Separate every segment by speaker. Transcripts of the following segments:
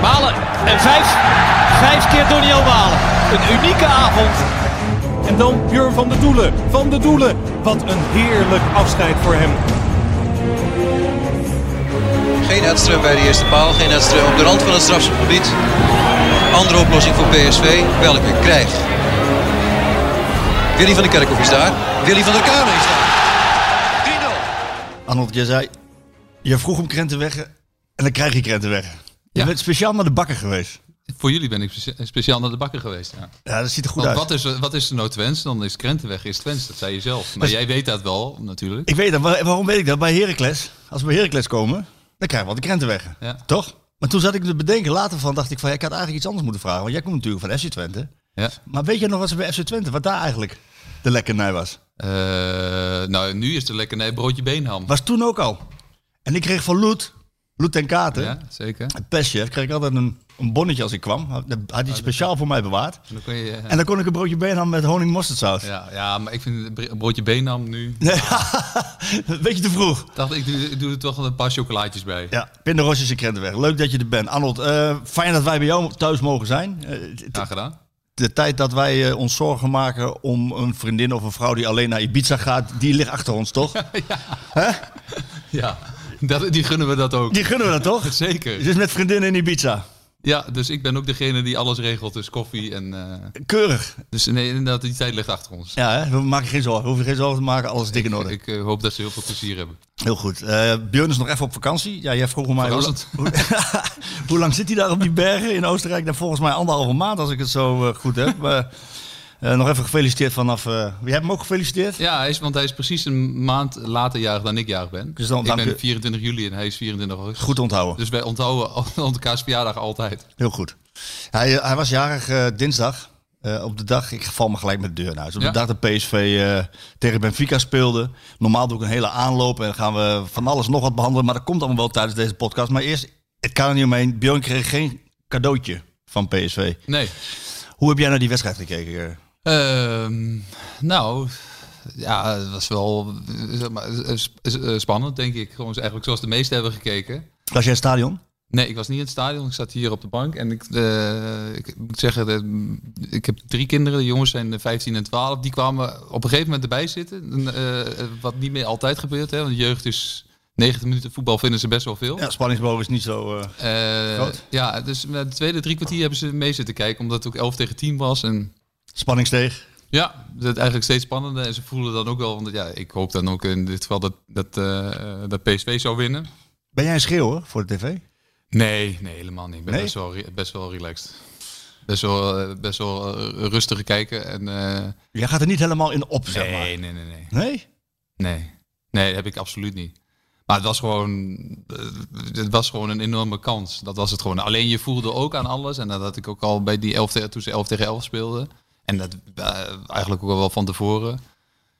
Speaker 1: Malen en vijf, vijf keer Doniel Malen. Een unieke avond.
Speaker 2: En dan Jur van de Doelen. Van de Doelen. Wat een heerlijk afscheid voor hem.
Speaker 3: Geen Edström bij de eerste paal. Geen Edström op de rand van het strafschopgebied. Andere oplossing voor PSV. Welke krijgt? Willy van der Kerkhoff is daar. Willy van der Kuilen is daar.
Speaker 4: Arnold, je zei, je vroeg om krenten weg en dan krijg je krenten weg. Je
Speaker 5: Ja.
Speaker 4: bent speciaal naar de bakker geweest.
Speaker 5: Voor jullie ben ik spe- speciaal naar de bakker geweest. Ja.
Speaker 4: Ja, dat ziet er goed
Speaker 5: Want
Speaker 4: uit.
Speaker 5: wat is, wat is er nou Twents? Dan is Krentenweg is Twents, dat zei je zelf. Maar
Speaker 4: Dus-
Speaker 5: jij weet dat wel, natuurlijk.
Speaker 4: Ik weet dat, waar- waarom weet ik dat? Bij Heracles, als we bij Heracles komen, dan krijgen we al de krenten weg.
Speaker 5: Ja.
Speaker 4: Toch? Maar toen zat ik te bedenken, later van dacht ik van, ja, ik had eigenlijk iets anders moeten vragen. Want jij komt natuurlijk van FC Twente.
Speaker 5: Ja.
Speaker 4: Maar weet je nog wat ze bij FC Twente, wat daar eigenlijk de lekkernij was?
Speaker 5: Eh, nou, nu is de lekkernij broodje beenham.
Speaker 4: Was toen ook al. En ik kreeg van Loet, Loet en Katen,
Speaker 5: Ja, zeker.
Speaker 4: het perschef, kreeg ik altijd een, een bonnetje als ik kwam. Had, had
Speaker 5: Oh,
Speaker 4: hij speciaal voor mij bewaard.
Speaker 5: En dan kun je, eh,
Speaker 4: En dan kon ik een broodje beenham met honing mosterdsaus.
Speaker 5: ja, ja, maar ik vind het br- broodje beenham nu...
Speaker 4: Nee, een beetje te vroeg.
Speaker 5: dacht ik, doe, ik doe er toch wel een paar chocolaatjes bij.
Speaker 4: Ja, Pindaros is een krentenweg. Leuk dat je er bent. Arnold, eh, fijn dat wij bij jou thuis mogen zijn. Eh, t-
Speaker 5: Graag gedaan.
Speaker 4: de tijd dat wij eh, ons zorgen maken om een vriendin of een vrouw die alleen naar Ibiza gaat, die ligt achter ons, toch?
Speaker 5: Ja, dat, die gunnen we dat ook.
Speaker 4: Die gunnen we dat toch?
Speaker 5: Zeker.
Speaker 4: Dus met vriendinnen in Ibiza.
Speaker 5: Ja, dus ik ben ook degene die alles regelt. Dus koffie en... eh,
Speaker 4: Keurig.
Speaker 5: dus nee, inderdaad, die tijd ligt achter ons.
Speaker 4: Ja, hè? we maken geen zorgen. We hoeven geen zorgen te maken. Alles dik in orde.
Speaker 5: Ik eh, hoop dat ze heel veel plezier hebben.
Speaker 4: Heel goed. Eh Björn is nog even op vakantie. Ja, jij vroeg mij... Hoe, lang-
Speaker 5: Verrassend.
Speaker 4: hoe, hoe lang zit hij daar op die bergen in Oostenrijk? Nou, volgens mij anderhalve maand, als ik het zo eh, goed heb. Maar, eh, nog even gefeliciteerd vanaf... eh jij hebt hem ook gefeliciteerd?
Speaker 5: Ja, hij is, want hij is precies een maand later jarig dan ik jarig ben.
Speaker 4: Dus dan
Speaker 5: ik
Speaker 4: dank
Speaker 5: ben
Speaker 4: u.
Speaker 5: 24 juli en hij is 24 augustus.
Speaker 4: Goed onthouden.
Speaker 5: Dus wij onthouden al- elkaars verjaardag altijd.
Speaker 4: Heel goed. Hij, eh, hij was jarig eh, dinsdag. Eh, op de dag, ik val me gelijk met de deur naar huis. Op
Speaker 5: Ja.
Speaker 4: de dag dat PSV eh, tegen Benfica speelde. Normaal doe ik een hele aanloop en gaan we van alles nog wat behandelen. Maar dat komt allemaal wel tijdens deze podcast. Maar eerst, het kan er niet omheen. Björn kreeg geen cadeautje van PSV.
Speaker 5: Nee.
Speaker 4: Hoe heb jij naar die wedstrijd gekeken? eh?
Speaker 5: Ehm, nou, ja, het was wel eh, zeg maar, eh, sp- eh, spannend, denk ik. Gewoon eigenlijk zoals de meesten hebben gekeken.
Speaker 4: Was jij in het stadion?
Speaker 5: Nee, ik was niet in het stadion. Ik zat hier op de bank. En ik, eh, ik moet zeggen, dat, mm, ik heb drie kinderen. De jongens zijn eh, 15 en 12. Die kwamen op een gegeven moment erbij zitten. En, eh, eh, wat niet meer altijd gebeurt. Hè, want de jeugd is 90 minuten voetbal vinden ze best wel veel.
Speaker 4: Ja, spanningsboog is niet zo... eh,
Speaker 5: Eh,
Speaker 4: Groot.
Speaker 5: ja, dus eh, de tweede drie kwartier hebben ze mee zitten kijken. Omdat het ook 11 tegen 10 was. En
Speaker 4: spanning steeg.
Speaker 5: ja, dat eigenlijk steeds spannender. En ze voelen dan ook wel, want ja, ik hoop dan ook in dit geval dat, dat, eh, eh, dat PSV zou winnen.
Speaker 4: Ben jij een schreeuwer voor de tv?
Speaker 5: Nee, nee, helemaal niet. Ik ben
Speaker 4: Nee?
Speaker 5: best, wel, re- best wel relaxed. Best wel, eh, best wel eh, rustig kijken. En, eh,
Speaker 4: Jij gaat er niet helemaal in op, zeg maar.
Speaker 5: nee, nee, nee, nee.
Speaker 4: Nee?
Speaker 5: Nee, nee, dat heb ik absoluut niet. Maar het was gewoon, eh, het was gewoon een enorme kans. Dat was het gewoon. Alleen je voelde ook aan alles. En dat had ik ook al bij die 11 te- toen ze 11 tegen 11 speelden. En dat eh, eigenlijk ook al wel van tevoren.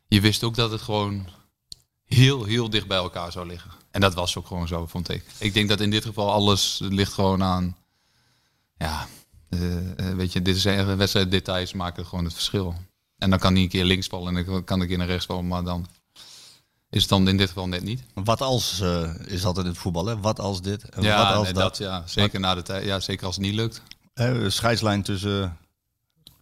Speaker 5: Je wist ook dat het gewoon heel, heel dicht bij elkaar zou liggen. En dat was ook gewoon zo, vond ik. Ik denk dat in dit geval alles ligt gewoon aan. Ja, eh, eh, weet je, dit zijn wedstrijddetails maken gewoon het verschil. En dan kan hij een keer links vallen en dan kan ik in naar rechts vallen, maar dan is het dan in dit geval net niet.
Speaker 4: Wat als eh, is altijd in het voetbal, hè? Wat als dit en
Speaker 5: Ja,
Speaker 4: wat als
Speaker 5: nee,
Speaker 4: dat?
Speaker 5: dat, ja, zeker na de tijd. Ja, zeker als het niet lukt.
Speaker 4: Hè, de scheidslijn tussen eh,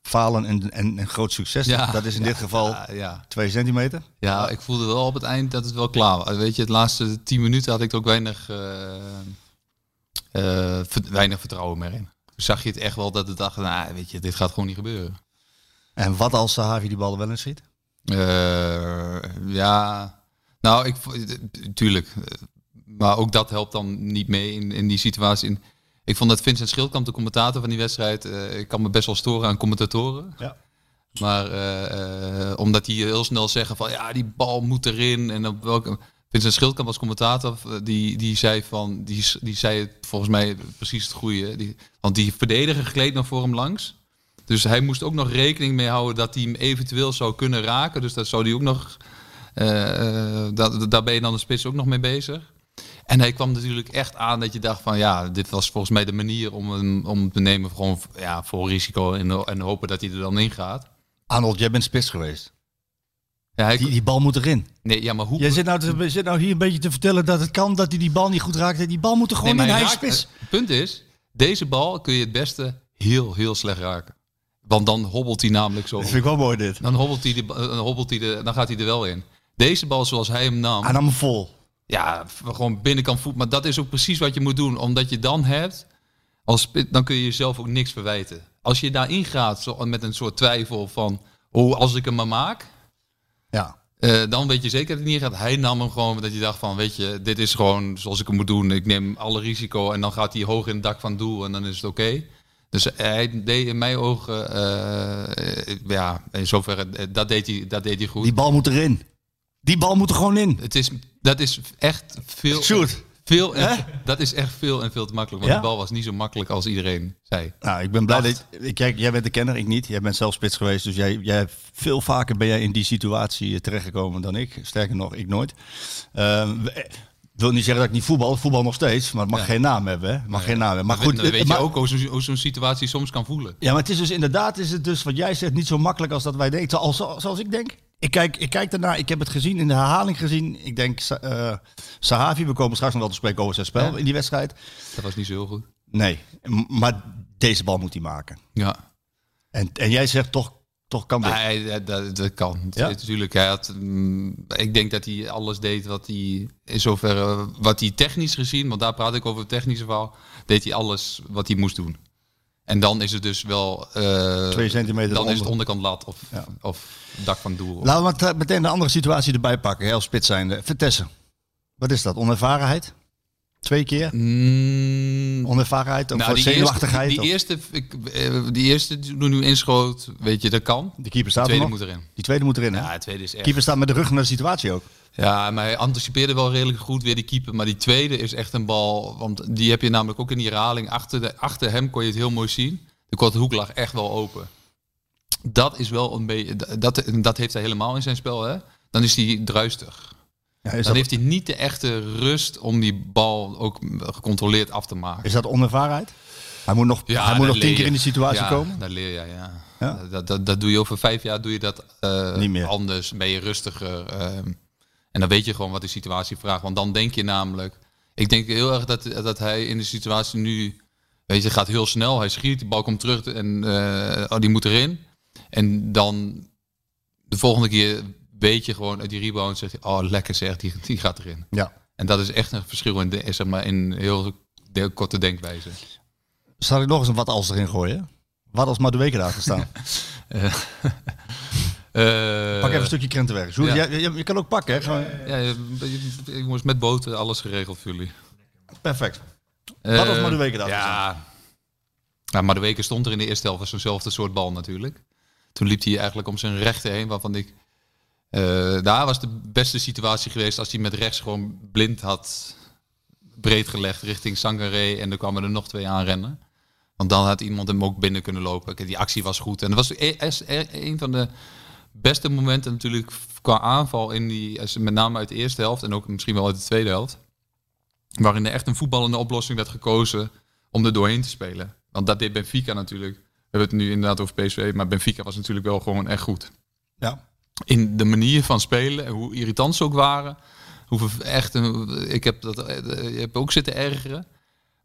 Speaker 4: falen en, en, en groot succes.
Speaker 5: Ja,
Speaker 4: dat is in
Speaker 5: ja,
Speaker 4: dit geval
Speaker 5: Ja, ja.
Speaker 4: twee centimeter.
Speaker 5: ja, ik voelde wel op het eind dat het wel klaar was. Weet je, het laatste tien minuten had ik er ook weinig, eh, eh, ver- weinig vertrouwen meer in. Toen zag je het echt wel dat het dacht, nou, weet je, dit gaat gewoon niet gebeuren.
Speaker 4: En wat als Sahavi die bal er wel in schiet?
Speaker 5: Eh, ja, nou, ik, vo- tuurlijk. Eh, Maar ook dat helpt dan niet mee in, in die situatie. En Ik vond dat Vincent Schildkamp, de commentator van die wedstrijd, eh, ik kan me best wel storen aan commentatoren.
Speaker 4: Ja.
Speaker 5: Maar eh, eh, omdat die heel snel zeggen van ja, die bal moet erin en op welke. Vincent Schildkamp als commentator, eh, die, die zei van, die, die zei het volgens mij precies het goede. Die, want die verdediger gleed nog voor hem langs. Dus hij moest ook nog rekening mee houden dat hij hem eventueel zou kunnen raken. Dus daar zou hij ook nog, eh, eh, daar, daar ben je dan de spits ook nog mee bezig. En hij kwam natuurlijk echt aan dat je dacht van ja, dit was volgens mij de manier om hem om hem te nemen gewoon ja, voor risico en, en hopen dat hij er dan in gaat.
Speaker 4: Arnold, jij bent spits geweest.
Speaker 5: Ja, hij,
Speaker 4: Die, die bal moet erin.
Speaker 5: nee, ja maar hoe...
Speaker 4: Jij zit nou, te- zit nou hier een beetje te vertellen dat het kan dat hij die bal niet goed raakt. Die bal moet er gewoon
Speaker 5: Nee,
Speaker 4: in.
Speaker 5: maar
Speaker 4: Hij is
Speaker 5: raakt-
Speaker 4: spits.
Speaker 5: Het punt is, deze bal kun je het beste heel, heel slecht raken. Want dan hobbelt hij namelijk zo.
Speaker 4: Dat vind ik wel mooi dit.
Speaker 5: Dan hobbelt hij, de, ba- dan, hobbelt hij de, dan gaat hij er wel in. Deze bal zoals hij hem nam,
Speaker 4: Aan hem vol.
Speaker 5: ja, v- gewoon binnenkant voet. Maar dat is ook precies wat je moet doen. Omdat je dan hebt, als, spit- dan kun je jezelf ook niks verwijten. Als je daarin gaat zo, met een soort twijfel van, oh, als ik hem maar maak,
Speaker 4: Ja.
Speaker 5: eh, dan weet je zeker dat het niet gaat. Hij nam hem gewoon dat je dacht van, weet je, dit is gewoon zoals ik hem moet doen. Ik neem alle risico en dan gaat hij hoog in het dak van het doel en dan is het oké. Dus hij deed in mijn ogen, eh, eh, ja, in zoverre, eh, dat deed hij, dat deed hij goed.
Speaker 4: Die bal moet erin. Die bal moet er gewoon in.
Speaker 5: Het is, dat is echt veel,
Speaker 4: Sjoerd.
Speaker 5: veel en, dat is echt veel en veel te makkelijk. Want
Speaker 4: Ja?
Speaker 5: de bal was niet zo makkelijk als iedereen zei.
Speaker 4: Nou, ik ben blij
Speaker 5: Acht.
Speaker 4: dat... ik- Kijk, jij bent de kenner, ik niet. Jij bent zelf spits geweest, dus jij, jij hebt- veel vaker ben jij in die situatie eh, terechtgekomen dan ik. Sterker nog, ik nooit. Ehm, eh, wil niet zeggen dat ik niet voetbal, ik voetbal nog steeds, maar het mag
Speaker 5: Ja.
Speaker 4: geen naam hebben. Hè? Het Mag geen naam hebben. Maar
Speaker 5: Maar goed,
Speaker 4: goed,
Speaker 5: dan weet
Speaker 4: eh, maar-
Speaker 5: je ook hoe zo'n hoe zo'n situatie soms kan voelen.
Speaker 4: Ja, maar het is dus inderdaad, is het dus wat jij zegt, niet zo makkelijk als dat wij denken. Zoals, zoals ik denk. Ik kijk, ik kijk daarna, ik heb het gezien, in de herhaling gezien. Ik denk, Sa- eh, Sahavi, we komen straks nog wel te spreken over zijn spel
Speaker 5: Ja.
Speaker 4: in die wedstrijd.
Speaker 5: Dat was niet zo heel goed.
Speaker 4: Nee, m- maar deze bal moet hij maken.
Speaker 5: Ja.
Speaker 4: En, en jij zegt toch, toch kan dit.
Speaker 5: Ah, hij- dat- dat, dat kan.
Speaker 4: Ja?
Speaker 5: Natuurlijk, hij had, mm, ik denk dat hij alles deed wat hij in zoverre, wat hij technisch gezien, want daar praat ik over het technische verhaal, deed hij alles wat hij moest doen. En dan is het dus wel. eh,
Speaker 4: Twee centimeter
Speaker 5: Dan is het
Speaker 4: onder.
Speaker 5: onderkant lat of,
Speaker 4: Ja.
Speaker 5: of dak van doel.
Speaker 4: Laten we maar tra- meteen de andere situatie erbij pakken, heel spits zijnde. Vertessen, wat is dat? Onervarenheid? Twee keer?
Speaker 5: Mm,
Speaker 4: Onervarenheid of
Speaker 5: nou, die
Speaker 4: zenuwachtigheid?
Speaker 5: eerste, die,
Speaker 4: of-
Speaker 5: eerste, ik, eh, die eerste die er nu inschoot, weet je, dat kan.
Speaker 4: de keeper
Speaker 5: De
Speaker 4: staat er
Speaker 5: tweede
Speaker 4: nog.
Speaker 5: moet erin.
Speaker 4: Die tweede moet erin, hè?
Speaker 5: Ja, het tweede is echt.
Speaker 4: keeper staat met de rug naar de situatie ook.
Speaker 5: Ja, maar hij anticipeerde wel redelijk goed weer die keeper. Maar die tweede is echt een bal. Want die heb je namelijk ook in die herhaling. Achter, de, achter hem kon je het heel mooi zien. De korte hoek lag echt wel open. Dat is wel een beetje. Dat, dat heeft hij helemaal in zijn spel, hè? Dan is hij druistig.
Speaker 4: Ja, is,
Speaker 5: Dan
Speaker 4: dat,
Speaker 5: heeft hij niet de echte rust om die bal ook gecontroleerd af te maken.
Speaker 4: is dat onervarenheid? Hij moet nog, hij moet
Speaker 5: dat
Speaker 4: nog tien
Speaker 5: leer
Speaker 4: keer
Speaker 5: je.
Speaker 4: in de situatie
Speaker 5: Ja,
Speaker 4: komen.
Speaker 5: Dat leer je, ja.
Speaker 4: Ja?
Speaker 5: Dat, dat, dat doe je over vijf jaar, doe je dat eh,
Speaker 4: Niet meer.
Speaker 5: anders. Ben je rustiger. ehm. en dan weet je gewoon wat de situatie vraagt. Want dan denk je namelijk... Ik denk heel erg dat, dat hij in de situatie nu... Weet je, gaat heel snel. Hij schiet, de bal komt terug en eh, oh, die moet erin. En dan de volgende keer weet je gewoon uit die rebound... Zeg je, oh, lekker zeg, die, die gaat erin.
Speaker 4: Ja.
Speaker 5: En dat is echt een verschil in, de, zeg maar, in heel, heel korte denkwijze.
Speaker 4: Zal ik nog eens een wat als erin gooien? Wat als Madueke daar gestaan?
Speaker 5: Eh,
Speaker 4: Pak even een stukje krentenwerk. Sjoerd,
Speaker 5: ja.
Speaker 4: jij- je, je kan ook pakken, hè? Gewoon-
Speaker 5: Ja, je- je- je- jongens, met boten, alles geregeld voor jullie.
Speaker 4: Perfect. Wat was
Speaker 5: Eh,
Speaker 4: Madueke daar
Speaker 5: Ja. Nou, maar de weken stond er in de eerste helft was zo'nzelfde soort bal natuurlijk. Toen liep hij eigenlijk om zijn rechter heen, waarvan ik... eh, daar was de beste situatie geweest als hij met rechts gewoon blind had breed gelegd richting Sangaré. En er kwamen er nog twee aanrennen. Want dan had iemand hem ook binnen kunnen lopen. Kijk, Die actie was goed. En dat was e- is e- een van de beste momenten natuurlijk qua aanval. In die, als- met name uit de eerste helft en ook misschien wel uit de tweede helft. Waarin er echt een voetballende oplossing werd gekozen om er doorheen te spelen. Want dat deed Benfica natuurlijk. We hebben het nu inderdaad over PSV, maar Benfica was natuurlijk wel gewoon echt goed
Speaker 4: Ja.
Speaker 5: in de manier van spelen, en hoe irritant ze ook waren. Hoeveel echt, een- ik heb dat eh, je hebt ook zitten ergeren.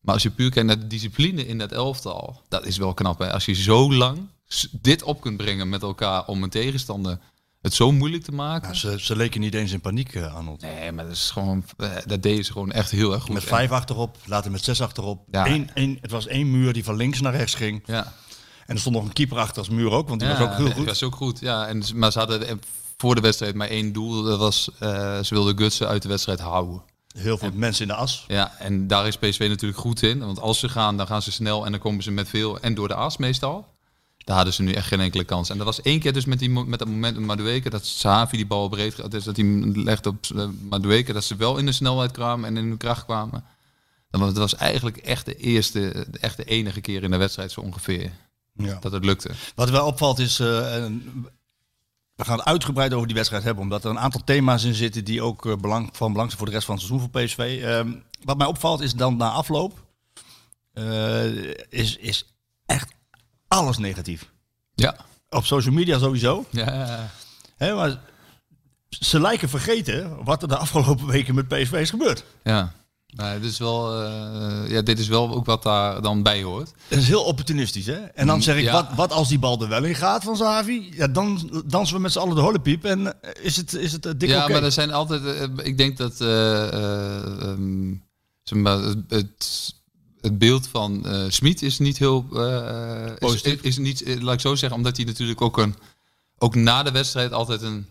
Speaker 5: Maar als je puur kijkt naar de discipline in dat elftal, dat is wel knap. Hè? Als je zo lang s- dit op kunt brengen met elkaar om een tegenstander het zo moeilijk te maken.
Speaker 4: ze, ze leken niet eens in paniek, eh, Arnold. eh.
Speaker 5: Nee, maar dat is gewoon, eh, dat deden ze gewoon echt heel erg goed.
Speaker 4: Met vijf achterop, later met zes achterop.
Speaker 5: Ja.
Speaker 4: Eén, één, het was één muur die van links naar rechts ging.
Speaker 5: Ja.
Speaker 4: En er stond nog een keeper achter als muur ook, want die was ook heel
Speaker 5: die
Speaker 4: goed.
Speaker 5: was ook goed, ja. En, ze- maar ze hadden eh, voor de wedstrijd maar één doel. Dat was, eh, ze wilden Gutsen uit de wedstrijd houden.
Speaker 4: Heel veel mensen in de as.
Speaker 5: Ja, en daar is PSV natuurlijk goed in. Want als ze gaan, dan gaan ze snel en dan komen ze met veel en door de as meestal. Daar hadden ze nu echt geen enkele kans. En dat was één keer dus met, die, mo- met dat moment met Madueke, dat Sahavi die bal breed gaat, dus dat hij hem legt op eh, Madueke, dat ze wel in de snelheid kwamen en in hun kracht kwamen. Dat was, dat was eigenlijk echt de eerste, echt de enige keer in de wedstrijd zo ongeveer
Speaker 4: Ja.
Speaker 5: dat het lukte.
Speaker 4: Wat wel opvalt is, eh, en we gaan het uitgebreid over die wedstrijd hebben, omdat er een aantal thema's in zitten die ook eh, belang, van belang zijn voor de rest van het seizoen voor PSV. Ehm, wat mij opvalt is dan na afloop, eh, is, is echt alles negatief.
Speaker 5: Ja.
Speaker 4: Op social media sowieso.
Speaker 5: ja.
Speaker 4: Hè, maar ze lijken vergeten wat er de afgelopen weken met PSV is gebeurd.
Speaker 5: Ja, nou, dit, is wel, eh, ja, dit is wel ook wat daar dan bij hoort.
Speaker 4: Dat is heel opportunistisch, hè? En dan zeg ik,
Speaker 5: ja.
Speaker 4: wat, wat als die bal er wel in gaat van Zavi? Ja, dan dansen we met z'n allen de hollepiep en eh, is het, is het eh, dik
Speaker 5: ja,
Speaker 4: oké.
Speaker 5: maar er zijn altijd. eh, ik denk dat eh, eh, ehm, zeg maar, het- het, het beeld van eh Smit is niet heel eh, is-
Speaker 4: Positief.
Speaker 5: Is, niet, eh, laat ik zo zeggen, omdat hij natuurlijk ook een ook na de wedstrijd altijd een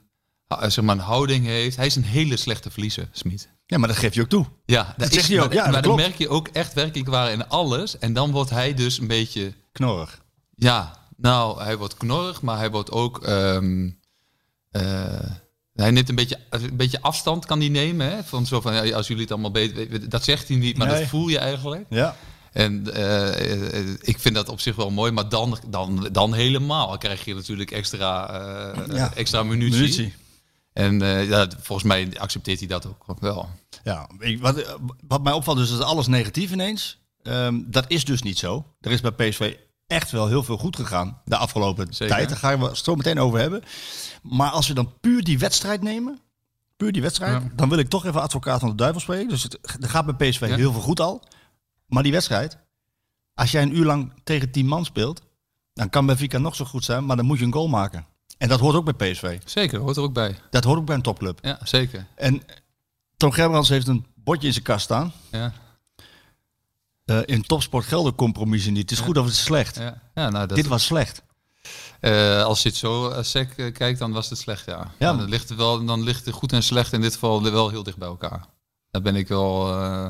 Speaker 5: eh, zeg maar een houding heeft. Hij is een hele slechte verliezer, Smit.
Speaker 4: Ja, maar dat geef je ook toe.
Speaker 5: Ja, dat
Speaker 4: zegt hij ook. Ja,
Speaker 5: maar
Speaker 4: dat
Speaker 5: dan
Speaker 4: klopt.
Speaker 5: merk je ook echt werkelijk waar in alles. En dan wordt hij dus een beetje
Speaker 4: Knorrig.
Speaker 5: Ja, nou, hij wordt knorrig, maar hij wordt ook. ehm, eh, hij neemt een beetje, een beetje afstand, kan hij nemen. Hè? Van zo van, ja, als jullie het allemaal beter... Dat zegt hij niet, maar
Speaker 4: Nee.
Speaker 5: dat voel je eigenlijk.
Speaker 4: Ja.
Speaker 5: En eh, eh, ik vind dat op zich wel mooi, maar dan, dan, dan helemaal Dan krijg je natuurlijk extra, eh,
Speaker 4: Ja.
Speaker 5: extra munitie. En eh, ja, volgens mij accepteert hij dat ook wel.
Speaker 4: Ja, ik, wat, eh, wat mij opvalt dus, is dat alles negatief ineens. Ehm, dat is dus niet zo. Er is bij PSV echt wel heel veel goed gegaan de afgelopen
Speaker 5: Zeker.
Speaker 4: tijd. Daar gaan we het zo meteen over hebben. Maar als we dan puur die wedstrijd nemen, puur die wedstrijd,
Speaker 5: Ja.
Speaker 4: dan wil ik toch even advocaat van de duivel spreken. Dus het, er gaat bij PSV
Speaker 5: Ja.
Speaker 4: heel veel goed al. Maar die wedstrijd, als jij een uur lang tegen tien man speelt, dan kan Benfica nog zo goed zijn, maar dan moet je een goal maken. En dat hoort ook bij PSV.
Speaker 5: Zeker, hoort er ook bij.
Speaker 4: Dat hoort ook bij een topclub.
Speaker 5: Ja, zeker.
Speaker 4: En Tom Gerbrands heeft een bordje in zijn kast staan.
Speaker 5: Ja,
Speaker 4: Eh, in topsport gelden compromissen niet. Het is goed of het is slecht.
Speaker 5: ja. ja nou, dat,
Speaker 4: Dit was slecht.
Speaker 5: Eh, als je het zo eh, sec eh, kijkt, dan was het slecht, ja.
Speaker 4: Ja.
Speaker 5: Dan, ligt het wel, dan ligt het goed en slecht in dit geval wel heel dicht bij elkaar. Daar ben ik wel... eh,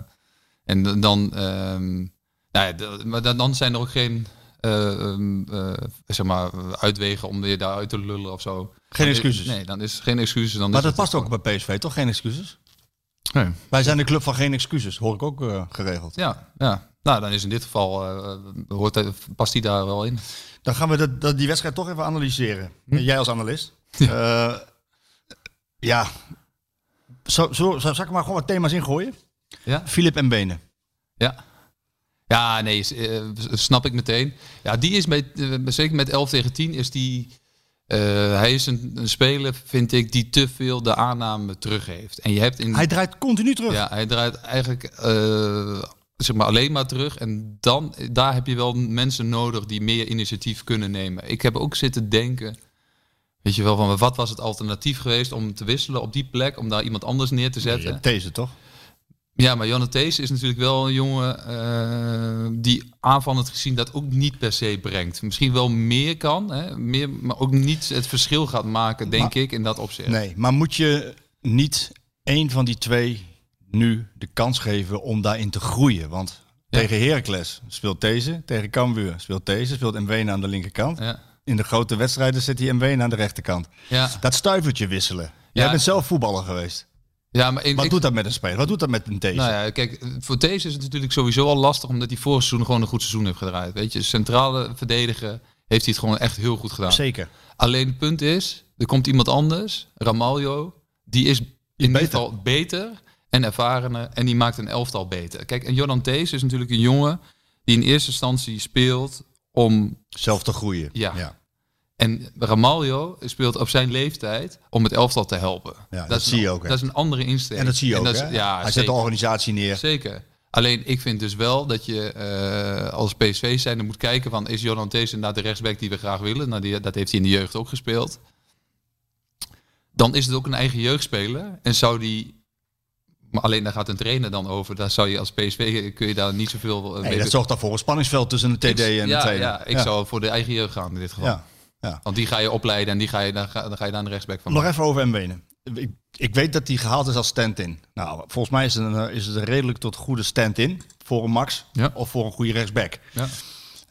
Speaker 5: en d- dan, ehm, nou ja, d- maar dan, dan zijn er ook geen eh, ehm, eh, zeg maar, uitwegen om je daaruit te lullen of zo.
Speaker 4: Geen
Speaker 5: Dan-
Speaker 4: excuses.
Speaker 5: Nee, dan is het geen excuses. Dan
Speaker 4: Maar
Speaker 5: is
Speaker 4: dat
Speaker 5: het
Speaker 4: past ook bij PSV, toch? Geen excuses.
Speaker 5: Nee.
Speaker 4: Wij zijn de club van geen excuses, hoor ik ook eh, geregeld.
Speaker 5: Ja, ja. Nou, dan is in dit geval, eh, hoort, hij- past die daar wel in.
Speaker 4: Dan gaan we dat, dat- die wedstrijd toch even analyseren.
Speaker 5: Hm?
Speaker 4: Eh, Jij als analist. Ja. ja. Zo, zo, zal ik er maar gewoon wat thema's ingooien?
Speaker 5: Ja?
Speaker 4: Filip en Benen.
Speaker 5: Ja. Ja, nee, s- eh, s- snap ik meteen. Ja, die is met, eh, zeker met 11 tegen 10 is die. eh, hij is een, een speler, vind ik, die te veel de aanname terug heeft. En je hebt in.
Speaker 4: Hij draait continu terug.
Speaker 5: Hm. ja, hij draait eigenlijk eh, zeg maar alleen maar terug. En dan, daar heb je wel mensen nodig die meer initiatief kunnen nemen. Ik heb ook zitten denken. Weet je wel, van wat was het alternatief geweest om te wisselen op die plek, om daar iemand anders neer te zetten?
Speaker 4: Deze toch?
Speaker 5: Ja, maar Jonathan Thees is natuurlijk wel een jongen eh, die aanvallend gezien dat ook niet per se brengt. Misschien wel meer kan, hè? Meer, maar ook niet het verschil gaat maken, denk ik, in dat opzicht.
Speaker 4: Nee, maar moet je niet één van die twee nu de kans geven om daarin te groeien? Want
Speaker 5: Ja.
Speaker 4: tegen Heracles speelt deze, tegen Cambuur speelt deze, speelt MW aan de linkerkant.
Speaker 5: Ja.
Speaker 4: In de grote wedstrijden zit hij MW aan de rechterkant.
Speaker 5: Ja,
Speaker 4: Dat stuivertje wisselen. Jij
Speaker 5: Ja.
Speaker 4: bent zelf voetballer geweest.
Speaker 5: ja, maar in,
Speaker 4: Wat
Speaker 5: ik-
Speaker 4: doet dat met een speler? Wat doet dat met een deze?
Speaker 5: nou ja, kijk, voor Thees is het natuurlijk sowieso al lastig omdat hij vorig seizoen gewoon een goed seizoen heeft gedraaid. Weet je, centrale verdediger heeft hij het gewoon echt heel goed gedaan.
Speaker 4: Zeker.
Speaker 5: Alleen het punt is, er komt iemand anders, Ramaljo, die is in ieder geval beter en ervarener en die maakt een elftal beter. Kijk, en Jordan Thees is natuurlijk een jongen die in eerste instantie speelt om...
Speaker 4: Zelf te groeien.
Speaker 5: Ja.
Speaker 4: ja.
Speaker 5: En Ramaljo speelt op zijn leeftijd om het elftal te helpen.
Speaker 4: dat
Speaker 5: is
Speaker 4: zie
Speaker 5: een-
Speaker 4: je ook, hè.
Speaker 5: Dat is een andere insteek.
Speaker 4: En dat zie je ook.
Speaker 5: is-
Speaker 4: hè?
Speaker 5: Ja,
Speaker 4: Hij zet
Speaker 5: zeker.
Speaker 4: de organisatie neer.
Speaker 5: Zeker. Alleen ik vind dus wel dat je eh, als PSV zijnde moet kijken van is Jonan Thees inderdaad de rechtsback die we graag willen. Nou, die, dat heeft hij in de jeugd ook gespeeld. Dan is het ook een eigen jeugdspeler. En zou die. Maar alleen daar gaat een trainer dan over. Daar zou je als PSV kun je daar niet zoveel eh,
Speaker 4: Nee,
Speaker 5: mee
Speaker 4: dat
Speaker 5: doen.
Speaker 4: zorgt dan voor een spanningsveld tussen de TD en
Speaker 5: Ik-
Speaker 4: de
Speaker 5: ja,
Speaker 4: trainer.
Speaker 5: ja, ik zou voor de eigen jeugd gaan in dit geval.
Speaker 4: Ja.
Speaker 5: Want die ga je opleiden en die ga je, dan, ga, dan ga je daar een rechtsback van
Speaker 4: Nog
Speaker 5: maken.
Speaker 4: even over Mbenen. Ik, ik weet dat hij gehaald is als stand-in. Nou, volgens mij is het een, eh, is het een redelijk tot goede stand-in voor een Max
Speaker 5: Ja.
Speaker 4: of voor een goede rechtsback.
Speaker 5: Ja.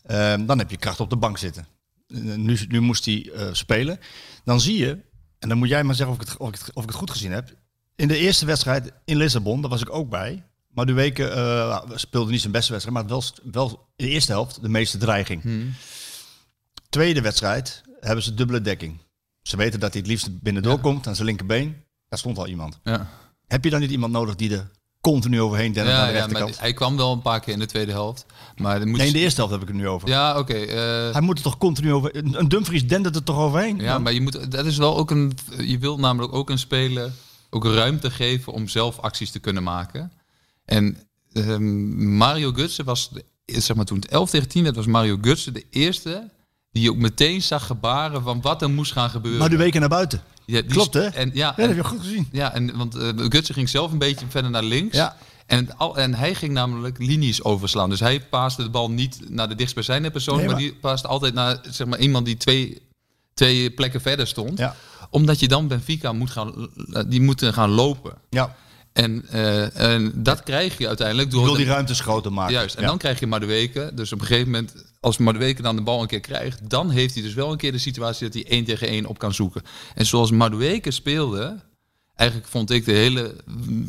Speaker 4: Ehm, dan heb je kracht op de bank zitten. nu, nu moest hij eh, spelen. Dan zie je, en dan moet jij maar zeggen of ik, het, of, ik het, of ik het goed gezien heb. In de eerste wedstrijd in Lissabon, daar was ik ook bij. Maar de weken eh, speelde niet zijn beste wedstrijd, maar wel, st- wel in de eerste helft de meeste dreiging.
Speaker 5: Hmm.
Speaker 4: Tweede wedstrijd hebben ze dubbele dekking. Ze weten dat hij het liefst binnendoor komt aan zijn linkerbeen. Daar stond al iemand.
Speaker 5: Ja.
Speaker 4: Heb je dan niet iemand nodig die er continu overheen dendert aan
Speaker 5: Ja,
Speaker 4: de
Speaker 5: ja, maar
Speaker 4: rechterkant?
Speaker 5: hij kwam wel een paar keer in de tweede helft. Maar dan moet
Speaker 4: Nee, in
Speaker 5: je-
Speaker 4: de eerste helft heb ik het nu over.
Speaker 5: Ja, oké. eh,
Speaker 4: Hij moet er toch continu over... Een een Dumfries dendert er toch overheen?
Speaker 5: ja, maar je moet, dat is wel ook een. Je wilt namelijk ook een speler ook ruimte geven om zelf acties te kunnen maken. En ehm, Mario Gutsen was, de- zeg maar toen het 11 tegen 10 werd, was Mario Gutsen de eerste die je ook meteen zag gebaren van wat er moest gaan gebeuren.
Speaker 4: Maar de weken naar buiten.
Speaker 5: Ja, die-
Speaker 4: Klopt, hè?
Speaker 5: En, ja,
Speaker 4: Ja, dat
Speaker 5: en-
Speaker 4: heb je goed gezien.
Speaker 5: Ja, en, want eh Gutsen ging zelf een beetje verder naar links.
Speaker 4: Ja.
Speaker 5: En, al, en hij ging namelijk linies overslaan. Dus hij paaste de bal niet naar de dichtstbijzijnde persoon,
Speaker 4: Nee,
Speaker 5: maar,
Speaker 4: maar-
Speaker 5: die paaste altijd naar zeg maar, iemand die twee, twee plekken verder stond.
Speaker 4: Ja.
Speaker 5: Omdat je dan Benfica moet gaan, eh, die moeten gaan lopen.
Speaker 4: Ja.
Speaker 5: En, eh, en dat krijg je uiteindelijk door.
Speaker 4: Wil
Speaker 5: de-
Speaker 4: die ruimtes groter maken.
Speaker 5: Juist, en
Speaker 4: Ja.
Speaker 5: dan krijg je Madueke. Dus op een gegeven moment, als Madueke dan de bal een keer krijgt, dan heeft hij dus wel een keer de situatie dat hij één tegen één op kan zoeken. En zoals Madueke speelde, eigenlijk vond ik de hele,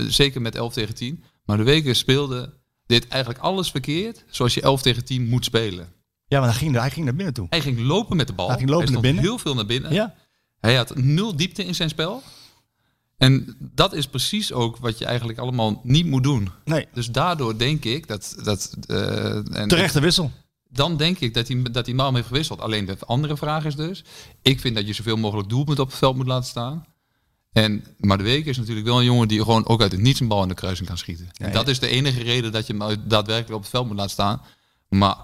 Speaker 5: zeker met 11 tegen 10, Madueke speelde, deed eigenlijk alles verkeerd zoals je 11 tegen 10 moet spelen.
Speaker 4: Ja, maar hij ging, hij ging naar binnen toe.
Speaker 5: Hij ging lopen met de bal.
Speaker 4: Hij ging lopen
Speaker 5: stond
Speaker 4: naar binnen.
Speaker 5: heel veel naar binnen.
Speaker 4: Ja.
Speaker 5: Hij had nul diepte in zijn spel. En dat is precies ook wat je eigenlijk allemaal niet moet doen.
Speaker 4: Nee.
Speaker 5: Dus daardoor denk ik dat... dat eh, en
Speaker 4: Terechte wissel.
Speaker 5: dan denk ik dat hij, dat hij Malm heeft gewisseld. Alleen de andere vraag is dus... Ik vind dat je zoveel mogelijk doelpunt op het veld moet laten staan. En Madueke is natuurlijk wel een jongen die gewoon ook uit het niets een bal in de kruising kan schieten. En dat is de enige reden dat je hem uit- daadwerkelijk op het veld moet laten staan. Maar...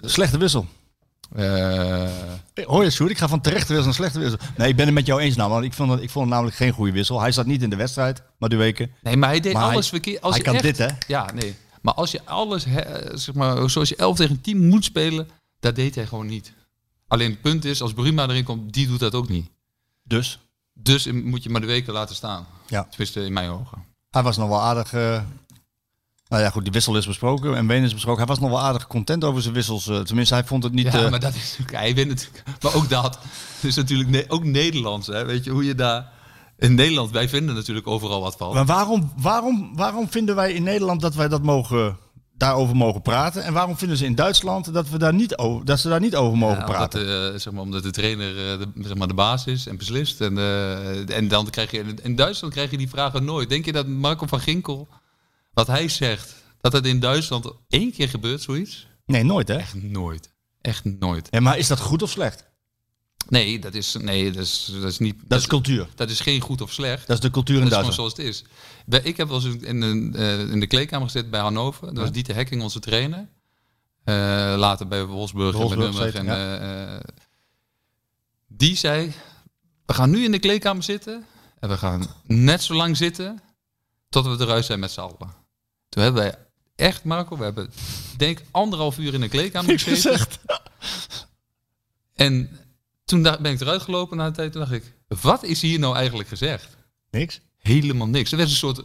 Speaker 4: Slechte wissel.
Speaker 5: eh,
Speaker 4: Eh, Hoor je, Sjoerd? Ik ga van terechte wissel naar slechte wissel. Nee, ik ben het met jou eens. namelijk. ik, vond het, ik vond het namelijk geen goede wissel. Hij zat niet in de wedstrijd, maar de weken.
Speaker 5: nee, maar hij deed
Speaker 4: Maar hij-
Speaker 5: alles verkeerd. Als
Speaker 4: hij
Speaker 5: je
Speaker 4: kan
Speaker 5: echt-
Speaker 4: dit, hè?
Speaker 5: Ja, nee. Maar als je alles, hè, zeg maar, zoals je 11 tegen 10 moet spelen, dat deed hij gewoon niet. Alleen het punt is, als Bruma erin komt, die doet dat ook niet.
Speaker 4: Dus?
Speaker 5: Dus moet je maar de weken laten staan.
Speaker 4: Ja.
Speaker 5: Tenminste, in mijn ogen.
Speaker 4: Hij was nog wel aardig... eh, nou ja, goed, die wissel is besproken en Wenen is besproken. Hij was nog wel aardig content over zijn wissels. eh, Tenminste, hij vond het niet...
Speaker 5: ja,
Speaker 4: eh,
Speaker 5: maar dat is natuurlijk- hij wint natuurlijk. Maar ook dat is natuurlijk ne- ook Nederlands. Hè? Weet je hoe je daar in Nederland wij vinden natuurlijk overal wat van.
Speaker 4: Maar waarom, waarom, waarom vinden wij in Nederland dat wij dat mogen, daarover mogen praten? En waarom vinden ze in Duitsland dat, we daar niet over, dat ze daar niet over mogen
Speaker 5: Ja, omdat,
Speaker 4: praten?
Speaker 5: eh, zeg maar, omdat de trainer eh, de, zeg maar, de baas is en beslist. En, eh, en dan krijg je in Duitsland krijg je die vragen nooit. Denk je dat Marco van Ginkel, wat hij zegt, dat het in Duitsland één keer gebeurt, zoiets?
Speaker 4: Nee, nooit hè?
Speaker 5: Echt nooit. Echt nooit.
Speaker 4: Ja, maar is dat goed of slecht?
Speaker 5: Nee, dat is, nee, dat is, dat is niet.
Speaker 4: Dat is cultuur.
Speaker 5: dat is geen goed of slecht.
Speaker 4: Dat is de cultuur in
Speaker 5: Dat is
Speaker 4: Duitsland.
Speaker 5: gewoon zoals het is. Bij- Ik heb wel eens in, een, eh, in de kleedkamer gezeten bij Hannover. Dat was Dieter Hecking, onze trainer. Eh, later bij Wolfsburg,
Speaker 4: Wolfsburg
Speaker 5: en bij Nürnberg. En,
Speaker 4: gezeten,
Speaker 5: eh, eh, die zei, we gaan nu in de kleedkamer zitten. En we gaan net zo lang zitten tot we eruit zijn met z'n allen. Toen hebben wij echt, Marco, we hebben denk anderhalf uur in de kleedkamer
Speaker 4: Niks
Speaker 5: gezeten.
Speaker 4: gezegd.
Speaker 5: En toen da- ben ik eruit gelopen na een tijd. Toen dacht ik, wat is hier nou eigenlijk gezegd?
Speaker 4: Niks.
Speaker 5: helemaal niks. Er werd een soort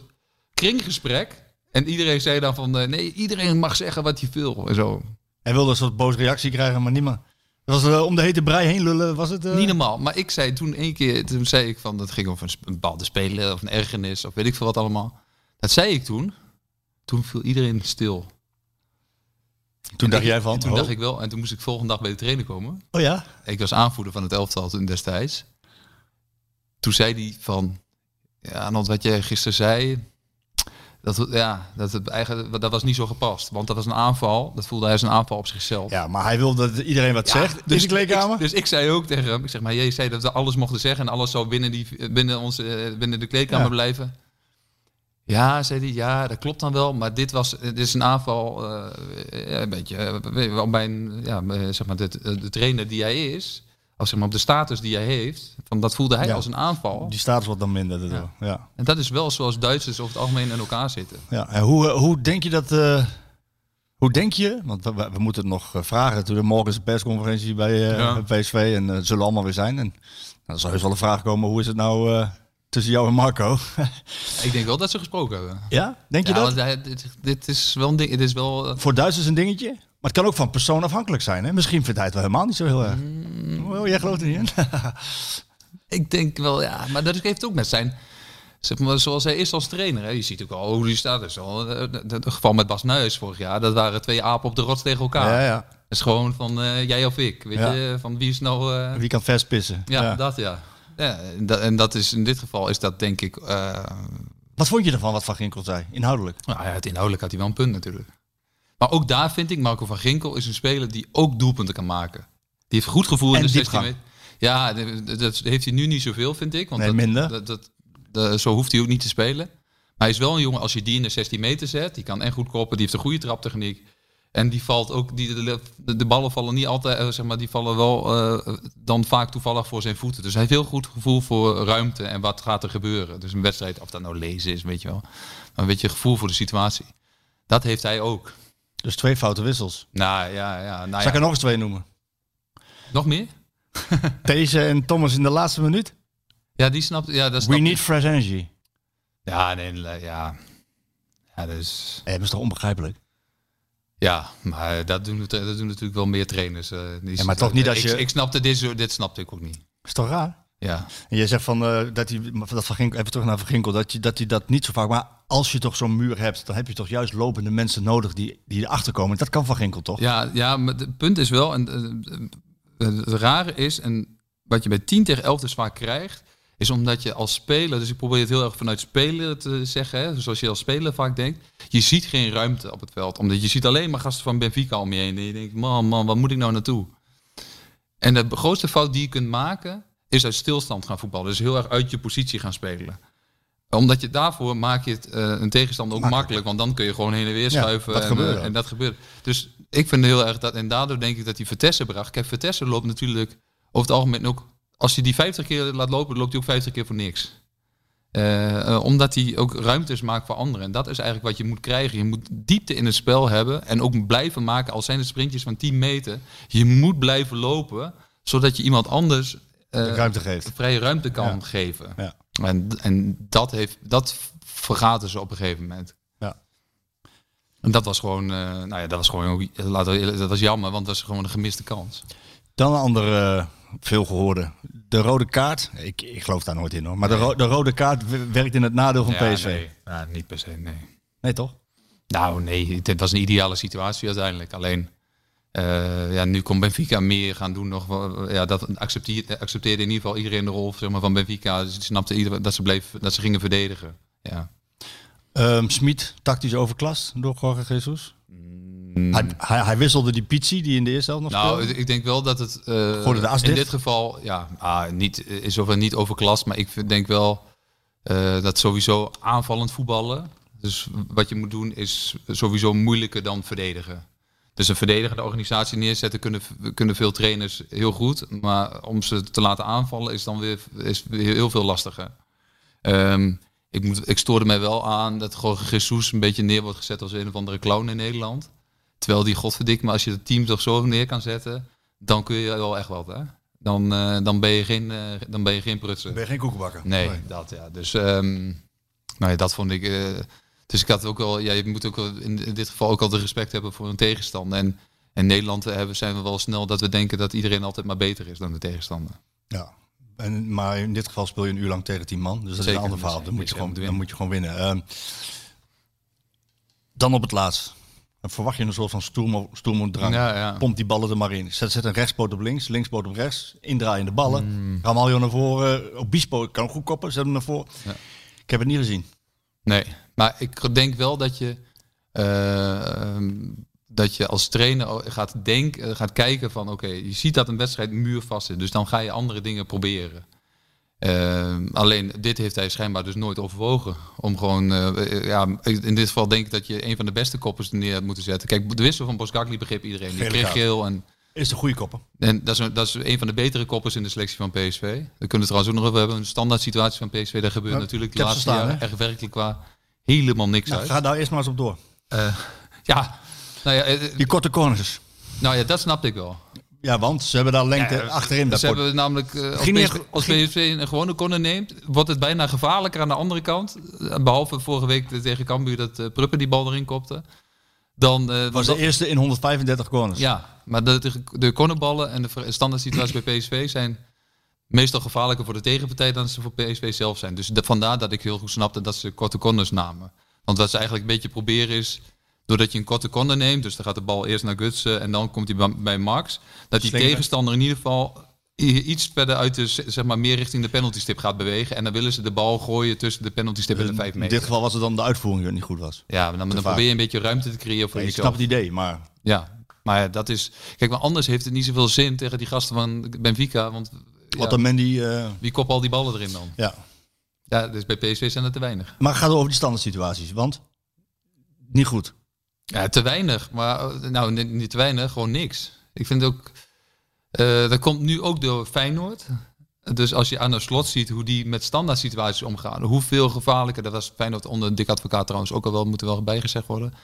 Speaker 5: kringgesprek. En iedereen zei dan van, eh, nee, iedereen mag zeggen wat hij wil. En zo.
Speaker 4: Hij wilde een soort boze reactie krijgen, maar niemand. Het was eh, om de hete brei heen lullen, was het? eh?
Speaker 5: Niet normaal. Maar ik zei toen één keer, toen zei ik van, dat ging over een sp- een bepaalde speler of een ergernis of weet ik veel wat allemaal. Dat zei ik toen. Toen viel iedereen stil.
Speaker 4: toen dacht
Speaker 5: Ik-
Speaker 4: jij van,
Speaker 5: en Toen
Speaker 4: oh,
Speaker 5: dacht ik wel. En toen moest ik volgende dag bij de trainer komen.
Speaker 4: oh ja?
Speaker 5: ik was aanvoerder van het elftal toen destijds. Toen zei hij van, ja, Arnold, wat jij gisteren zei, dat, ja, dat, het eigenlijk, dat was niet zo gepast. Want dat was een aanval, dat voelde hij als een aanval op zichzelf.
Speaker 4: Ja, maar hij wilde dat iedereen wat
Speaker 5: Ja,
Speaker 4: zegt dus in de kleedkamer.
Speaker 5: Ik, dus ik zei ook tegen hem, ik zeg maar, jij zei dat we alles mochten zeggen en alles zou binnen, die, binnen, onze, eh, binnen de kleedkamer
Speaker 4: Ja.
Speaker 5: blijven. Ja, zei hij, ja, dat klopt dan wel, maar dit, was, dit is een aanval, eh, ja, een beetje, eh, weet je wel, bij een, ja, eh, zeg maar, de, de trainer die hij is, of zeg maar, op de status die hij heeft, van, dat voelde hij
Speaker 4: Ja.
Speaker 5: als een aanval.
Speaker 4: Die status wordt dan minder. daardoor. Ja.
Speaker 5: En dat is wel zoals Duitsers over het algemeen in elkaar zitten.
Speaker 4: Ja, en hoe, eh, hoe denk je dat... eh, hoe denk je, want we, we- we moeten het nog eh, vragen natuurlijk. Morgen is de persconferentie bij eh,
Speaker 5: Ja.
Speaker 4: bij PSV en eh, het zullen allemaal weer zijn. En nou, dan zal heus wel een vraag komen, hoe is het nou eh, tussen jou en Marco?
Speaker 5: Ik denk wel dat ze gesproken hebben.
Speaker 4: ja, denk je
Speaker 5: Ja,
Speaker 4: dat?
Speaker 5: want hij- dit, dit is wel een ding, dit is wel... eh,
Speaker 4: Voor Duitsers een dingetje, maar het kan ook van persoon afhankelijk zijn. Hè? Misschien vindt hij het wel helemaal niet zo heel erg.
Speaker 5: Mm.
Speaker 4: Oh, jij gelooft er niet in?
Speaker 5: Ik denk wel, ja. Maar dat heeft ook met zijn... Zeg maar, zoals hij is als trainer. Hè. Je ziet ook al hoe die staat. Dus al, eh, dat- dat- het geval met Bas Nuis vorig jaar. Dat waren twee apen op de rots tegen elkaar.
Speaker 4: Ja, ja.
Speaker 5: Dat is gewoon van eh, jij of ik. Weet
Speaker 4: Ja.
Speaker 5: je? Van wie is nou... eh,
Speaker 4: Wie kan vers pissen?
Speaker 5: ja, dat ja. ja en, dat, en dat is in dit geval is dat denk ik... eh,
Speaker 4: Wat vond je ervan wat Van Ginkel zei, inhoudelijk?
Speaker 5: Nou ja, het inhoudelijk had hij wel een punt natuurlijk. Maar ook daar vind ik, Marco van Ginkel is een speler die ook doelpunten kan maken. Die heeft goed gevoel in
Speaker 4: En
Speaker 5: de 16
Speaker 4: diepgang.
Speaker 5: meter. Ja, d- d- dat heeft hij nu niet zoveel, vind ik. Want
Speaker 4: Nee,
Speaker 5: dat,
Speaker 4: minder.
Speaker 5: Dat, dat, dat- zo hoeft hij ook niet te spelen. Maar hij is wel een jongen, als je die in de 16 meter zet, die kan echt goed koppen, die heeft een goede traptechniek. En die valt ook, die, de, de- de ballen vallen niet altijd, eh, zeg maar, die vallen wel eh, dan vaak toevallig voor zijn voeten. Dus hij heeft heel goed gevoel voor ruimte en wat gaat er gebeuren. Dus een wedstrijd, of dat nou lezen is, weet je wel. Maar een beetje gevoel voor de situatie. Dat heeft hij ook.
Speaker 4: Dus twee foute wissels.
Speaker 5: Nou ja, ja. Nou,
Speaker 4: Zal ik
Speaker 5: ja.
Speaker 4: er nog eens twee noemen?
Speaker 5: Nog meer?
Speaker 4: Deze en Thomas in de laatste minuut.
Speaker 5: Ja, die snapt. Ja, dat
Speaker 4: We
Speaker 5: snapt-
Speaker 4: need fresh energy.
Speaker 5: Ja, nee, la- ja. Ja, dus,
Speaker 4: Eh, dat is toch onbegrijpelijk?
Speaker 5: ja, maar dat doen, het- dat doen natuurlijk wel meer trainers. eh, die-
Speaker 4: Ja, maar toch niet als
Speaker 5: ik,
Speaker 4: je-
Speaker 5: Ik snapte dit, zo- dit snapte ik ook niet.
Speaker 4: Is toch raar?
Speaker 5: Ja.
Speaker 4: En je zegt van, eh, dat, hij, dat van Ginkel, even terug naar Van Ginkel, dat hij dat, hij dat niet zo vaak... Maar als je toch zo'n muur hebt, dan heb je toch juist lopende mensen nodig die, die erachter komen. Dat kan Van Ginkel toch?
Speaker 5: Ja, ja, maar het punt is wel, en eh, eh, het rare is, en wat je bij 10 tegen 11 dus vaak krijgt, is omdat je als speler, dus ik probeer het heel erg vanuit speler te zeggen, hè, zoals je als speler vaak denkt, je ziet geen ruimte op het veld. Omdat je ziet alleen maar gasten van Benfica om je heen. En je denkt, man, man, wat moet ik nou naartoe? En de grootste fout die je kunt maken, is uit stilstand gaan voetballen. Dus heel erg uit je positie gaan spelen omdat je daarvoor maak je het eh, een tegenstander ook makkelijk. want dan kun je gewoon heen en weer
Speaker 4: Ja,
Speaker 5: schuiven.
Speaker 4: dat
Speaker 5: en,
Speaker 4: gebeurde
Speaker 5: eh,
Speaker 4: ook.
Speaker 5: en dat gebeurt. Dus ik vind heel erg dat. En daardoor denk ik dat die Vitesse bracht. Kijk, Vitesse loopt natuurlijk over het algemeen ook. Als je die 50 keer laat lopen, loopt hij ook 50 keer voor niks. Eh, eh, omdat hij ook ruimtes maakt voor anderen. En dat is eigenlijk wat je moet krijgen. Je moet diepte in het spel hebben. En ook blijven maken, al zijn het sprintjes van 10 meter. Je moet blijven lopen, zodat je iemand anders eh,
Speaker 4: Ruimte geeft.
Speaker 5: vrije ruimte kan
Speaker 4: Ja.
Speaker 5: geven.
Speaker 4: Ja.
Speaker 5: En, en dat, heeft, dat vergaten ze op een gegeven moment.
Speaker 4: Ja.
Speaker 5: En dat was gewoon, eh, nou ja, dat was gewoon, ook- laten we eerlijk- dat was jammer, want dat was gewoon een gemiste kans.
Speaker 4: Dan een andere eh, veelgehoorde. De rode kaart. Ik, ik geloof daar nooit in hoor. Maar de, ro- de rode kaart w- werkt in het nadeel van
Speaker 5: Ja,
Speaker 4: PSV. Nee.
Speaker 5: Nee, Ja, niet per se, nee.
Speaker 4: toch?
Speaker 5: Nou nee, het was een ideale situatie uiteindelijk. Alleen, eh, ja, nu kon Benfica meer gaan doen nog. wel- Ja, dat accepteerde, accepteerde in ieder geval iedereen de rol zeg maar, van Benfica. Ze snapte ieder, dat, ze bleef, dat ze gingen verdedigen. Ja.
Speaker 4: Ehm Smit, tactisch overklast door Jorge Jesus. Hij, hij, hij wisselde die Pizzi die in de eerste helft nog
Speaker 5: Nou,
Speaker 4: speelde.
Speaker 5: ik denk wel dat het eh,
Speaker 4: Gooide de as
Speaker 5: in
Speaker 4: dicht?
Speaker 5: dit geval, ja, ah, niet, is over niet overklast, maar ik vind- denk wel eh, dat sowieso aanvallend voetballen. Dus wat je moet doen is sowieso moeilijker dan verdedigen. Dus een verdedigende organisatie neerzetten kunnen, kunnen veel trainers heel goed. Maar om ze te laten aanvallen is dan weer, is weer heel veel lastiger. Ehm, ik, moet, ik stoorde mij wel aan dat Jorge Jesus een beetje neer wordt gezet als een of andere clown in Nederland. Terwijl die godverdik, maar als je het team toch zo neer kan zetten, dan kun je wel echt wat, hè? Dan, eh, dan, ben, je geen, eh, dan ben je geen prutser.
Speaker 4: ben geen koekenbakker.
Speaker 5: Nee, dat ja. Dus ehm, nou ja, dat vond ik. eh, dus ik had ook wel. Ja, je moet ook wel in in dit geval ook altijd respect hebben voor een tegenstander. En in Nederland eh, hebben, zijn we wel snel dat we denken dat iedereen altijd maar beter is dan de tegenstander.
Speaker 4: Ja. En, maar in dit geval speel je een uur lang tegen tien man. Dus dat is
Speaker 5: Zeker,
Speaker 4: een ander verhaal. Dan
Speaker 5: zeker.
Speaker 4: moet je
Speaker 5: Ja,
Speaker 4: gewoon,
Speaker 5: moet
Speaker 4: dan
Speaker 5: winnen.
Speaker 4: moet je gewoon winnen. Ehm, dan op het laatst. Dan verwacht je een soort van stoermo- stoermoedrang.
Speaker 5: Ja, ja.
Speaker 4: Pompt die ballen er maar in. Zet, zet een rechtspoot op links, linkspoot op rechts. Indraaiende
Speaker 5: Mm.
Speaker 4: ballen. Ramaljo naar voren. Obispo kan goed koppen. Zet hem naar voren. Ik heb het niet gezien.
Speaker 5: Nee, maar ik denk wel dat je, eh, ehm, dat je als trainer al gaat, denken, gaat kijken van oké, je ziet dat een wedstrijd muurvast zit, dus dan ga je andere dingen proberen. Ehm, alleen dit heeft hij schijnbaar dus nooit overwogen. Om gewoon, eh, eh, ja, in dit geval denk ik dat je een van de beste koppers neer had moeten zetten. Kijk, de wissel van Boskakli begreep iedereen. Die
Speaker 4: Gele
Speaker 5: kreeg
Speaker 4: kaart.
Speaker 5: geel en
Speaker 4: Is de goede koppen.
Speaker 5: en dat is, een, dat is een van de betere koppers in de selectie van PSV. Daar kunnen we het trouwens ook nog over hebben. Een standaard situatie van PSV, daar gebeurt
Speaker 4: Ja,
Speaker 5: natuurlijk
Speaker 4: ik
Speaker 5: de
Speaker 4: heb ze
Speaker 5: laatste
Speaker 4: staan,
Speaker 5: jaren echt werkelijk qua helemaal niks
Speaker 4: Nou,
Speaker 5: uit.
Speaker 4: ga daar eerst maar eens op door.
Speaker 5: Eh, ja. Nou ja, eh,
Speaker 4: Die korte corners.
Speaker 5: nou ja, dat snapte ik wel.
Speaker 4: Ja, want ze hebben daar lengte achterin.
Speaker 5: Ze
Speaker 4: Daar port-
Speaker 5: hebben namelijk, eh, als,
Speaker 4: Ging niet
Speaker 5: PSV,
Speaker 4: echt-
Speaker 5: als
Speaker 4: ging-
Speaker 5: PSV een gewone corner neemt, wordt het bijna gevaarlijker aan de andere kant. Eh, Behalve vorige week tegen Cambuur dat eh, Pruppen die bal erin kopte. Dan, eh,
Speaker 4: was de
Speaker 5: dan-
Speaker 4: eerste in 135 corners.
Speaker 5: ja, maar de, de, de cornerballen en de ver- standaard situaties bij PSV zijn meestal gevaarlijker voor de tegenpartij dan ze voor PSV zelf zijn. Dus da- vandaar dat ik heel goed snapte dat ze korte corners namen. Want wat ze eigenlijk een beetje proberen is, doordat je een korte corner neemt, dus dan gaat de bal eerst naar Gutsen en dan komt hij bij, bij Max, dat die
Speaker 4: Slingeren.
Speaker 5: tegenstander in ieder geval i- iets verder uit de, z- zeg maar, meer richting de penalty stip gaat bewegen. En dan willen ze de bal gooien tussen de penalty stip en de vijf
Speaker 4: In
Speaker 5: meter.
Speaker 4: dit geval was het dan de uitvoering die niet goed was.
Speaker 5: ja, maar dan, dan
Speaker 4: vaak.
Speaker 5: probeer je een beetje ruimte te creëren voor
Speaker 4: Ik
Speaker 5: jezelf.
Speaker 4: snap het idee, maar
Speaker 5: Ja, maar ja, dat is. Kijk, maar anders heeft het niet zoveel zin tegen die gasten van Benfica. Want ja,
Speaker 4: wat dan Mandy... eh,
Speaker 5: wie kop al die ballen erin dan?
Speaker 4: ja.
Speaker 5: Ja, dus bij PSV zijn er te weinig.
Speaker 4: Maar gaat over die standaard situaties, want niet goed.
Speaker 5: Ja, te weinig. Maar eh, nou, niet, niet te weinig, gewoon niks. Ik vind ook. eh, dat komt nu ook door Feyenoord. Dus als je aan de slot ziet hoe die met standaard situaties omgaan, hoeveel gevaarlijker. Dat was Feyenoord onder Dick Advocaat trouwens ook al wel, moet er wel bijgezegd worden.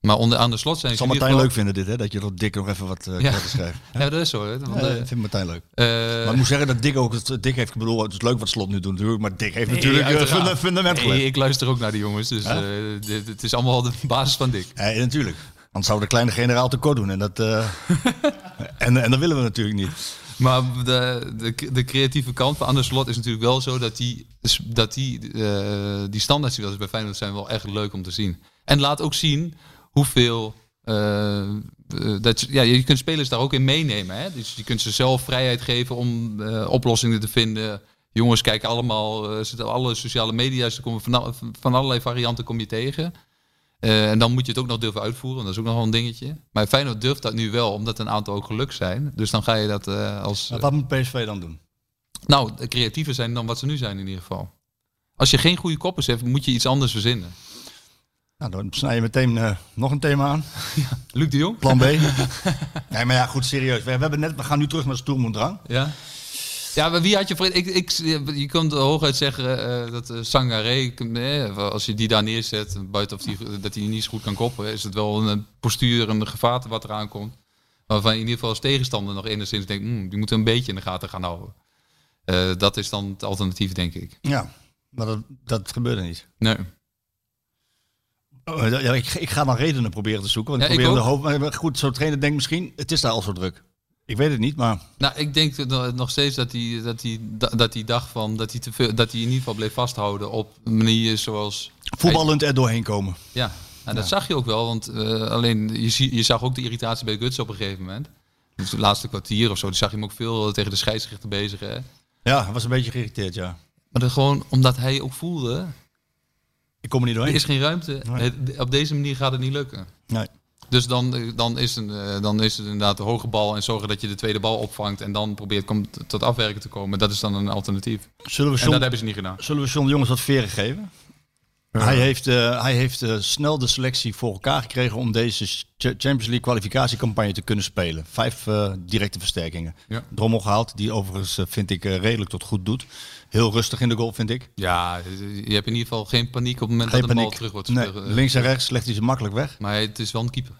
Speaker 5: Maar onder aan de slot zijn
Speaker 4: Het
Speaker 5: ze.
Speaker 4: zal
Speaker 5: in ieder
Speaker 4: Martijn leuk
Speaker 5: geval-
Speaker 4: vinden dit, hè? Dat je dat Dick nog even wat eh
Speaker 5: Ja.
Speaker 4: credits geeft.
Speaker 5: Ja, dat is zo. hè, want,
Speaker 4: Ja,
Speaker 5: eh,
Speaker 4: dat vindt Martijn leuk.
Speaker 5: eh,
Speaker 4: maar ik moet zeggen dat Dick ook... het- Dick heeft, ik bedoel, het is leuk wat Slot nu doet natuurlijk, maar Dick heeft natuurlijk eh,
Speaker 5: uiteraard.
Speaker 4: funda- fundament
Speaker 5: Nee,
Speaker 4: gelegd.
Speaker 5: ik luister ook naar de jongens, dus eh, dit- het is allemaal de basis van Dick.
Speaker 4: Ja, natuurlijk. Anders zou de kleine generaal tekort doen. En dat, eh, en, en dat willen we natuurlijk niet.
Speaker 5: Maar de, de, de creatieve kant van Anders Slot is natuurlijk wel zo dat die, dus dat die, eh, die standaards die wel eens bij Feyenoord zijn wel echt leuk om te zien. En laat ook zien hoeveel... eh, eh, dat, je- ja, je kunt spelers daar ook in meenemen. Hè? Dus je kunt ze zelf vrijheid geven om eh, oplossingen te vinden. Jongens kijken allemaal, eh, zitten alle sociale media's, er komen van, al- van allerlei varianten kom je tegen. Eh, en dan moet je het ook nog durven uitvoeren. want Dat is ook nog wel een dingetje. Maar Feyenoord durft dat nu wel, omdat een aantal ook gelukt zijn. Dus dan ga je dat eh, als...
Speaker 4: Maar wat moet PSV dan doen?
Speaker 5: nou, de creatiever zijn dan wat ze nu zijn in ieder geval. Als je geen goede koppers hebt, moet je iets anders verzinnen.
Speaker 4: Nou, dan snij je meteen eh, nog een thema aan.
Speaker 5: Luc de Jong?
Speaker 4: Plan B. nee, maar ja, goed, serieus. We, we, hebben net, we gaan nu terug naar Stoer moet Drang.
Speaker 5: Ja. Ja, maar wie had je voor... Ik, ik, je kunt hooguit zeggen eh, dat eh, Sangaré, eh, als je die daar neerzet, buiten of die, dat hij niet zo goed kan koppen, is het wel een postuur, een gevaarte wat eraan komt. Waarvan je in ieder geval als tegenstander nog enigszins denkt, "Hmm, die moeten een beetje in de gaten gaan houden. Eh, dat is dan het alternatief, denk ik.
Speaker 4: Ja, maar dat, dat gebeurde niet.
Speaker 5: Nee.
Speaker 4: Oh, ja, ik, ik ga dan redenen proberen te zoeken. Want ik
Speaker 5: Ja, ik
Speaker 4: probeer de hoop, maar goed, zo'n trainer denkt misschien, het is daar al zo druk. Ik weet het niet, maar
Speaker 5: Nou, ik denk dat nog- nog steeds dat die, dat die, da- dat die dag van, dat hij, te veel, dat hij in ieder geval bleef vasthouden op manieren zoals...
Speaker 4: voetballend er doorheen komen.
Speaker 5: Ja, en dat zag je ook wel, want eh, alleen je, zie- je zag ook de irritatie bij Guts op een gegeven moment. Dus het laatste kwartier of zo, die zag je hem ook veel eh, tegen de scheidsrechter bezig. Hè?
Speaker 4: Ja, was een beetje geïrriteerd, ja.
Speaker 5: Maar dan gewoon omdat hij ook voelde,
Speaker 4: Ik kom er niet
Speaker 5: er
Speaker 4: doorheen.
Speaker 5: is geen ruimte.
Speaker 4: Nee.
Speaker 5: Het- op deze manier gaat het niet lukken.
Speaker 4: Nee.
Speaker 5: Dus dan, eh, dan, is een, eh, dan is het inderdaad de hoge bal en zorgen dat je de tweede bal opvangt en dan probeert kom- tot afwerken te komen. Dat is dan een alternatief.
Speaker 4: Zullen we
Speaker 5: En dat
Speaker 4: John,
Speaker 5: hebben ze niet gedaan.
Speaker 4: zullen we John de Jongens wat veren geven? Hij heeft, eh, hij heeft eh, snel de selectie voor elkaar gekregen om deze Ch- Champions League kwalificatiecampagne te kunnen spelen. Vijf eh, directe versterkingen.
Speaker 5: Ja.
Speaker 4: Drommel gehaald, die overigens eh, vind ik eh, redelijk tot goed doet. Heel rustig in de goal, vind ik.
Speaker 5: Ja, je hebt in ieder geval geen paniek op het moment
Speaker 4: Geen
Speaker 5: dat de
Speaker 4: paniek.
Speaker 5: bal terug wordt
Speaker 4: nee,
Speaker 5: gespeeld. eh.
Speaker 4: links en rechts legt hij ze makkelijk weg.
Speaker 5: Maar het is wel een keeper.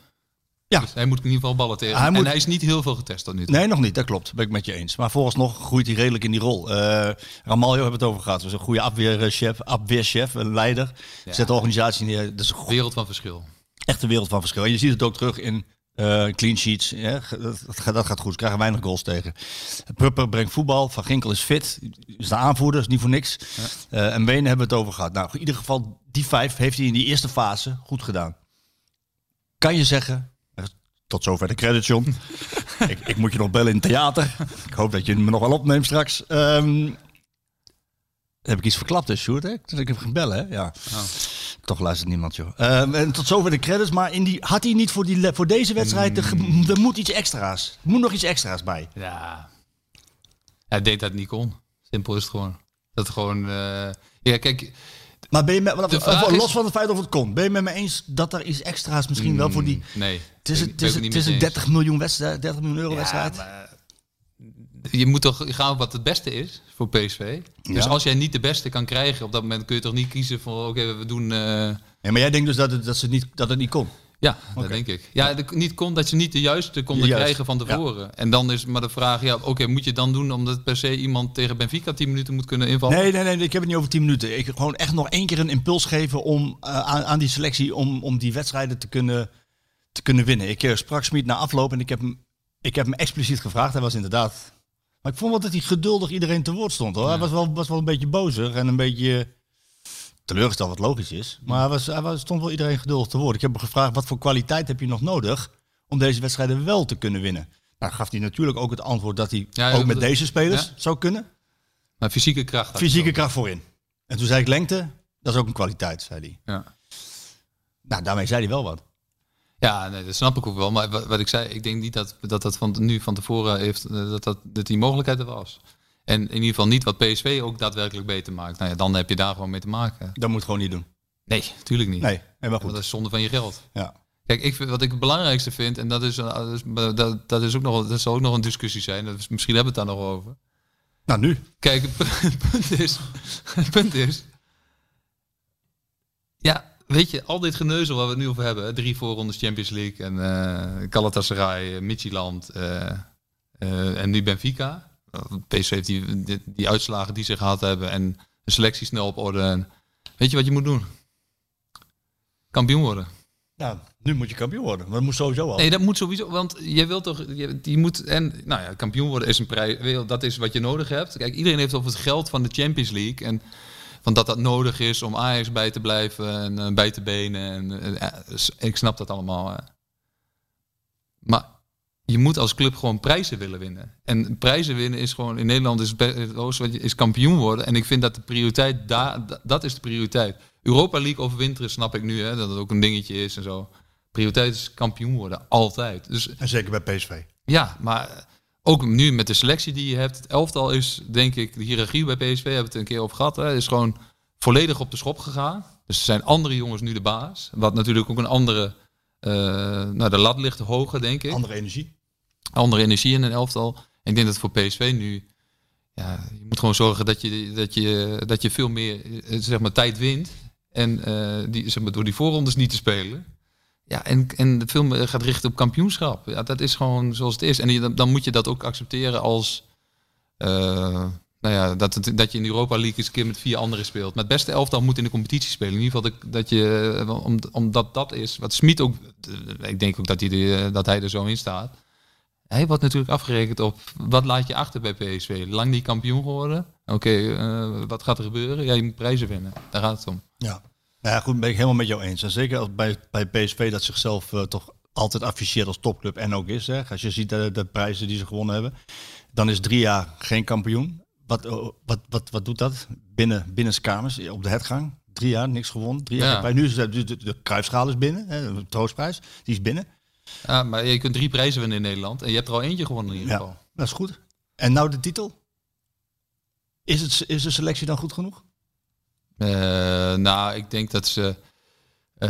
Speaker 4: Ja.
Speaker 5: Dus hij moet in ieder geval ballen tegen.
Speaker 4: Hij moet-
Speaker 5: En hij is niet heel veel getest tot nu toe.
Speaker 4: Nee, nog niet. Dat klopt. Ben ik met je eens. Maar vooralsnog groeit hij redelijk in die rol. Eh Ramaljo hebben we het over gehad. Dat is een goede afweerchef, afweerchef een leider. Zet de organisatie neer. Dat is een go-
Speaker 5: Wereld van verschil.
Speaker 4: echt een wereld van verschil. En je ziet het ook terug in eh, clean sheets. Ja, ge- dat, dat gaat- dat gaat goed. Ze krijgen weinig goals tegen. Prupper brengt voetbal. Van Ginkel is fit. Is de aanvoerder. Is niet voor niks. Eh, en Wenen hebben we het over gehad. Nou, in ieder geval, die vijf heeft hij in die eerste fase goed gedaan. Kan je zeggen... Tot zover de credit, John. ik, ik moet je nog bellen in het theater. Ik hoop dat je me nog wel opneemt straks. Ehm, heb ik iets verklapt, dus, Sjoerd? Hè? Dat ik heb gaan bellen, hè? Ja. Toch luistert niemand, joh. Ehm, en tot zover de credits. Maar in die, had hij niet voor, die, le- voor deze wedstrijd... de
Speaker 5: Hmm.
Speaker 4: ge- Er moet iets extra's. Er moet nog iets extra's bij.
Speaker 5: Ja. Hij deed dat niet kon. Simpel is het gewoon. Dat gewoon... eh, Ja, kijk...
Speaker 4: Maar ben je met,
Speaker 5: De vraag
Speaker 4: los
Speaker 5: is-
Speaker 4: van het feit of het kon... ben je met me eens dat er iets extra's misschien wel voor die...
Speaker 5: Nee.
Speaker 4: Het is,
Speaker 5: Hmm. Ben
Speaker 4: een- het
Speaker 5: ik- ben
Speaker 4: is,
Speaker 5: ik
Speaker 4: een-
Speaker 5: niet
Speaker 4: het is
Speaker 5: met
Speaker 4: een
Speaker 5: je eens.
Speaker 4: 30 miljoen, wedstrijd, 30 miljoen euro
Speaker 5: Ja,
Speaker 4: wedstrijd.
Speaker 5: maar Je moet toch gaan wat het beste is voor PSV. Dus
Speaker 4: Ja.
Speaker 5: als jij niet de beste kan krijgen, op dat moment kun je toch niet kiezen van oké, we doen... eh,
Speaker 4: Ja, maar jij denkt dus dat het, dat ze niet, dat het niet kon?
Speaker 5: Ja, dat denk ik. Ja, de- niet kon, dat je niet de juiste konden
Speaker 4: Juist,
Speaker 5: krijgen van tevoren. En dan is maar de vraag, ja, oké, moet je dan doen omdat per se iemand tegen Benfica 10 minuten moet kunnen invallen?
Speaker 4: Nee, nee, nee, ik heb het niet over 10 minuten. Ik gewoon echt nog één keer een impuls geven om, eh, aan, aan die selectie om, om die wedstrijden te kunnen te kunnen winnen. Ik eh, sprak Smit na afloop en ik heb, hem, ik heb hem expliciet gevraagd. Hij was inderdaad... Maar ik vond wel dat hij geduldig iedereen te woord stond. Hoor. Hij was wel, was wel een beetje bozig en een beetje eh, teleurgesteld, wat logisch is. Maar hij, was, hij was, stond wel iedereen geduldig te woord. Ik heb hem gevraagd, wat voor kwaliteit heb je nog nodig om deze wedstrijden wel te kunnen winnen? Nou, gaf hij natuurlijk ook het antwoord dat hij
Speaker 5: Ja,
Speaker 4: ook
Speaker 5: dat-
Speaker 4: met deze spelers
Speaker 5: ja.
Speaker 4: zou kunnen.
Speaker 5: Maar fysieke kracht. had hij
Speaker 4: Fysieke
Speaker 5: ook.
Speaker 4: kracht voorin. En toen zei ik lengte, dat is ook een kwaliteit, zei hij.
Speaker 5: Ja.
Speaker 4: Nou, daarmee zei hij wel wat.
Speaker 5: Ja, nee, dat snap ik ook wel. Maar wat, wat ik zei, ik denk niet dat dat, dat van, nu van tevoren heeft, eh, dat, dat, dat die mogelijkheid er was. En in ieder geval niet wat PSV ook daadwerkelijk beter maakt. Nou ja, dan heb je daar gewoon mee te maken.
Speaker 4: Dat moet gewoon niet doen.
Speaker 5: Nee, tuurlijk niet.
Speaker 4: Nee, helemaal
Speaker 5: Want
Speaker 4: goed.
Speaker 5: dat is zonde van je geld.
Speaker 4: Ja.
Speaker 5: Kijk, ik, vind- wat ik het belangrijkste vind, en dat, is, eh, dat, is, dat, dat is ook nog, dat zal ook nog een discussie zijn. Dat is, misschien hebben we het daar nog over.
Speaker 4: Nou, nu.
Speaker 5: Kijk, het punt- het punt is. Het punt is. Ja, weet je, al dit geneuzel waar we het nu over hebben. hè, Drie voorrondes Champions League en eh Galatasaray, eh, Midtjylland eh, eh, en nu Benfica. PSV heeft die, die, die uitslagen die ze gehad hebben en de selectie snel op orde. En weet je wat je moet doen? Kampioen worden.
Speaker 4: Nou, nu moet je kampioen worden. Maar dat moet sowieso al.
Speaker 5: Nee, dat moet sowieso, want je wilt toch, je, die moet, en nou ja, kampioen worden is een prijs, wil- dat is wat je nodig hebt. Kijk, iedereen heeft over het geld van de Champions League en van dat dat nodig is om Ajax bij te blijven en eh, bij te benen. En, eh, eh, s- ik snap dat allemaal. eh. Maar je moet als club gewoon prijzen willen winnen. En prijzen winnen is gewoon, in Nederland is, be- het hoogste wat je- is kampioen worden. En ik vind dat de prioriteit, daar, da- dat is de prioriteit. Europa League overwinteren snap ik nu, hè, dat het ook een dingetje is en zo. Prioriteit is kampioen worden, altijd. Dus
Speaker 4: En zeker bij PSV.
Speaker 5: ja, maar ook nu met de selectie die je hebt. Het elftal is, denk ik, de hiërarchie bij PSV, hebben we het een keer over gehad, hè, is gewoon volledig op de schop gegaan. Dus er zijn andere jongens nu de baas. Wat natuurlijk ook een andere, eh, nou de lat ligt hoger, denk ik
Speaker 4: Andere energie.
Speaker 5: andere energie in een elftal. En ik denk dat voor PSV nu. Ja, je moet gewoon zorgen dat je, dat je, dat je veel meer eh, zeg maar, tijd wint. En eh, die, zeg maar, door die voorrondes niet te spelen. Ja, en, en veel meer gaat richten op kampioenschap. Ja, dat is gewoon zoals het is. En je- dan- dan moet je dat ook accepteren als. eh, nou ja, dat, het- dat je in de Europa League eens een keer met vier anderen speelt. Maar het beste elftal moet in de competitie spelen. In ieder geval dat, dat je, eh, om- omdat dat is. Wat Smit ook, eh, ik denk ook dat hij, er- dat hij er zo in staat. Hij wordt natuurlijk afgerekend op wat laat je achter bij PSV. Lang niet kampioen geworden. Oké, eh, wat gaat er gebeuren? Ja, je moet prijzen winnen. Daar gaat het om.
Speaker 4: Ja. Nou ja, goed, ben ik helemaal met jou eens. En zeker als bij, bij PSV dat zichzelf eh, toch altijd afficheert als topclub en ook is. Hè. Als je ziet eh, de, de prijzen die ze gewonnen hebben, dan is drie jaar geen kampioen. Wat, oh, wat, wat, wat doet dat binnen, binnen kamers eh, op de hergang? Drie jaar niks gewonnen. Drie jaar
Speaker 5: Ja.
Speaker 4: geen prijs. Nu is het- de, de, de Cruijffschaal is binnen, hè, de troostprijs, die is binnen.
Speaker 5: Ja, Ah, maar je kunt drie prijzen winnen in Nederland. En je hebt er al eentje gewonnen in ieder geval.
Speaker 4: Ja, dat is goed. En nou de titel? Is, het, is de selectie dan goed genoeg?
Speaker 5: Eh, nou, ik denk dat ze... eh,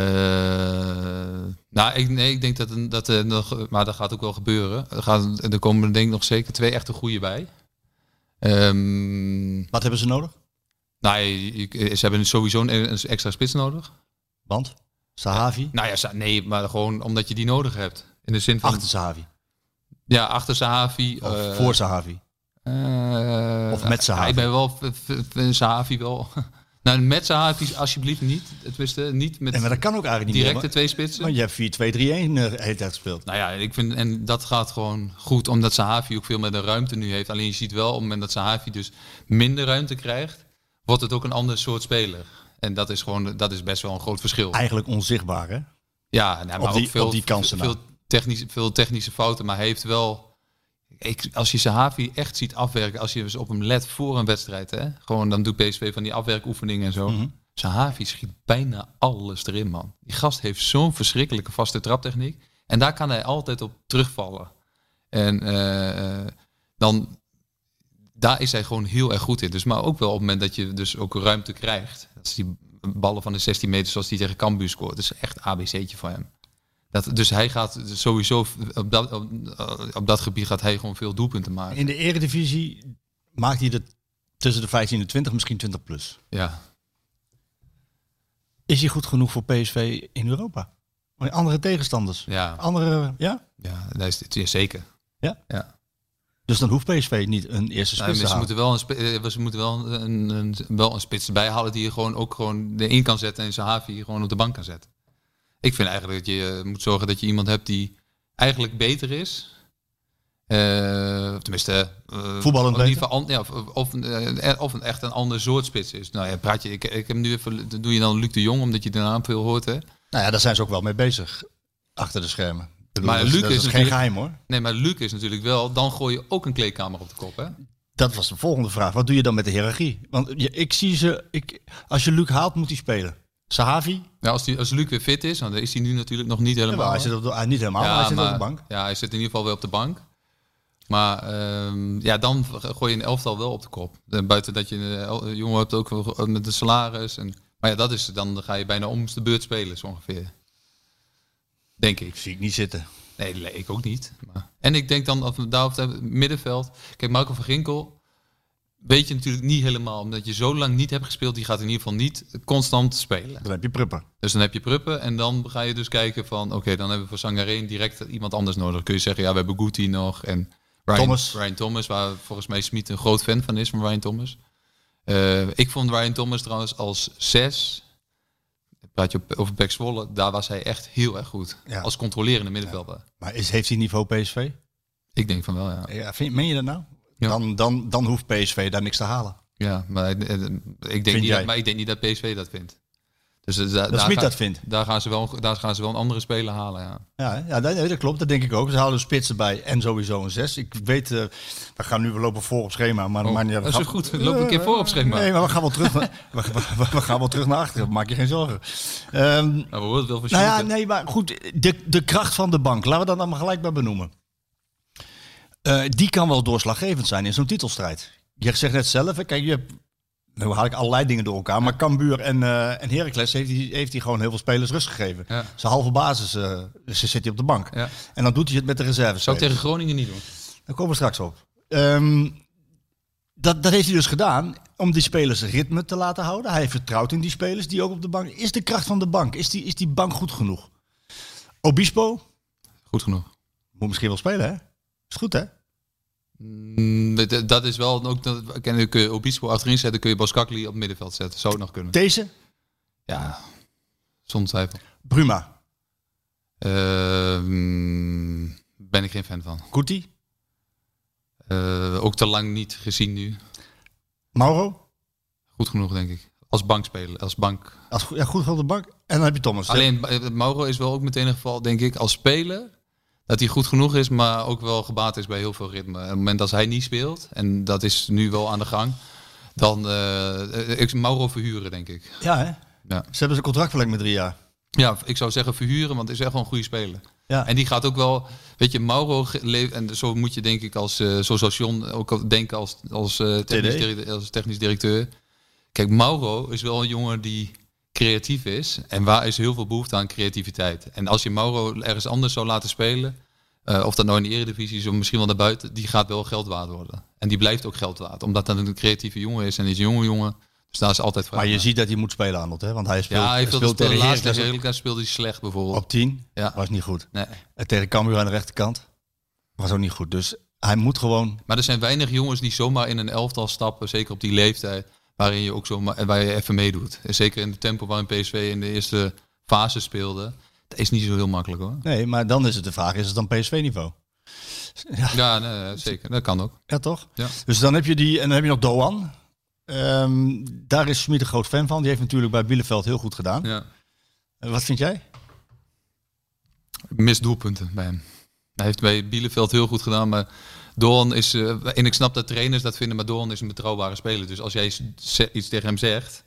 Speaker 5: nou, ik, nee, ik denk dat, een- dat er nog... Maar dat gaat ook wel gebeuren. Er, gaan, er komen denk ik nog zeker twee echte goede bij. Ehm
Speaker 4: Wat hebben ze nodig?
Speaker 5: nou, je- je- ze hebben sowieso een, een extra spits nodig.
Speaker 4: Want Sahavi,
Speaker 5: Nou ja, sa- nee, maar gewoon omdat je die nodig hebt. In de zin van...
Speaker 4: achter Sahavi.
Speaker 5: Ja, achter Sahavi.
Speaker 4: Of
Speaker 5: eh,
Speaker 4: voor Sahavi.
Speaker 5: eh,
Speaker 4: of met Sahavi.
Speaker 5: ja, ik ben wel... v- v- v- Sahavi wel... nou, met Sahavi alsjeblieft niet. Tenminste, niet met
Speaker 4: Nee, maar dat kan ook eigenlijk niet
Speaker 5: directe
Speaker 4: meer,
Speaker 5: twee spitsen.
Speaker 4: want- Want je hebt 4-2-3-1 eh, de hele tijd gespeeld.
Speaker 5: Nou ja, ik vind, en dat gaat gewoon goed, omdat Sahavi ook veel meer de ruimte nu heeft. Alleen je ziet wel, op het moment dat Sahavi dus minder ruimte krijgt, wordt het ook een ander soort speler. En dat is gewoon, dat is best wel een groot verschil.
Speaker 4: Eigenlijk onzichtbaar, hè?
Speaker 5: Ja, nou, maar
Speaker 4: die-
Speaker 5: ook veel,
Speaker 4: op die kansen nou.
Speaker 5: veel,
Speaker 4: na.
Speaker 5: technische, veel technische fouten, maar hij heeft wel... Ik, als je Sahavi echt ziet afwerken, als je eens op hem let voor een wedstrijd, hè, gewoon dan doet PSV van die afwerkoefeningen en zo.
Speaker 4: Mhm.
Speaker 5: Sahavi schiet bijna alles erin, man. Die gast heeft zo'n verschrikkelijke vaste traptechniek. En daar kan hij altijd op terugvallen. En eh, eh, dan, daar is hij gewoon heel erg goed in. Dus, maar ook wel op het moment dat je dus ook ruimte krijgt. Dat is die ballen van de 16 meter zoals die tegen Cambuur scoort. Dat is echt ABC'tje van hem. Dat, dus hij gaat sowieso, op dat, op, op dat gebied gaat hij gewoon veel doelpunten maken.
Speaker 4: In de eredivisie maakt hij er tussen de 15 en 20, misschien 20 plus.
Speaker 5: Ja.
Speaker 4: Is hij goed genoeg voor PSV in Europa? Maar Andere tegenstanders?
Speaker 5: Ja.
Speaker 4: Andere, ja?
Speaker 5: Ja, dat is, ja, zeker.
Speaker 4: Ja?
Speaker 5: Ja.
Speaker 4: Dus dan hoeft PSV niet een eerste spits
Speaker 5: Nou,
Speaker 4: te
Speaker 5: ze
Speaker 4: halen.
Speaker 5: moeten wel een, spe- eh, ze moeten wel een, een, een- wel een spits erbij halen die je gewoon ook gewoon erin kan zetten en Sahavi gewoon op de bank kan zetten. Ik vind eigenlijk dat je eh, moet zorgen dat je iemand hebt die eigenlijk beter is. Eh, tenminste, eh,
Speaker 4: Voetballend
Speaker 5: in ieder geval an- ja, of, of, eh, of een echt een ander soort spits is. Nou ja, praat je, ik, ik heb nu even, dat doe je dan Luc de Jong, omdat je de naam veel hoort. Hè?
Speaker 4: Nou ja, daar zijn ze ook wel mee bezig. Achter de schermen. Ik bedoel,
Speaker 5: Maar
Speaker 4: dat is-
Speaker 5: Luc
Speaker 4: dat
Speaker 5: is
Speaker 4: is geen
Speaker 5: natuurlijk-
Speaker 4: geheim hoor.
Speaker 5: Nee, maar Luc is natuurlijk wel, dan gooi je ook een kleedkamer op de kop. Hè?
Speaker 4: Dat was de volgende vraag. Wat doe je dan met de hiërarchie? Want je- ik zie ze. Ik, als je Luc haalt, moet hij spelen. Sahavi?
Speaker 5: Ja, als, die, als Luc weer fit is, want dan is hij nu natuurlijk nog niet helemaal.
Speaker 4: Jawel, hij zit op de, ah, niet helemaal, maar hij zit op de bank.
Speaker 5: Ja, hij zit in ieder geval weer op de bank. Maar ehm, ja, dan gooi je een elftal wel op de kop. Eh, Buiten dat je een el- een jongen hebt ook wel ge- met de salaris. En, maar ja, dat is, dan ga je bijna om de beurt spelen, zo ongeveer. Denk ik.
Speaker 4: Zie ik niet zitten.
Speaker 5: Nee, le- ik ook niet. Maar. En ik denk dan, dat we daarop het middenveld. Kijk, Marco van Ginkel weet je natuurlijk niet helemaal. Omdat je zo lang niet hebt gespeeld, die gaat in ieder geval niet constant spelen.
Speaker 4: Dan heb je Prupper.
Speaker 5: Dus dan heb je Pruppen en dan ga je dus kijken van... Oké, dan hebben we voor Sangareen direct iemand anders nodig. Dan kun je zeggen, ja, we hebben Guti nog en Ryan
Speaker 4: Thomas.
Speaker 5: Ryan Thomas, waar volgens mij Smit een groot fan van is, van Ryan Thomas. Eh, ik vond Ryan Thomas trouwens als zes... Praat je op- over Pek Zwolle, daar was hij echt heel erg goed.
Speaker 4: Ja.
Speaker 5: Als controlerende middenvelder.
Speaker 4: Maar is, heeft hij niveau PSV?
Speaker 5: Ik denk van wel, ja.
Speaker 4: Ja, vind, meen je dat nou?
Speaker 5: Ja.
Speaker 4: Dan, dan, dan hoeft PSV daar niks te halen.
Speaker 5: Ja, maar, eh, eh, ik denk
Speaker 4: Vind
Speaker 5: niet
Speaker 4: jij?
Speaker 5: dat, maar ik denk niet dat PSV dat vindt. Dus eh, da- daar,
Speaker 4: Dat Smit
Speaker 5: gaan-
Speaker 4: dat vindt.
Speaker 5: Daar gaan, ze wel, een- daar gaan ze wel een andere speler halen, ja.
Speaker 4: Ja, ja dat, nee, dat klopt. Dat denk ik ook. Ze houden spitsen bij en sowieso een 6. Ik weet, eh, we gaan nu we lopen voor op schema. Maar,
Speaker 5: Oh,
Speaker 4: maar ja, we
Speaker 5: dat is
Speaker 4: gaan-
Speaker 5: ook goed. Loop een keer voor op schema.
Speaker 4: Nee, maar we gaan wel terug naar, we, we- we gaan wel terug naar achteren. Maak je geen zorgen. Ehm,
Speaker 5: Nou, we horen het wel van
Speaker 4: nou ja,
Speaker 5: Sjoerd, hè?
Speaker 4: nee, maar goed. De, de kracht van de bank. Laten we dat dan maar gelijk bij benoemen. Eh, die kan wel doorslaggevend zijn in zo'n titelstrijd. Je zegt net zelf, hè, kijk, je hebt... Nu haal ik allerlei dingen door elkaar. Maar Cambuur en, eh en Heracles heeft hij heeft hij gewoon heel veel spelers rust gegeven.
Speaker 5: Ja.
Speaker 4: Zijn halve basis eh, ze zit hij op de bank.
Speaker 5: Ja.
Speaker 4: En dan doet hij het met de reserves.
Speaker 5: Zou ik tegen Groningen niet doen.
Speaker 4: Daar komen we straks op. Ehm, dat, dat heeft hij dus gedaan om die spelers ritme te laten houden. Hij vertrouwt in die spelers die ook op de bank... Is de kracht van de bank, is die, is die bank goed genoeg? Obispo
Speaker 5: Goed genoeg.
Speaker 4: moet misschien wel spelen, hè? Is goed, hè?
Speaker 5: Mm, dat is wel ook. Dat, ken, dan kun je Obispo achterin zetten, kun je Boskakli op het middenveld zetten. Zou het nog kunnen?
Speaker 4: Deze,
Speaker 5: Ja, zonder twijfel.
Speaker 4: Bruma,
Speaker 5: Ehm, ben ik geen fan van.
Speaker 4: Kuti,
Speaker 5: Eh, ook te lang niet gezien nu.
Speaker 4: Mauro.
Speaker 5: Goed genoeg, denk ik. Als bankspeler, als bank.
Speaker 4: Als, go- ja, goed op de bank. En dan heb je Thomas.
Speaker 5: Alleen eh, Mauro is wel ook meteen een geval, denk ik, als speler. Dat hij goed genoeg is, maar ook wel gebaat is bij heel veel ritme. En op het moment dat hij niet speelt, en dat is nu wel aan de gang, dan eh ik Mauro verhuren, denk ik.
Speaker 4: Ja, hè?
Speaker 5: Ja.
Speaker 4: Ze hebben zijn contract verlengd met drie jaar.
Speaker 5: Ja, ik zou zeggen verhuren, want hij is echt wel een goede speler.
Speaker 4: Ja.
Speaker 5: En die gaat ook wel, weet je, Mauro ge- leeft, en zo moet je denk ik als, eh zo zou John ook al denken als, als, eh, technisch,
Speaker 4: TD.
Speaker 5: directeur, als technisch directeur. Kijk, Mauro is wel een jongen die creatief is en waar is heel veel behoefte aan creativiteit. En als je Mauro ergens anders zou laten spelen, eh, of dat nou in de eredivisie is of misschien wel daarbuiten, die gaat wel geld waard worden. En die blijft ook geld waard, omdat dat een creatieve jongen is en is een jonge jongen. Dus daar is altijd vraag
Speaker 4: Maar je
Speaker 5: naar.
Speaker 4: ziet dat hij moet spelen, Arnold, hè? Want hij speelt,
Speaker 5: Ja, hij speelde de
Speaker 4: tegen
Speaker 5: laatste
Speaker 4: Heracles
Speaker 5: Heracles speelde hij slecht bijvoorbeeld.
Speaker 4: op 10.
Speaker 5: Ja.
Speaker 4: Was niet goed.
Speaker 5: Nee.
Speaker 4: En Eh, tegen Cambuur aan de rechterkant. Was ook niet goed. Dus hij moet gewoon
Speaker 5: Maar er zijn weinig jongens die zomaar in een elftal stappen, zeker op die leeftijd, waarin je ook zomaar en waar je even meedoet. En zeker in het tempo waarin PSV in de eerste fase speelde. Dat is niet zo heel makkelijk hoor.
Speaker 4: Nee, maar dan is het de vraag, is het dan PSV-niveau? Ja,
Speaker 5: Ja, nee, zeker. Dat kan ook.
Speaker 4: ja, toch?
Speaker 5: Ja.
Speaker 4: Dus dan heb je die, en dan heb je nog Doan. Ehm, daar is Smit een groot fan van. Die heeft natuurlijk bij Bielefeld heel goed gedaan.
Speaker 5: Ja.
Speaker 4: Eh, Wat vind jij?
Speaker 5: Mis doelpunten bij hem. Hij heeft bij Bielefeld heel goed gedaan, maar Doorn is... eh, en ik snap dat trainers dat vinden, maar Doorn is een betrouwbare speler. Dus als jij iets- ze- iets tegen hem zegt,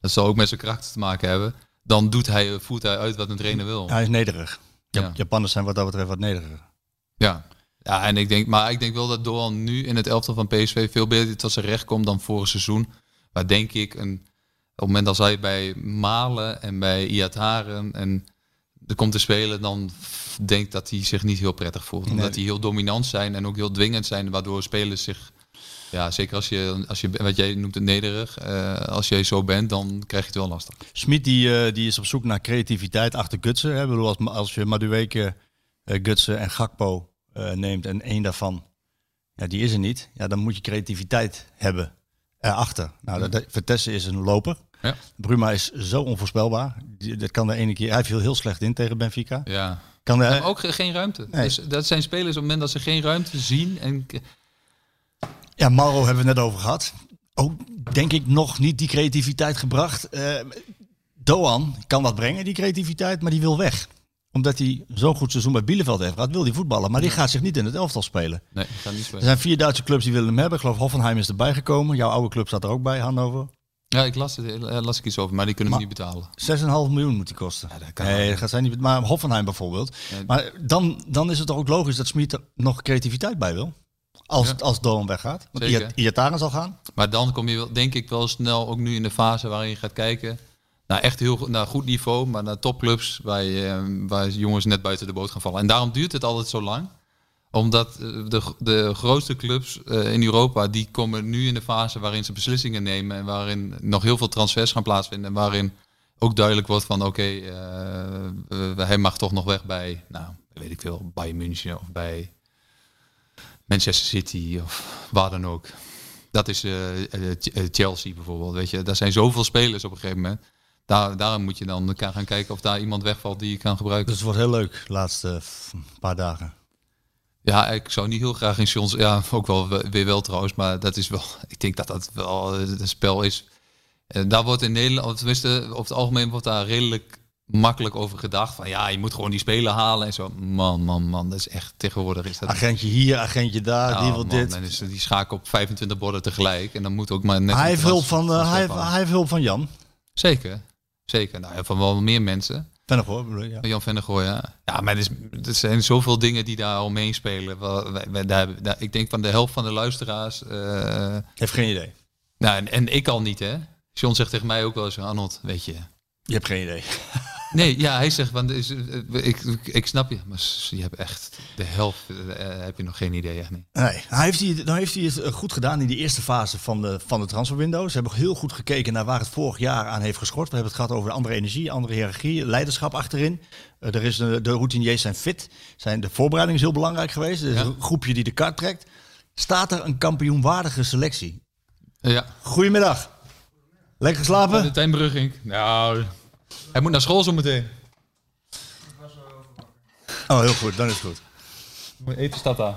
Speaker 5: dat zal ook met zijn karakter te maken hebben, dan doet hij, voert hij uit wat een trainer wil.
Speaker 4: Hij is nederig. Ja.
Speaker 5: Oh. Ja.
Speaker 4: Japanners zijn wat dat betreft wat nederiger.
Speaker 5: Ja. Ja, en ik denk, maar ik denk wel dat Doan nu in het elftal van PSV veel beter tot zijn recht komt dan vorig seizoen. Maar denk ik, een, op het moment dat hij bij Malen en bij Iataren en er komt te spelen, dan f- denk ik dat hij zich niet heel prettig voelt. Omdat die heel dominant zijn en ook heel dwingend zijn, waardoor spelers zich... Ja, zeker als je, als je wat jij noemt het nederig, eh, als jij zo bent, dan krijg je het wel lastig.
Speaker 4: Smit die, eh, die is op zoek naar creativiteit achter Gutsen. Hè? Ik bedoel, als, als je Madueke, eh, Gutsen en Gakpo eh, neemt en één daarvan, ja, die is er niet. Ja, dan moet je creativiteit hebben erachter. Nou, dat, dat- Vertessen is een loper.
Speaker 5: Ja.
Speaker 4: Bruma is zo onvoorspelbaar. Die- Dat kan de ene keer. Hij viel heel slecht in tegen Benfica.
Speaker 5: Ja.
Speaker 4: Kan
Speaker 5: Ze
Speaker 4: de,
Speaker 5: hebben ook ge- geen ruimte.
Speaker 4: Nee.
Speaker 5: Dus dat zijn spelers op het moment dat ze geen ruimte zien. En k-
Speaker 4: Ja, Mauro hebben we het net over gehad. Ook denk ik nog niet die creativiteit gebracht. Eh, Doan kan dat brengen, die creativiteit, maar die wil weg. Omdat hij zo'n goed seizoen bij Bielefeld heeft gehad, wil hij voetballen. Maar die gaat zich niet in het elftal spelen.
Speaker 5: nee, ik ga niet
Speaker 4: Er
Speaker 5: spelen.
Speaker 4: zijn vier Duitse clubs die willen hem hebben. Ik geloof Hoffenheim is erbij gekomen. Jouw oude club staat er ook bij, Hannover. 6,5
Speaker 5: Ja, ik las, het, eh, las ik iets over, maar die kunnen
Speaker 4: Maar-
Speaker 5: hem niet betalen.
Speaker 4: miljoen moet die kosten.
Speaker 5: Ja, dat kan
Speaker 4: nee,
Speaker 5: wel.
Speaker 4: dat gaat zijn niet. Maar Hoffenheim bijvoorbeeld.
Speaker 5: Nee.
Speaker 4: Maar dan, dan is het toch ook logisch dat Smit er nog creativiteit bij wil. Als,
Speaker 5: Ja.
Speaker 4: als Doan weggaat. Want
Speaker 5: Zeker.
Speaker 4: Iat- Iataren zal gaan.
Speaker 5: Maar dan kom je wel, denk ik wel snel ook nu in de fase waarin je gaat kijken naar echt heel go- naar goed niveau, maar naar topclubs waar, je, eh, waar jongens net buiten de boot gaan vallen. En daarom duurt het altijd zo lang omdat eh, de, gro- de grootste clubs eh, in Europa, die komen nu in de fase waarin ze beslissingen nemen en waarin nog heel veel transfers gaan plaatsvinden en waarin ook duidelijk wordt van oké, eh, eh, hij mag toch nog weg bij, nou, weet ik veel, bij München of bij Manchester City of waar dan ook. Dat is eh, eh, Ch- eh, Chelsea bijvoorbeeld, weet je. Daar zijn zoveel spelers op een gegeven moment. Daar, daarom moet je dan elkaar gaan kijken of daar iemand wegvalt die je kan gebruiken.
Speaker 4: Dus het wordt heel leuk de laatste f- paar dagen.
Speaker 5: Ja, ik zou niet heel graag in Sions. Ja, ook wel we- weer wel trouwens, maar dat is wel. Ik denk dat dat wel eh, een spel is. En daar wordt in Nederland, of tenminste, over het algemeen wordt daar redelijk makkelijk over gedacht. Van ja, je moet gewoon die speler halen en zo. Man, man, man, dat is echt tegenwoordig is dat.
Speaker 4: Agentje hier, agentje daar,
Speaker 5: Ja,
Speaker 4: die wil
Speaker 5: man,
Speaker 4: dit.
Speaker 5: Dan is, die schaken op 25 borden tegelijk en dan moet ook maar net.
Speaker 4: hij
Speaker 5: een
Speaker 4: heeft
Speaker 5: trans-
Speaker 4: hulp van, eh, hij, heeft,
Speaker 5: transfer
Speaker 4: hij heeft hulp van Jan.
Speaker 5: Zeker, zeker. Nou, ja, van wel meer mensen.
Speaker 4: Vennegoor bedoel je, ja.
Speaker 5: Jan Vennegoor, ja. Ja, maar er, is, er zijn zoveel dingen die daar al meespelen. Wel, wij- wij- daar, hebben- daar- ik denk van de helft van de luisteraars. eh,
Speaker 4: Heeft geen idee.
Speaker 5: nou, en, en ik al niet, hè. John zegt tegen mij ook wel eens, Arnold, weet je.
Speaker 4: Je hebt geen idee.
Speaker 5: Nee, ja, hij zegt, want is, eh, ik, ik, ik snap je, maar s- je hebt echt de helft, eh, heb je nog geen idee, echt niet.
Speaker 4: Nee, hij heeft, die, nou heeft hij het eh, goed gedaan in die eerste fase van de, van de transferwindow. Ze hebben heel goed gekeken naar waar het vorig jaar aan heeft geschort. We hebben het gehad over andere energie, andere hiërarchie, leiderschap achterin. Eh, er is een- de routiniers zijn fit. Zijn, de voorbereiding is heel belangrijk geweest. Er is
Speaker 5: Ja.
Speaker 4: een groepje die de kaart trekt. Staat er een kampioenwaardige selectie?
Speaker 5: Ja,
Speaker 4: Goedemiddag. Lekker geslapen?
Speaker 5: de Tijn Brugink. Nou, hij moet naar school zometeen.
Speaker 4: Oh, heel goed. Dan is het goed.
Speaker 5: Eten staat daar.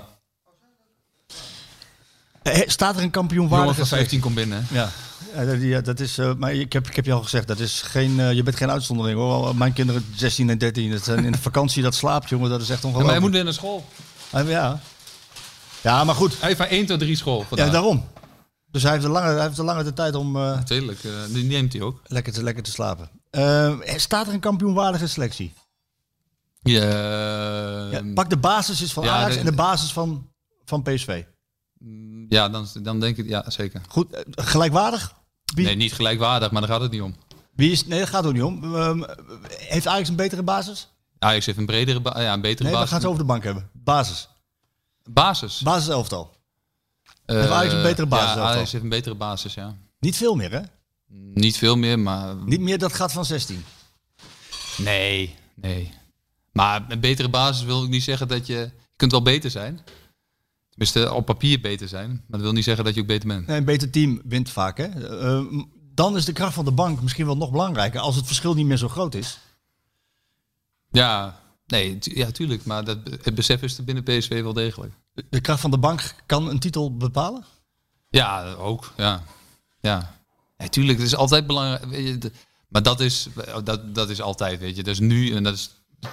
Speaker 4: Eh, Staat er een
Speaker 5: Jongen
Speaker 4: kampioenwaardige
Speaker 5: van
Speaker 4: selectie?
Speaker 5: 15 komt binnen. hè.
Speaker 4: Ja, ja, dat, ja, dat is. eh, maar ik heb, ik heb je al gezegd, dat is geen, eh, je bent geen uitzondering hoor. Mijn kinderen 16 en 13, dat zijn in de vakantie dat slaapt, jongen, dat is echt
Speaker 5: Ja, maar hij
Speaker 4: ongelooflijk.
Speaker 5: moet weer naar school.
Speaker 4: Hij- ja. ja, maar goed.
Speaker 5: Hij heeft maar 1 tot 3 school
Speaker 4: Ja,
Speaker 5: vandaag.
Speaker 4: daarom. Dus hij heeft de lange, hij heeft de, lange de tijd om eh,
Speaker 5: Natuurlijk, eh, die neemt hij ook.
Speaker 4: lekker, te, lekker te slapen. Eh, staat er een kampioenwaardige selectie?
Speaker 5: Ja,
Speaker 4: Ja,
Speaker 5: ehm,
Speaker 4: pak de basis is van
Speaker 5: ja,
Speaker 4: Ajax
Speaker 5: de-
Speaker 4: en de basis van, van PSV.
Speaker 5: ja, dan, dan denk ik, ja zeker.
Speaker 4: Goed, eh, gelijkwaardig? Wie,
Speaker 5: Nee, niet gelijkwaardig, maar daar gaat het niet om.
Speaker 4: wie is, nee, dat gaat ook niet om. Ehm, heeft Ajax een betere basis?
Speaker 5: Ajax heeft een bredere, ba- ja, een betere
Speaker 4: Nee, we
Speaker 5: basis.
Speaker 4: gaan het over de bank hebben. Basis.
Speaker 5: Basis.
Speaker 4: Basiselftal.
Speaker 5: Eh,
Speaker 4: heeft Ajax een betere basis
Speaker 5: Ja,
Speaker 4: dan
Speaker 5: Ajax
Speaker 4: toch?
Speaker 5: heeft een betere basis, ja.
Speaker 4: Niet veel meer, hè?
Speaker 5: Niet veel meer, maar...
Speaker 4: Niet meer dat gaat van 16.
Speaker 5: Nee, nee. Maar een betere basis wil ik niet zeggen dat je... Je kunt wel beter zijn. Tenminste, op papier beter zijn. Maar dat wil niet zeggen dat je ook beter bent.
Speaker 4: Nee, een beter team wint vaak, hè? Eh, dan is de kracht van de bank misschien wel nog belangrijker als het verschil niet meer zo groot is.
Speaker 5: Ja, nee, tu- ja, tuurlijk. Maar dat, het besef is er binnen PSV wel degelijk.
Speaker 4: De kracht van de bank kan een titel bepalen.
Speaker 5: Ja, ook. Ja, ja. Natuurlijk, het is altijd belangrijk. Weet je, de- maar dat is, dat, dat is altijd, weet je. Dus nu, en dat is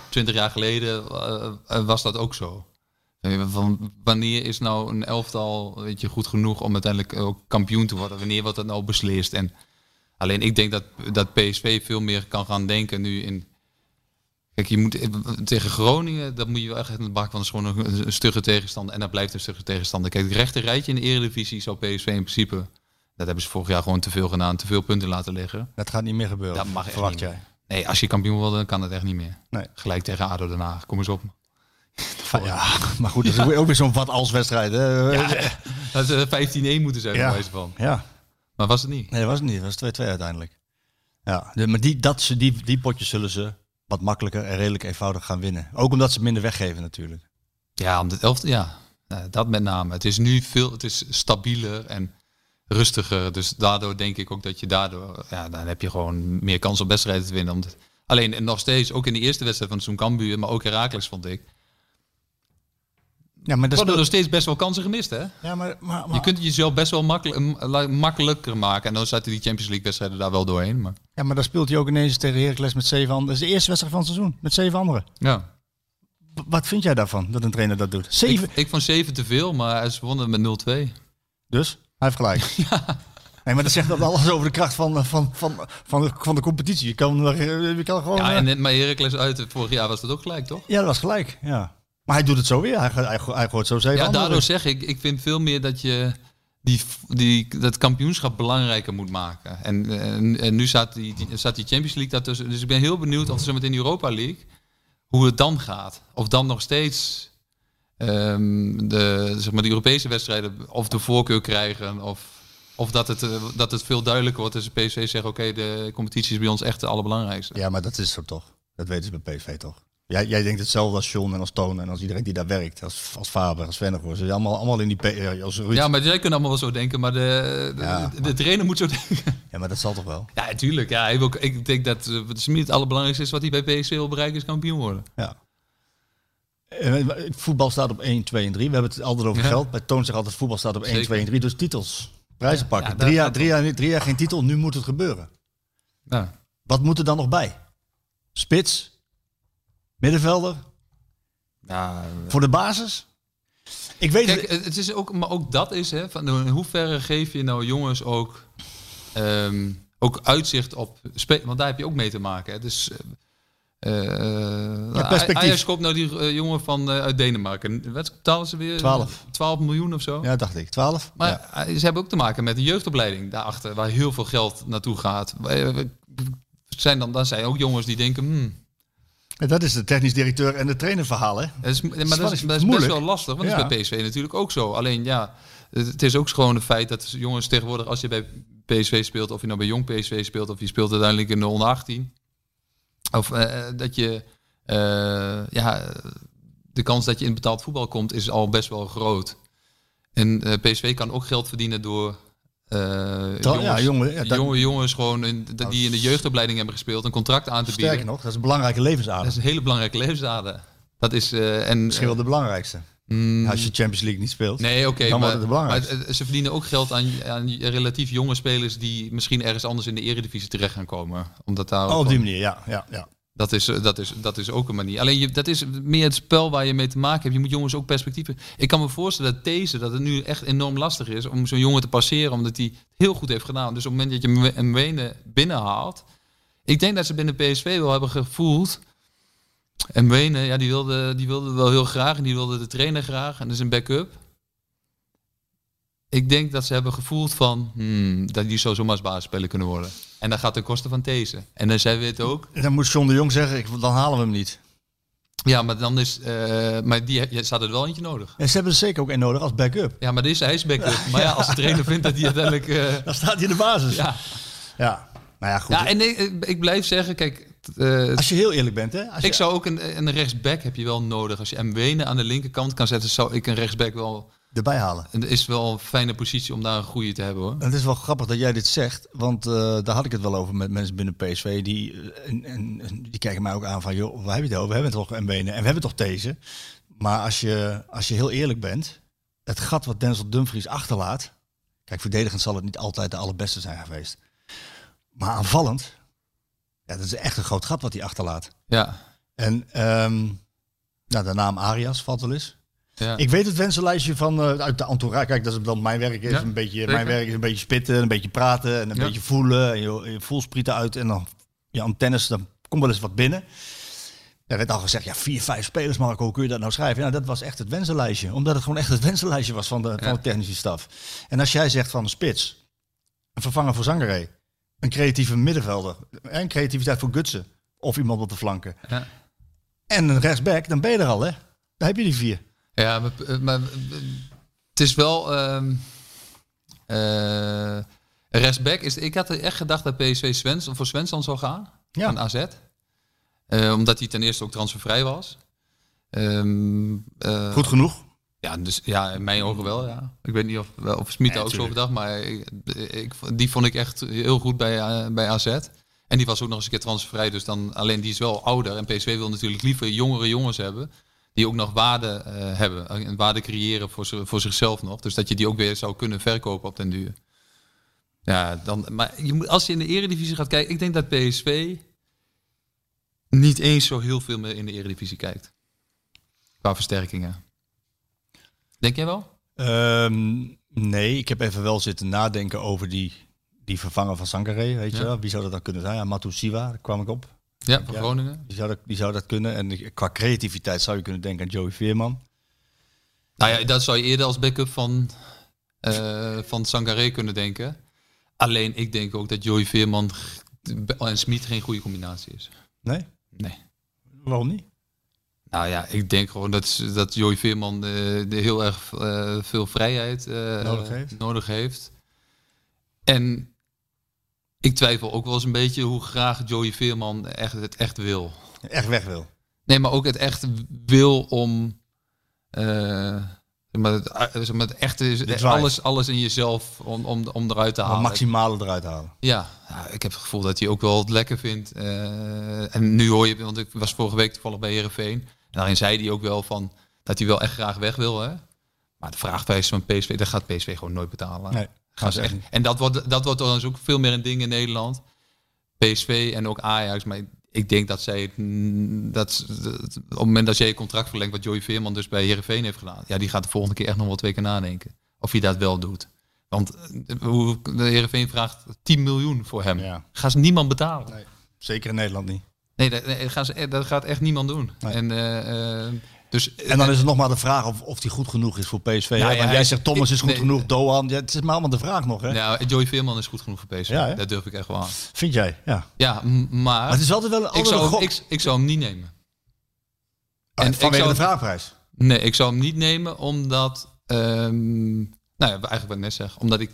Speaker 5: twintig jaar geleden, eh, eh, was dat ook zo. Weet je, Van wanneer is nou een elftal weet je, goed genoeg om uiteindelijk ook kampioen te worden? Wanneer wordt dat nou beslist? En alleen ik denk dat, dat PSV veel meer kan gaan denken nu in. Kijk, je moet eh, tegen Groningen, dat moet je wel echt in de bak, want dat is gewoon een, een stugge tegenstander. En dat blijft een stugge tegenstander. Kijk, het rechte rijtje in de Eredivisie zou PSV in principe, dat hebben ze vorig jaar gewoon te veel gedaan, te veel punten laten liggen.
Speaker 4: Dat gaat niet meer gebeuren.
Speaker 5: Dat mag echt
Speaker 4: verwacht
Speaker 5: niet.
Speaker 4: jij.
Speaker 5: Nee, als je kampioen wil, dan kan het echt niet meer.
Speaker 4: Nee.
Speaker 5: Gelijk tegen ADO Den Haag, kom eens op.
Speaker 4: Ja, maar goed, dat is ook weer zo'n wat als wedstrijd. Hè? Ja,
Speaker 5: Dat is 15-1 moeten zijn,
Speaker 4: Ja.
Speaker 5: bij wijze van. Maar was het niet.
Speaker 4: nee, dat was het niet. Dat was 2-2 uiteindelijk. Ja, de- maar die, dat, ze- die, die potjes zullen ze wat makkelijker en redelijk eenvoudig gaan winnen. Ook omdat ze minder weggeven natuurlijk.
Speaker 5: Eh, Ja, om de elfde, ja. Nou, dat met name. Het is nu veel, het is stabieler en rustiger. Dus daardoor denk ik ook dat je daardoor, ja, dan heb je gewoon meer kans op wedstrijden te winnen. Omdat, alleen en nog steeds, ook in de eerste wedstrijd van Zoomkambuur, maar ook Herakles vond ik,
Speaker 4: Ja, maar dat
Speaker 5: worden er
Speaker 4: speelt...
Speaker 5: nog steeds best wel kansen gemist, hè?
Speaker 4: Ja, maar, maar,
Speaker 5: Je kunt het jezelf best wel makkelijk, la- makkelijker maken. En dan zaten die Champions League wedstrijden daar wel doorheen. Maar,
Speaker 4: ja, maar daar speelt hij ook ineens tegen Heracles met zeven anderen. Dat is de eerste wedstrijd van het seizoen, met zeven anderen.
Speaker 5: ja.
Speaker 4: W- Wat vind jij daarvan, dat een trainer dat doet?
Speaker 5: ik,
Speaker 4: Zeven,
Speaker 5: ik vond 7 te veel, maar ze wonnen met 0-2.
Speaker 4: Dus hij heeft gelijk. Nee, maar dat zegt dat alles over de kracht van, eh, van, van, van, de, van de competitie. Je kan, je kan gewoon.
Speaker 5: Ja,
Speaker 4: eh,
Speaker 5: en net maar Heracles uit, vorig jaar was dat ook gelijk, toch?
Speaker 4: ja, dat was gelijk. Ja. Maar hij doet het zo weer. Hij, hij, hij, hij gooit zo zeven
Speaker 5: Ja,
Speaker 4: anderen.
Speaker 5: daardoor zeg ik, ik vind veel meer dat je die, die, dat kampioenschap belangrijker moet maken. En, en, en nu staat die, die- staat die Champions League daartussen. Dus ik ben heel benieuwd of ze met in de Europa League, hoe het dan gaat. Of dan nog steeds ehm, de, zeg maar, de Europese wedstrijden of de voorkeur krijgen. Of, of dat, het, eh, dat het veel duidelijker wordt als de PSV zegt, oké, de competitie is bij ons echt de allerbelangrijkste.
Speaker 4: Ja, maar dat is zo toch. Dat weten ze bij PSV toch. Jij, jij denkt hetzelfde als John en als Toon en als iedereen die daar werkt. Als, als Faber, als Vennegoor. Ze zijn allemaal, allemaal in die... P- eh, Als Ruud.
Speaker 5: Ja, maar zij kunnen allemaal wel zo denken, maar de, de,
Speaker 4: Ja.
Speaker 5: de trainer moet zo denken.
Speaker 4: ja, maar dat zal toch wel?
Speaker 5: Ja, natuurlijk. Ja, hij wil, ik denk dat eh, het Smit het allerbelangrijkste is wat hij bij PSV wil bereiken, is kampioen worden.
Speaker 4: Ja. En, eh, Voetbal staat op 1, 2 en 3. We hebben het altijd over
Speaker 5: Ja.
Speaker 4: geld. Bij Toon zegt altijd voetbal staat op 1,
Speaker 5: Zeker.
Speaker 4: 2 en 3. Dus titels. Prijzen pakken.
Speaker 5: ja, daar
Speaker 4: drie, jaar,
Speaker 5: gaat
Speaker 4: drie, jaar, drie jaar geen titel. Nu moet het gebeuren.
Speaker 5: Ja.
Speaker 4: Wat moet er dan nog bij? Spits? Middenvelder? Voor de basis? Ik weet
Speaker 5: Kijk,
Speaker 4: het.
Speaker 5: het het is ook, maar ook dat is, hè, van, in hoeverre geef je nou jongens ook, ehm, ook uitzicht op, spe- want daar heb je ook mee te maken. Hè. Dus, eh, eh,
Speaker 4: Ja, perspectief.
Speaker 5: Ajax koopt nou die eh, jongen van, eh, uit Denemarken. Wat betalen ze weer?
Speaker 4: Twaalf.
Speaker 5: 12 miljoen of zo?
Speaker 4: Ja, dacht ik. 12?
Speaker 5: Maar
Speaker 4: Ja.
Speaker 5: eh, ze hebben ook te maken met de jeugdopleiding daarachter, waar heel veel geld naartoe gaat. Eh, we- Zijn dan, dan zijn ook jongens die denken, hmm,
Speaker 4: En Dat is de technisch directeur en de trainer verhaal, hè?
Speaker 5: Dat is, maar dat is,
Speaker 4: wel eens
Speaker 5: dat is best
Speaker 4: moeilijk.
Speaker 5: wel lastig, want
Speaker 4: Ja.
Speaker 5: dat is bij PSV natuurlijk ook zo. Alleen ja, het het is ook gewoon een feit dat jongens tegenwoordig, als je bij PSV speelt, of je nou bij jong PSV speelt, of je speelt uiteindelijk in de onder 18, of eh, eh, dat je, eh, ja, de kans dat je in betaald voetbal komt is al best wel groot. En eh, PSV kan ook geld verdienen door eh, jongens,
Speaker 4: ja, jongen, ja, dat-
Speaker 5: jonge jongens gewoon in, die in de jeugdopleiding hebben gespeeld een contract aan te
Speaker 4: Sterker
Speaker 5: bieden.
Speaker 4: nog, dat is een belangrijke levensader.
Speaker 5: Dat is een hele belangrijke levensader. Dat is, eh, en,
Speaker 4: Misschien wel de belangrijkste.
Speaker 5: Mm,
Speaker 4: Als je Champions League niet speelt.
Speaker 5: nee, oké.
Speaker 4: dan wordt
Speaker 5: maar,
Speaker 4: het belangrijk.
Speaker 5: maar het- ze verdienen ook geld aan, aan relatief jonge spelers die misschien ergens anders in de eredivisie terecht gaan komen. Omdat daar ook
Speaker 4: Oh, op die
Speaker 5: gewoon-
Speaker 4: manier, ja. ja, ja.
Speaker 5: dat, is, eh, dat, is, dat is ook een manier. Alleen je, dat is meer het spel waar je mee te maken hebt. Je moet jongens ook perspectieven. Ik kan me voorstellen dat deze, dat het nu echt enorm lastig is om zo'n jongen te passeren. Omdat hij het heel goed heeft gedaan. Dus op het moment dat je hem Wenen binnenhaalt. Ik denk dat ze binnen PSV wel hebben gevoeld. En Wenen, ja, die wilde, die wilde wel heel graag. En die wilde de trainer graag. En dat is een backup. Ik denk dat ze hebben gevoeld van hmm, dat die zo zomaar als basisspeler kunnen worden. En dat gaat ten koste van deze. En dan zijn we het ook.
Speaker 4: Dan moet John de Jong zeggen, ik, dan halen we hem niet.
Speaker 5: Ja, maar dan is. eh, maar die heb- ja, staat er wel eentje nodig.
Speaker 4: En ze hebben er zeker ook een nodig als backup.
Speaker 5: Ja, maar deze is backup. Maar ja, als de trainer vindt dat hij uiteindelijk. eh,
Speaker 4: Dan staat hij in de basis. Ja.
Speaker 5: ja.
Speaker 4: Nou ja, goed.
Speaker 5: ja, en nee, ik- ik blijf zeggen, kijk. t- eh,
Speaker 4: als je heel eerlijk bent, hè? Als je,
Speaker 5: ik zou ook een, een rechtsback heb je wel nodig. Als je M. Wenen aan de linkerkant kan zetten, zou ik een rechtsback wel.
Speaker 4: erbij halen.
Speaker 5: Het is wel een fijne positie om daar een goede te hebben hoor.
Speaker 4: En het is wel grappig dat jij dit zegt, want eh, daar had ik het wel over met mensen binnen PSV. Die, eh, en, en, en die kijken mij ook aan van, joh, waar heb je het over? We hebben toch Mbene en we hebben toch deze. Maar als je, als je heel eerlijk bent, het gat wat Denzel Dumfries achterlaat... Kijk, verdedigend zal het niet altijd de allerbeste zijn geweest. Maar aanvallend, ja, dat is echt een groot gat wat hij achterlaat.
Speaker 5: Ja.
Speaker 4: En ehm, nou, de naam Arias valt wel eens.
Speaker 5: ja.
Speaker 4: Ik weet het wensenlijstje van eh, uit de entourage. Kijk, dat is dan mijn werk. Is
Speaker 5: Ja,
Speaker 4: een beetje,
Speaker 5: zeker.
Speaker 4: mijn werk is een beetje spitten, een beetje praten en een
Speaker 5: Ja.
Speaker 4: beetje voelen. En je, je voelsprieten uit en dan je antennes, dan komt wel eens wat binnen. Er werd al gezegd, ja, vier, vijf spelers, Marco, hoe kun je dat nou schrijven? Nou, dat was echt het wensenlijstje. Omdat het gewoon echt het wensenlijstje was van de, van
Speaker 5: Ja.
Speaker 4: de technische staf. En als jij zegt van een spits, een vervanger voor Zangaré, een creatieve middenvelder en creativiteit voor Gutsen of iemand op de flanken.
Speaker 5: Ja.
Speaker 4: En een rechtsback, dan ben je er al, hè? Dan heb je die vier.
Speaker 5: Ja, maar, eh, maar, eh, het is wel. ehm eh, rechtsback is. Ik had echt gedacht dat PSV Svens, voor Svensson zou gaan.
Speaker 4: Ja.
Speaker 5: Van AZ. Eh, omdat hij ten eerste ook transfervrij was. Ehm, eh,
Speaker 4: Goed genoeg.
Speaker 5: Ja, dus ja, in mijn ogen wel, ja. Ik weet niet of, wel of Smit
Speaker 4: Ja,
Speaker 5: ook zo
Speaker 4: tuurlijk.
Speaker 5: overdag, maar ik, ik- die vond ik echt heel goed bij, eh, bij AZ. En die was ook nog eens een keer transfervrij, dus dan alleen die is wel ouder. En PSV wil natuurlijk liever jongere jongens hebben, die ook nog waarde eh, hebben. En waarde creëren voor, ze- voor zichzelf nog. Dus dat je die ook weer zou kunnen verkopen op den duur. Ja, dan, maar je moet, als je in de eredivisie gaat kijken, ik denk dat PSV niet eens zo heel veel meer in de eredivisie kijkt. Qua versterkingen. Denk jij wel?
Speaker 4: Ehm, nee, ik heb even wel zitten nadenken over die, die vervanger van Sangaré, weet je
Speaker 5: Ja.
Speaker 4: wel. Wie zou dat dan kunnen zijn? Ja, Matu Siwa, daar kwam ik op.
Speaker 5: Ja, van
Speaker 4: Ja.
Speaker 5: Groningen.
Speaker 4: Die zou dat, die zou dat kunnen. En ik- qua creativiteit zou je kunnen denken aan Joey Veerman.
Speaker 5: Nou ja, dat zou je eerder als backup van, eh van Sangaré kunnen denken. Alleen ik denk ook dat Joey Veerman g- en Smit geen goede combinatie is.
Speaker 4: Nee?
Speaker 5: Nee.
Speaker 4: Waarom niet?
Speaker 5: Nou ja, ik denk gewoon dat, ze- dat Joey Veerman eh, de heel erg eh, veel vrijheid eh,
Speaker 4: Nodig heeft.
Speaker 5: nodig heeft. En ik twijfel ook wel eens een beetje hoe graag Joey Veerman echt, het echt wil.
Speaker 4: Echt weg wil.
Speaker 5: Nee, maar ook het echt wil om. eh, zeg maar het, eh, zeg maar het echte is
Speaker 4: drive.
Speaker 5: alles, alles in jezelf om, om, om eruit te
Speaker 4: Maar
Speaker 5: halen.
Speaker 4: maximale eruit halen.
Speaker 5: Ja, nou, ik heb het gevoel dat hij ook wel het lekker vindt. Eh, en nu hoor je, want ik was vorige week toevallig bij Herenveen. En daarin zei hij ook wel van dat hij wel echt graag weg wil. Hè? Maar de vraagprijs van PSV, dat gaat PSV gewoon nooit betalen.
Speaker 4: Nee,
Speaker 5: Gaan ze echt, en dat wordt, dat wordt trouwens ook veel meer een ding in Nederland. PSV en ook Ajax. Maar ik denk dat zij het, mm, dat, ze- dat- op het moment dat jij je contract verlengt, wat Joey Veerman dus bij Herenveen heeft gedaan, ja, die gaat de volgende keer echt nog wel twee keer nadenken. Of hij dat wel doet. Want eh, hoe- de Herenveen vraagt 10 miljoen voor hem.
Speaker 4: Ja.
Speaker 5: Gaan ze niemand betalen? Nee,
Speaker 4: Zeker in Nederland niet.
Speaker 5: dat, nee, gaan ze, eh, dat gaat echt niemand doen.
Speaker 4: Nee.
Speaker 5: En, eh, eh, dus,
Speaker 4: En dan is het nog maar de vraag of, of die goed genoeg is voor PSV. hè?
Speaker 5: ja,
Speaker 4: Want
Speaker 5: hij-
Speaker 4: jij zegt Thomas is goed
Speaker 5: nee.
Speaker 4: genoeg, Doan. Ja, het is maar allemaal de vraag nog, hè?
Speaker 5: nou, Joey Veerman is goed genoeg voor PSV.
Speaker 4: Ja, hè?
Speaker 5: dat durf ik echt wel aan.
Speaker 4: Vind jij? Ja. Maar
Speaker 5: Ja, m- maar...
Speaker 4: het is altijd wel een
Speaker 5: Ah, ik
Speaker 4: andere
Speaker 5: zou, hem,
Speaker 4: gok.
Speaker 5: ik, ik zou hem niet nemen.
Speaker 4: Ah,
Speaker 5: en ik
Speaker 4: vanwege
Speaker 5: zou-
Speaker 4: de vraagprijs.
Speaker 5: Nee, ik zou hem niet nemen omdat. ehm, nou ja, eigenlijk wat ik net zeg. Omdat ik.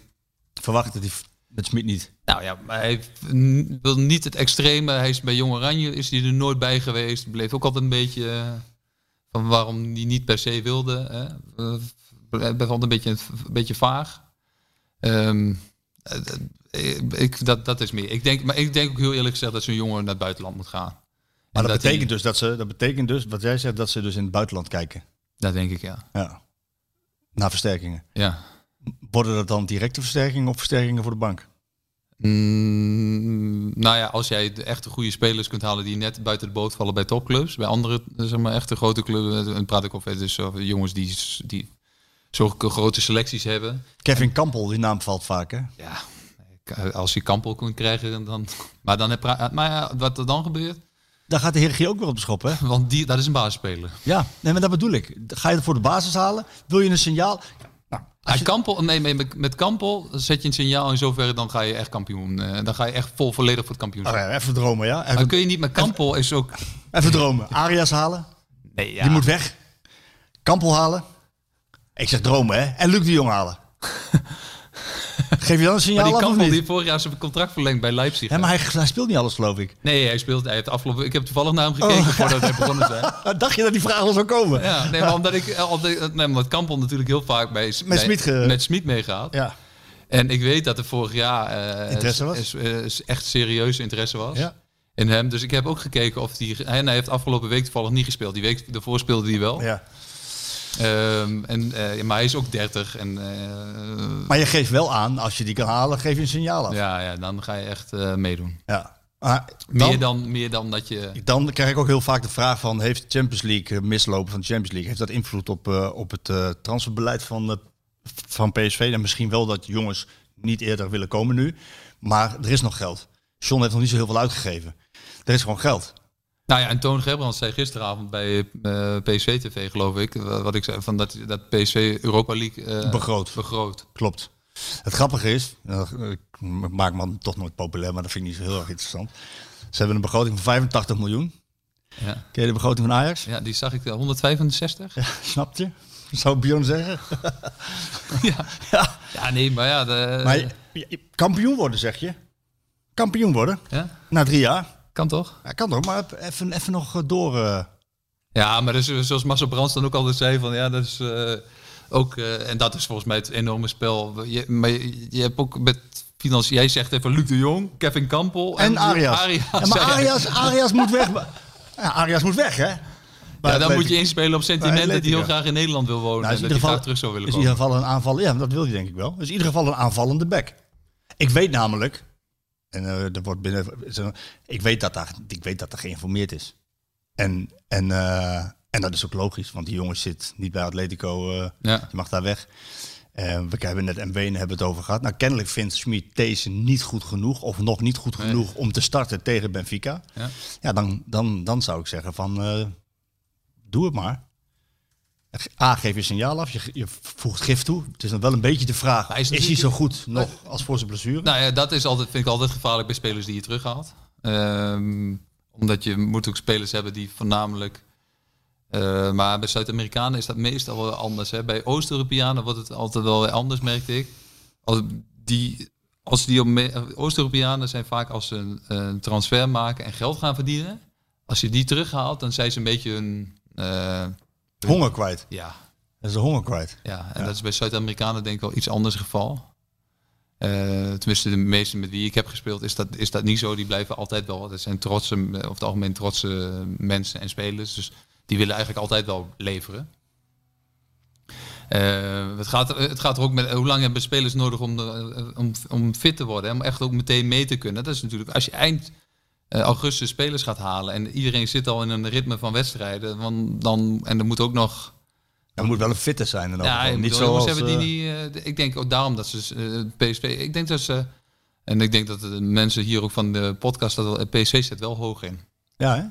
Speaker 4: Verwacht dat hij met Smit niet.
Speaker 5: Nou ja, maar hij n- wil niet het extreme. Hij is bij Jong Oranje is hij er nooit bij geweest. Bleef ook altijd een beetje. eh, van waarom hij niet per se wilde. Hè? Eh, Bleef altijd een beetje, een beetje vaag. Ehm, eh, eh, ik, dat, dat is meer. Ik denk, maar ik denk ook heel eerlijk gezegd dat zo'n jongen naar het buitenland moet gaan.
Speaker 4: Maar dat,
Speaker 5: En hij-
Speaker 4: betekent dus dat ze, dat betekent dus, wat jij zegt, dat ze dus in het buitenland kijken.
Speaker 5: Dat denk ik, ja.
Speaker 4: Ja. Naar versterkingen.
Speaker 5: ja.
Speaker 4: Worden dat dan directe versterkingen of versterkingen voor de bank?
Speaker 5: Mm, nou ja, als jij de echte goede spelers kunt halen die net buiten de boot vallen bij topclubs, bij andere eh, zeg maar, echte grote clubs, eh, dan praat ik over dus over jongens die, s- die zo'n grote selecties hebben.
Speaker 4: Kevin Kampel, die naam valt vaak, hè?
Speaker 5: Ja, k- eh, als je Kampel kunt krijgen, dan. Maar, dan heb, pra- maar ja, wat er dan gebeurt,
Speaker 4: Daar gaat de Heergie ook weer op de schop, hè?
Speaker 5: want die, dat is een basisspeler.
Speaker 4: Ja, nee, maar dat bedoel ik. Ga je het voor de basis halen? Wil je een signaal?
Speaker 5: Als Kampel, nee, nee, met, met Kampel zet je een signaal in zoverre, dan ga je echt kampioen. eh, dan ga je echt vol volledig voor het kampioenschap.
Speaker 4: Oh ja, even dromen, ja?
Speaker 5: Dan
Speaker 4: Even,
Speaker 5: kun je niet met Kampel is ook.
Speaker 4: even dromen. Arias halen?
Speaker 5: Nee, ja.
Speaker 4: Die moet weg. Kampel halen? Ik zeg dromen, hè? En Luc de Jong halen? Geef je dan een
Speaker 5: Maar
Speaker 4: signaal
Speaker 5: die
Speaker 4: af of
Speaker 5: Kampel die
Speaker 4: niet?
Speaker 5: vorig jaar zijn contract verlengd bij Leipzig.
Speaker 4: Ja, maar hij, hij speelt niet alles, geloof ik.
Speaker 5: Nee, hij speelt. Hij heeft afgelopen. Ik heb toevallig naar hem gekeken
Speaker 4: Oh.
Speaker 5: voordat hij begonnen zei.
Speaker 4: Nou, Dacht je dat die vraag al zou komen?
Speaker 5: Ja, nee, maar omdat ik eh, omdat, nee, omdat Kampel natuurlijk heel vaak bij met
Speaker 4: Smit ge-
Speaker 5: met Smit meegaat.
Speaker 4: Ja.
Speaker 5: En ik weet dat er vorig jaar eh,
Speaker 4: Interesse was?
Speaker 5: is- is echt serieuze interesse was.
Speaker 4: Ja.
Speaker 5: In hem. Dus ik heb ook gekeken of die. En hij heeft afgelopen week toevallig niet gespeeld. Die week daarvoor speelde hij wel.
Speaker 4: ja.
Speaker 5: Ehm, en, eh, maar hij is ook 30. En eh,
Speaker 4: Maar je geeft wel aan, als je die kan halen, geef je een signaal af. Ja.
Speaker 5: ja, ja, dan ga je echt eh, meedoen.
Speaker 4: Maar
Speaker 5: meer, dan, meer dan dat je.
Speaker 4: Dan krijg ik ook heel vaak de vraag van... heeft de Champions League, eh, mislopen van de Champions League... heeft dat invloed op, eh, op het eh, transferbeleid van, eh, van PSV? En misschien wel dat jongens niet eerder willen komen nu. Maar er is nog geld. John heeft nog niet zo heel veel uitgegeven. Er is gewoon geld.
Speaker 5: Nou ja, en Toon Gerbrands zei gisteravond bij eh PSV TV, geloof ik, wa- wat ik zei, van dat, dat PSV Europa League eh,
Speaker 4: Begroot.
Speaker 5: begroot.
Speaker 4: Klopt. Het grappige is, eh, ik maak me toch nooit populair... maar dat vind ik niet zo heel erg interessant. Ze hebben een begroting van 85 miljoen.
Speaker 5: Ja.
Speaker 4: Ken je de begroting van Ajax?
Speaker 5: ja, die zag ik, eh, 165. Ja,
Speaker 4: Snap je? Zou Bjorn zeggen.
Speaker 5: ja.
Speaker 4: Ja.
Speaker 5: nee, maar ja. De,
Speaker 4: Maar je- je- je- kampioen worden, zeg je? Kampioen worden?
Speaker 5: ja,
Speaker 4: Na drie jaar?
Speaker 5: kan toch?
Speaker 4: Ja, kan toch, maar even, even nog eh, door. eh.
Speaker 5: Ja, maar dus, zoals Marcel Brands dan ook altijd zei, van ja, dat is... eh, Ook, eh, en dat is volgens mij het enorme spel. Je, maar je, je hebt ook met financiën. Jij zegt even Luc de Jong, Kevin Kampel
Speaker 4: En Arias.
Speaker 5: Arias,
Speaker 4: Ja, maar
Speaker 5: ja.
Speaker 4: Arias, Arias moet weg. Ja, Arias moet weg, hè? Maar
Speaker 5: ja,
Speaker 4: dat
Speaker 5: dan
Speaker 4: weet
Speaker 5: moet je
Speaker 4: ik-
Speaker 5: inspelen op sentimenten
Speaker 4: Atletico.
Speaker 5: die heel graag in Nederland wil wonen.
Speaker 4: Nou,
Speaker 5: en
Speaker 4: is in
Speaker 5: eh, dat
Speaker 4: ieder
Speaker 5: die
Speaker 4: geval,
Speaker 5: graag terug zou willen
Speaker 4: is in
Speaker 5: komen.
Speaker 4: ieder geval een aanval. Ja, dat wil je denk ik wel. Dus in ieder geval een aanvallende back. Ik weet namelijk, en eh er wordt binnen, is er- ik weet dat daar, ik weet dat er geïnformeerd is. En, en, eh, en dat is ook logisch, want die jongen zit niet bij Atletico. eh,
Speaker 5: Ja.
Speaker 4: Je mag daar weg. Eh, we hebben net MW en hebben het over gehad. Nou, kennelijk vindt Schmid deze niet goed genoeg, of nog niet goed genoeg om te starten tegen Benfica.
Speaker 5: Ja.
Speaker 4: Ja, dan, dan, dan zou ik zeggen van, eh, doe het maar. A, geef je signaal af, je, je voegt gif toe. Het is dan wel een beetje de vraag,
Speaker 5: Hij
Speaker 4: is,
Speaker 5: is
Speaker 4: hij
Speaker 5: natuurlijk-
Speaker 4: zo goed nog als voor zijn blessure?
Speaker 5: Nou ja, dat is altijd, vind ik altijd gevaarlijk bij spelers die je terughaalt. Ehm, omdat je moet ook spelers hebben die voornamelijk... eh, maar bij Zuid-Amerikanen is dat meestal wel anders. Hè. Bij Oost-Europeanen wordt het altijd wel weer anders, merkte ik. Als die, als die op me- Oost-Europeanen zijn vaak als ze een, een transfer maken en geld gaan verdienen. Als je die terughaalt, dan zijn ze een beetje hun... eh,
Speaker 4: Honger kwijt.
Speaker 5: ja,
Speaker 4: Dat is de honger kwijt.
Speaker 5: ja, en dat is bij Zuid-Amerikanen denk ik wel iets anders het geval. Eh, tenminste, de meesten met wie ik heb gespeeld, is dat, is dat niet zo. Die blijven altijd wel. Dat zijn trotse, eh, over het algemeen trotse mensen en spelers. Dus die willen eigenlijk altijd wel leveren. Eh, het, gaat, er- het gaat er ook met hoe lang hebben spelers nodig om, de- eh, om, om fit te worden. Hè? Om echt ook meteen mee te kunnen. Dat is natuurlijk, als je eind eh, augustus spelers gaat halen en iedereen zit al in een ritme van wedstrijden. Want dan, en er moet ook nog
Speaker 4: Er moet wel een fitter zijn. In elk
Speaker 5: ja,
Speaker 4: geval.
Speaker 5: je
Speaker 4: niet
Speaker 5: moet wel jongens
Speaker 4: zoals,
Speaker 5: hebben
Speaker 4: eh,
Speaker 5: die, die, eh, d- ik denk ook daarom dat ze eh, PSV. Ik denk dat ze en ik denk dat de mensen hier ook van de podcast dat wel- eh, PSV zit wel hoog in.
Speaker 4: Ja, hè?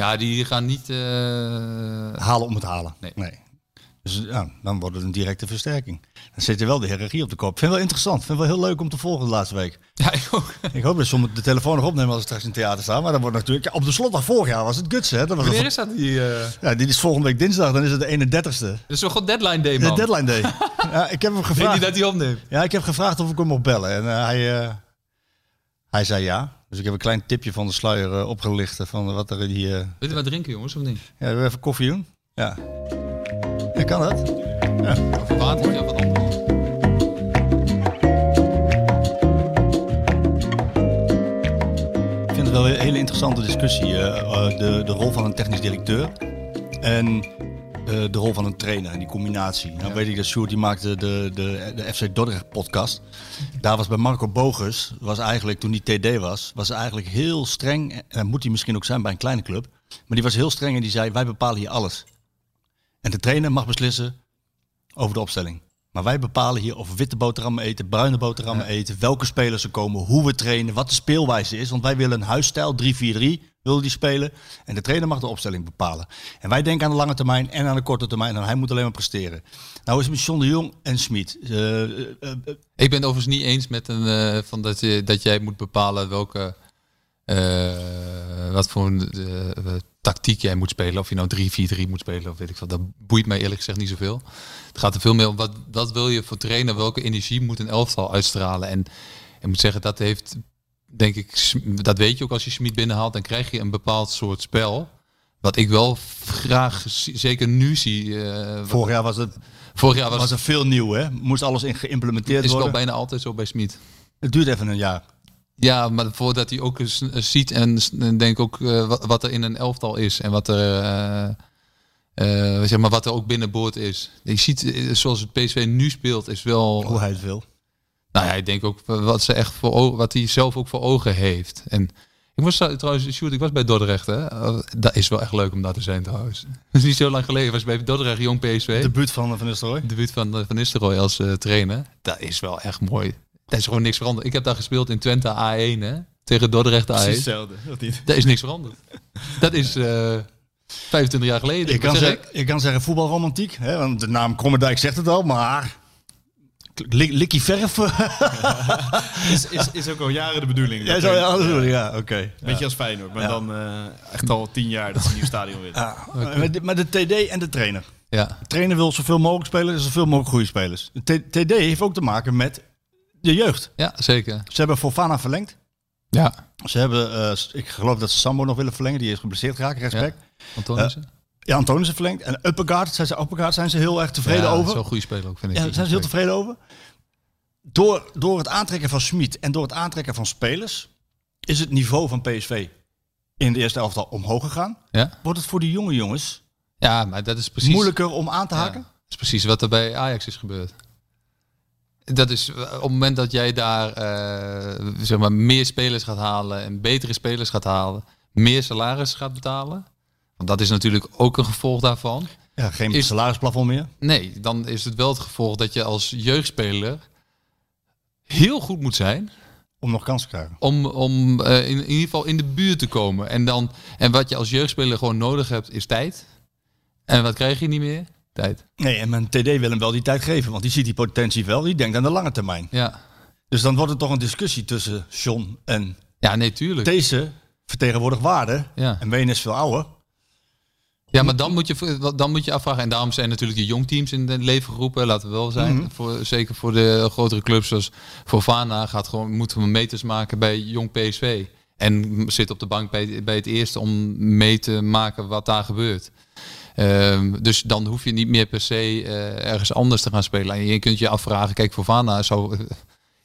Speaker 5: Ja, die gaan niet. eh,
Speaker 4: halen om het halen. Nee.
Speaker 5: Nee.
Speaker 4: Dus ja, dan wordt het een directe versterking. Dan zit er wel de hiërarchie op de kop. Vind het wel interessant. Vind het wel heel leuk om te volgen de laatste week.
Speaker 5: ja, ik ook.
Speaker 4: Ik hoop dat sommigen de telefoon nog opnemen als ze straks in het theater staan. Maar dat wordt natuurlijk... Ja, op de slotdag vorig jaar was het guts, hè? Dat was
Speaker 5: Wanneer
Speaker 4: dat-
Speaker 5: is dat die? eh
Speaker 4: ja, dit is volgende week dinsdag. Dan is het de 31ste.
Speaker 5: dat is toch gewoon deadline day
Speaker 4: De
Speaker 5: man.
Speaker 4: deadline day. ja, ik heb hem
Speaker 5: Ik denk niet
Speaker 4: gevraagd.
Speaker 5: dat hij opneemt.
Speaker 4: Ja, ik heb gevraagd of ik hem mocht bellen. En eh, hij, eh, hij zei ja. Dus ik heb een klein tipje van de sluier eh, opgelicht. eh, Van wat er in die... eh,
Speaker 5: Wil je wat drinken jongens of niet?
Speaker 4: Ja, wil je even koffie doen? Ja. Ja, kan dat?
Speaker 5: Of een watertje of wat anders.
Speaker 4: Ik vind het wel een hele interessante discussie. eh, eh, de, de rol van een technisch directeur en eh, de rol van een trainer en die combinatie. Nou weet ik dat Sjoerd die maakte de, de, de FC Dordrecht podcast. Daar was bij Marco Bogus, was eigenlijk, toen hij TD was, was hij eigenlijk heel streng. En dat moet hij misschien ook zijn bij een kleine club. Maar die was heel streng en die zei, wij bepalen hier alles. En de trainer mag beslissen over de opstelling. Maar wij bepalen hier of we witte boterhammen eten, bruine boterhammen eten, welke spelers er komen, hoe we trainen, wat de speelwijze is. Want wij willen een huisstijl, 3-4-3 willen die spelen. En de trainer mag de opstelling bepalen. En wij denken aan de lange termijn en aan de korte termijn. En hij moet alleen maar presteren. Nou is het met John de Jong en Smit. Eh, eh, eh, eh,
Speaker 5: Ik ben het overigens niet eens met een, eh, van dat, je, dat jij moet bepalen welke. eh, wat voor een, eh, tactiek jij moet spelen. Of je nou 3-4-3 moet spelen of weet ik wat. Dat boeit mij eerlijk gezegd niet zoveel. Het gaat er veel meer om wat, wat wil je voor trainen. Welke energie moet een elftal uitstralen. En ik moet zeggen, dat heeft denk ik. Sm- Dat weet je ook als je Schmid binnenhaalt. Dan krijg je een bepaald soort spel. Wat ik wel graag, zie- zeker nu zie. eh, wat-
Speaker 4: vorig jaar was, het,
Speaker 5: vorig jaar was,
Speaker 4: was er veel nieuw, hè? Moest alles in geïmplementeerd
Speaker 5: is het al
Speaker 4: worden.
Speaker 5: bijna altijd zo bij Schmid.
Speaker 4: Het duurt even een jaar.
Speaker 5: Ja, maar voordat hij ook eens eh, ziet en s- en denk ook eh, wat, wat er in een elftal is en wat er, eh, eh, zeg maar, wat er ook binnenboord is. Je ziet eh, zoals het PSV nu speelt is wel,
Speaker 4: Hoe hij het wil.
Speaker 5: nou ja, ik denk ook wat ze echt voor o- wat hij zelf ook voor ogen heeft. En ik was trouw- trouwens, Sjoerd, ik was bij Dordrecht, hè? Eh, Dat is wel echt leuk om daar te zijn trouwens. Dat is niet zo lang geleden. Ik was bij Dordrecht, jong PSV.
Speaker 4: De buurt van Van Nistelrooy.
Speaker 5: debuut van eh, Van Nistelrooy als eh, trainer. Dat is wel echt mooi. Daar is gewoon niks veranderd. Ik heb daar gespeeld in Twente A1, hè? Tegen Dordrecht A1.
Speaker 2: Precies hetzelfde, of niet?
Speaker 5: Daar is niks veranderd. Dat is eh 25 jaar geleden.
Speaker 4: Je kan,
Speaker 5: Wat zeg
Speaker 4: zeggen, je kan zeggen voetbalromantiek, hè, want de naam Krommendijk zegt het al, maar lik- likkie verf.
Speaker 2: Is, is, is ook al jaren de bedoeling.
Speaker 4: Jij
Speaker 2: Dat
Speaker 4: zou
Speaker 2: er-
Speaker 4: je alles doen, ja, oké.
Speaker 2: Beetje als Feyenoord, maar
Speaker 4: Ja.
Speaker 2: dan eh, echt al tien jaar dat ze een nieuw stadion winnen.
Speaker 4: Ja, maar de- Maar de TD en de trainer.
Speaker 5: Ja.
Speaker 4: De trainer wil zoveel mogelijk spelers en zoveel mogelijk goede spelers. De T- TD heeft ook te maken met de jeugd.
Speaker 5: ja, zeker.
Speaker 4: Ze hebben Fofana verlengd.
Speaker 5: Ja.
Speaker 4: Ze hebben, eh, ik geloof dat ze Sambo nog willen verlengen, die is geblesseerd geraakt, respect.
Speaker 5: Antonissen?
Speaker 4: Ja, Antonis is verlengd. En Uppergaard, zijn ze, Uppergaard zijn ze heel erg tevreden
Speaker 5: ja,
Speaker 4: over.
Speaker 5: Zo'n goede speler ook, vind ik.
Speaker 4: Ja, daar zijn ze heel tevreden over. Door, door het aantrekken van Smit en door het aantrekken van spelers is het niveau van PSV in de eerste elftal omhoog gegaan.
Speaker 5: Ja?
Speaker 4: Wordt het voor die jonge jongens
Speaker 5: ja, maar dat is precies...
Speaker 4: moeilijker om aan te
Speaker 5: Ja,
Speaker 4: haken?
Speaker 5: dat is precies wat er bij Ajax is gebeurd. Dat is eh, op het moment dat jij daar eh, zeg maar meer spelers gaat halen en betere spelers gaat halen, meer salaris gaat betalen. Want dat is natuurlijk ook een gevolg daarvan.
Speaker 4: Ja, geen
Speaker 5: Is-
Speaker 4: salarisplafond meer.
Speaker 5: Nee, dan is het wel het gevolg dat je als jeugdspeler heel goed moet zijn
Speaker 4: Om nog kans te krijgen.
Speaker 5: om, om eh, in, in ieder geval in de buurt te komen. En, dan, en wat je als jeugdspeler gewoon nodig hebt, is tijd. En wat krijg je niet meer? Tijd.
Speaker 4: Nee, en mijn TD wil hem wel die tijd geven, want die ziet die potentie wel. Die denkt aan de lange termijn.
Speaker 5: Ja,
Speaker 4: Dus dan wordt het toch een discussie tussen John en
Speaker 5: ja nee, tuurlijk.
Speaker 4: deze vertegenwoordigt waarde.
Speaker 5: Ja.
Speaker 4: En Wenen is veel ouder.
Speaker 5: Ja, maar dan moet, je, dan moet je afvragen. En daarom zijn natuurlijk die jongteams in het leven geroepen. Laten we wel zijn. voor, zeker voor de grotere clubs zoals voor Vana gaat gewoon, moeten we meters maken bij jong PSV. En zit op de bank bij, bij het eerste om mee te maken wat daar gebeurt. Ehm, dus dan hoef je niet meer per se eh, ergens anders te gaan spelen. En je kunt je afvragen, kijk, voor Vana zou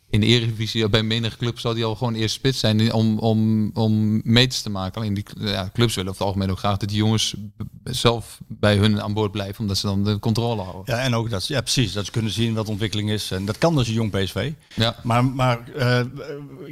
Speaker 5: in de Eredivisie bij menige club zou die al gewoon eerst spits zijn om, om, om meters te maken. Alleen die eh, ja, clubs willen over het algemeen ook graag dat die jongens b- zelf bij hun aan boord blijven, omdat ze dan de controle houden.
Speaker 4: Ja, en ook dat, ze- ja, precies, dat ze kunnen zien wat de ontwikkeling is. En dat kan dus een jong PSV.
Speaker 5: Ja.
Speaker 4: Maar, maar eh,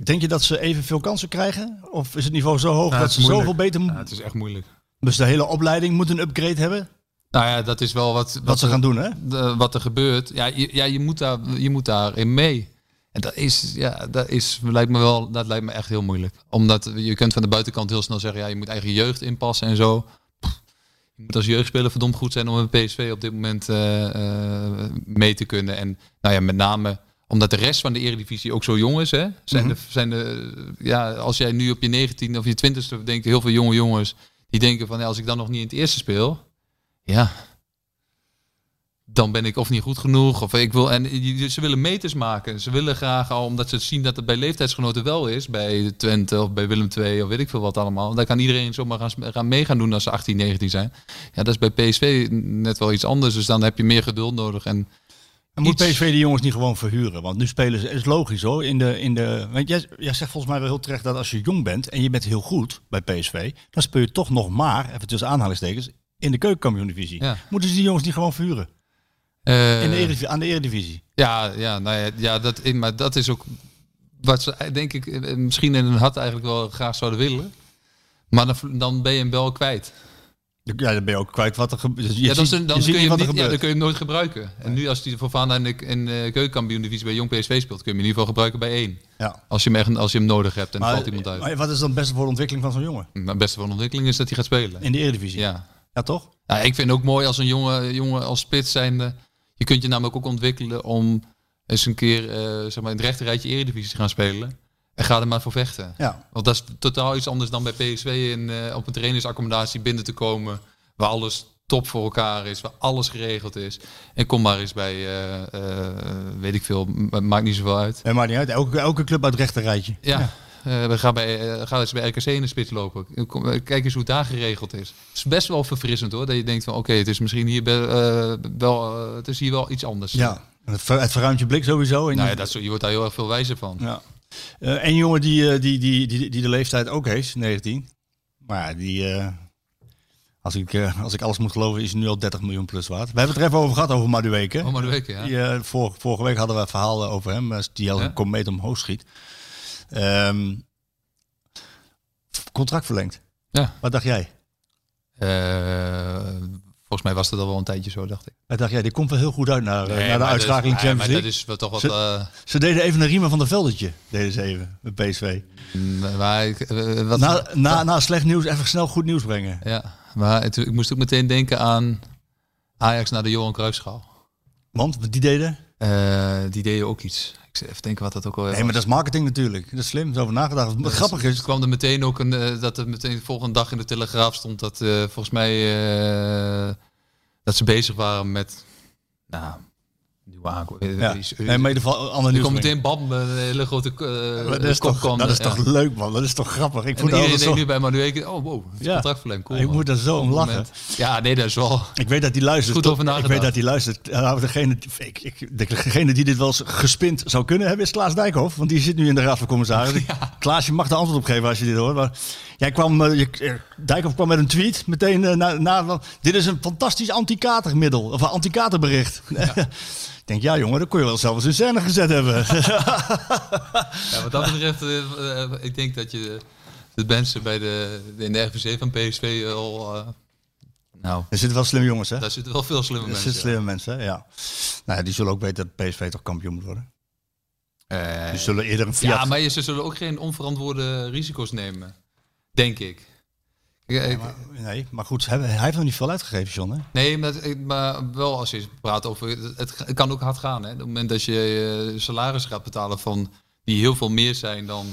Speaker 4: denk je dat ze evenveel kansen krijgen? Of is het niveau zo hoog
Speaker 5: Ja,
Speaker 4: dat
Speaker 5: het
Speaker 4: ze
Speaker 5: is moeilijk.
Speaker 4: zoveel beter...
Speaker 5: het is echt moeilijk.
Speaker 4: Dus de hele opleiding moet een upgrade hebben? Wat,
Speaker 5: Nou ja, dat is wel wat, wat,
Speaker 4: ze
Speaker 5: er-
Speaker 4: gaan doen, hè?
Speaker 5: de- wat er gebeurt. Ja, je, ja, je, moet daar, je moet daarin mee. En dat is, ja, dat is, lijkt me wel, dat lijkt me echt heel moeilijk. Omdat je kunt van de buitenkant heel snel zeggen, ja, je moet eigen jeugd inpassen en zo. Pff, Je moet als jeugdspeler verdomd goed zijn om een PSV op dit moment eh, eh, mee te kunnen. En nou ja, met name omdat de rest van de eredivisie ook zo jong is. Hè, zijn de, zijn de, ja, als jij nu op je 19 of je 20ste denkt, heel veel jonge jongens die denken van, ja, als ik dan nog niet in het eerste speel, ja, dan ben ik of niet goed genoeg. Of ik wil, en je- ze willen meters maken. Ze willen graag al, omdat ze zien dat het bij leeftijdsgenoten wel is. Bij Twente of bij Willem II of weet ik veel wat allemaal. Daar kan iedereen zomaar gaan, gaan mee gaan doen als ze 18, 19 zijn. Ja, dat is bij PSV net wel iets anders. Dus dan heb je meer geduld nodig. En
Speaker 4: En moet
Speaker 5: iets-
Speaker 4: PSV die jongens niet gewoon verhuren? Want nu spelen ze, is logisch hoor. In de, in de, want jij, jij zegt volgens mij wel heel terecht dat als je jong bent en je bent heel goed bij PSV, dan speel je toch nog maar, even tussen aanhalingstekens, in de keukenkampioen-divisie.
Speaker 5: Ja.
Speaker 4: Moeten ze die jongens niet gewoon verhuren?
Speaker 5: eh,
Speaker 4: In de eredivi- aan de eredivisie?
Speaker 5: Ja, ja, nou ja, ja dat, maar dat is ook wat ze eh, denk ik eh, misschien in hun hart eigenlijk wel graag zouden willen. Maar dan, dan ben je hem wel kwijt.
Speaker 4: Ja, dan ben je ook kwijt wat er gebeurt. Je
Speaker 5: Ja, dan,
Speaker 4: ziet-
Speaker 5: dan,
Speaker 4: je ziet
Speaker 5: kun je
Speaker 4: niet
Speaker 5: hem
Speaker 4: wat er
Speaker 5: niet, ja,
Speaker 4: gebeurt.
Speaker 5: dan kun je hem nooit gebruiken. En nu als die voor Vana in de, in de eh, keukenkampioen-divisie bij Jong PSV speelt, kun je hem in ieder geval gebruiken bij één.
Speaker 4: Ja.
Speaker 5: Als je hem, echt, als je hem nodig hebt en er valt iemand uit.
Speaker 4: maar wat is dan het beste voor de ontwikkeling van zo'n jongen?
Speaker 5: Maar het beste van de ontwikkeling is dat hij gaat spelen.
Speaker 4: In de Eredivisie?
Speaker 5: Ja.
Speaker 4: Ja, toch?
Speaker 5: ja, ik vind het ook mooi als een jongen, jongen als spits zijnde, je kunt je namelijk ook ontwikkelen om eens een keer eh, zeg maar in het rechterrijtje Eredivisie te gaan spelen. En ga er maar voor vechten.
Speaker 4: Ja.
Speaker 5: Want dat is totaal iets anders dan bij PSV in, eh, op een trainingsaccommodatie binnen te komen. Waar alles top voor elkaar is, waar alles geregeld is. En kom maar eens bij, eh, eh, weet ik veel, ma- maakt niet zoveel uit.
Speaker 4: Nee, maakt niet uit. Elke, elke club uit het rechterrijtje.
Speaker 5: Ja, eh, we gaan, bij, eh, gaan eens bij RKC in de spits lopen. Kom, eh, kijk eens hoe het daar geregeld is. Het is best wel verfrissend hoor, dat je denkt van oké, het is misschien hier, be- eh, wel, eh, het is hier wel iets anders.
Speaker 4: Ja. Het, ver- het verruimt je blik sowieso. En
Speaker 5: Nou ja, dat, is- je wordt daar heel erg veel wijzer van.
Speaker 4: Ja. Eh, en jongen die, eh, die, die, die, die de leeftijd ook heeft, 19. Maar ja, die, eh, als, ik, eh, als ik alles moet geloven, is hij nu al 30 miljoen plus waard. We hebben het er even over gehad, over Madueke.
Speaker 5: Oh, maar de week, ja.
Speaker 4: Die, eh, vor- vorige week hadden we het verhaal over hem, eh, die als
Speaker 5: Ja.
Speaker 4: een komeet omhoog schiet. Ehm, contract verlengd.
Speaker 5: Ja.
Speaker 4: Wat dacht jij?
Speaker 5: Eh, volgens mij was dat al wel een tijdje zo, dacht ik.
Speaker 4: Wat dacht jij? Dit komt wel heel goed uit naar, eh,
Speaker 5: Nee,
Speaker 4: naar de
Speaker 5: maar
Speaker 4: uitschakeling
Speaker 5: dat is-
Speaker 4: Champions
Speaker 5: nee,
Speaker 4: League.
Speaker 5: maar dat is wel toch
Speaker 4: Zit-
Speaker 5: wat... eh,
Speaker 4: Ze deden even een Riemen van der Veldetje, deden ze even, met PSV.
Speaker 5: mm, maar ik, eh, wat,
Speaker 4: Na, na, na slecht nieuws even snel goed nieuws brengen.
Speaker 5: Ja, maar het- ik moest ook meteen denken aan Ajax naar de Johan Cruijffschaal.
Speaker 4: Want die deden.
Speaker 5: Eh die deden ook iets. Ik zit even denken wat dat ook al
Speaker 4: Nee, maar dat is marketing natuurlijk. Dat is slim, zo over nagedacht. Wat grappig
Speaker 5: Dus Er
Speaker 4: is.
Speaker 5: kwam er meteen ook een, eh, dat er meteen de volgende dag in de Telegraaf stond dat eh, volgens mij eh, dat ze bezig waren met nou, nieuwe Lukaku. Eh,
Speaker 4: Ja.
Speaker 5: is-
Speaker 4: Nee, maar in ieder geval eh, ander
Speaker 5: er
Speaker 4: nieuws.
Speaker 5: komt meteen bam, een hele grote eh,
Speaker 4: dat is,
Speaker 5: kop
Speaker 4: toch,
Speaker 5: kwam,
Speaker 4: dat is
Speaker 5: ja.
Speaker 4: toch leuk, man? Dat is toch grappig? Ik
Speaker 5: eh, En
Speaker 4: moet daar
Speaker 5: iedereen
Speaker 4: altijd zo...
Speaker 5: denkt nu bij Manueke, oh wow, het is
Speaker 4: Ja.
Speaker 5: contract verlengd. Cool,
Speaker 4: Ik
Speaker 5: man.
Speaker 4: moet daar zo om
Speaker 5: Cool
Speaker 4: lachen.
Speaker 5: moment. Ja, nee, dat is wel...
Speaker 4: Ik weet dat hij luistert.
Speaker 5: Goed
Speaker 4: toch?
Speaker 5: over
Speaker 4: ik
Speaker 5: nagedacht.
Speaker 4: weet dat hij luistert. Nou, degene, ik, ik, degene die dit wel eens gespind zou kunnen hebben is Klaas Dijkhoff. Want die zit nu in de Raad van Commissarissen. Klaas, je mag de antwoord op geven als je dit hoort. Maar jij kwam, eh, je, eh, Dijkhoff kwam met een tweet meteen eh, na, na. van, Dit is een fantastisch antikatermiddel. Of een antikaterbericht. ik denk, ja jongen, dat kon je wel zelf eens in scène gezet hebben.
Speaker 5: Ja, wat dat betreft, eh, eh, ik denk dat je de mensen bij de, in de RVC van PSV al... eh, nou,
Speaker 4: er zitten wel slimme jongens, hè?
Speaker 5: daar zitten wel veel slimme
Speaker 4: Er
Speaker 5: mensen.
Speaker 4: zitten slimme mensen, hè? ja. Nou, ja, die zullen ook weten dat PSV toch kampioen moet worden.
Speaker 5: Eh,
Speaker 4: Die zullen eerder een Fiat...
Speaker 5: ja, maar je- ze zullen ook geen onverantwoorde risico's nemen. Denk ik. Ja, ik-
Speaker 4: Nee, maar goed, hij, hij heeft nog niet veel uitgegeven, John, hè?
Speaker 5: Nee, maar, dat- maar wel als je praat over... Het, het kan ook hard gaan. Hè? Op het moment dat je eh, salaris gaat betalen van... die heel veel meer zijn dan...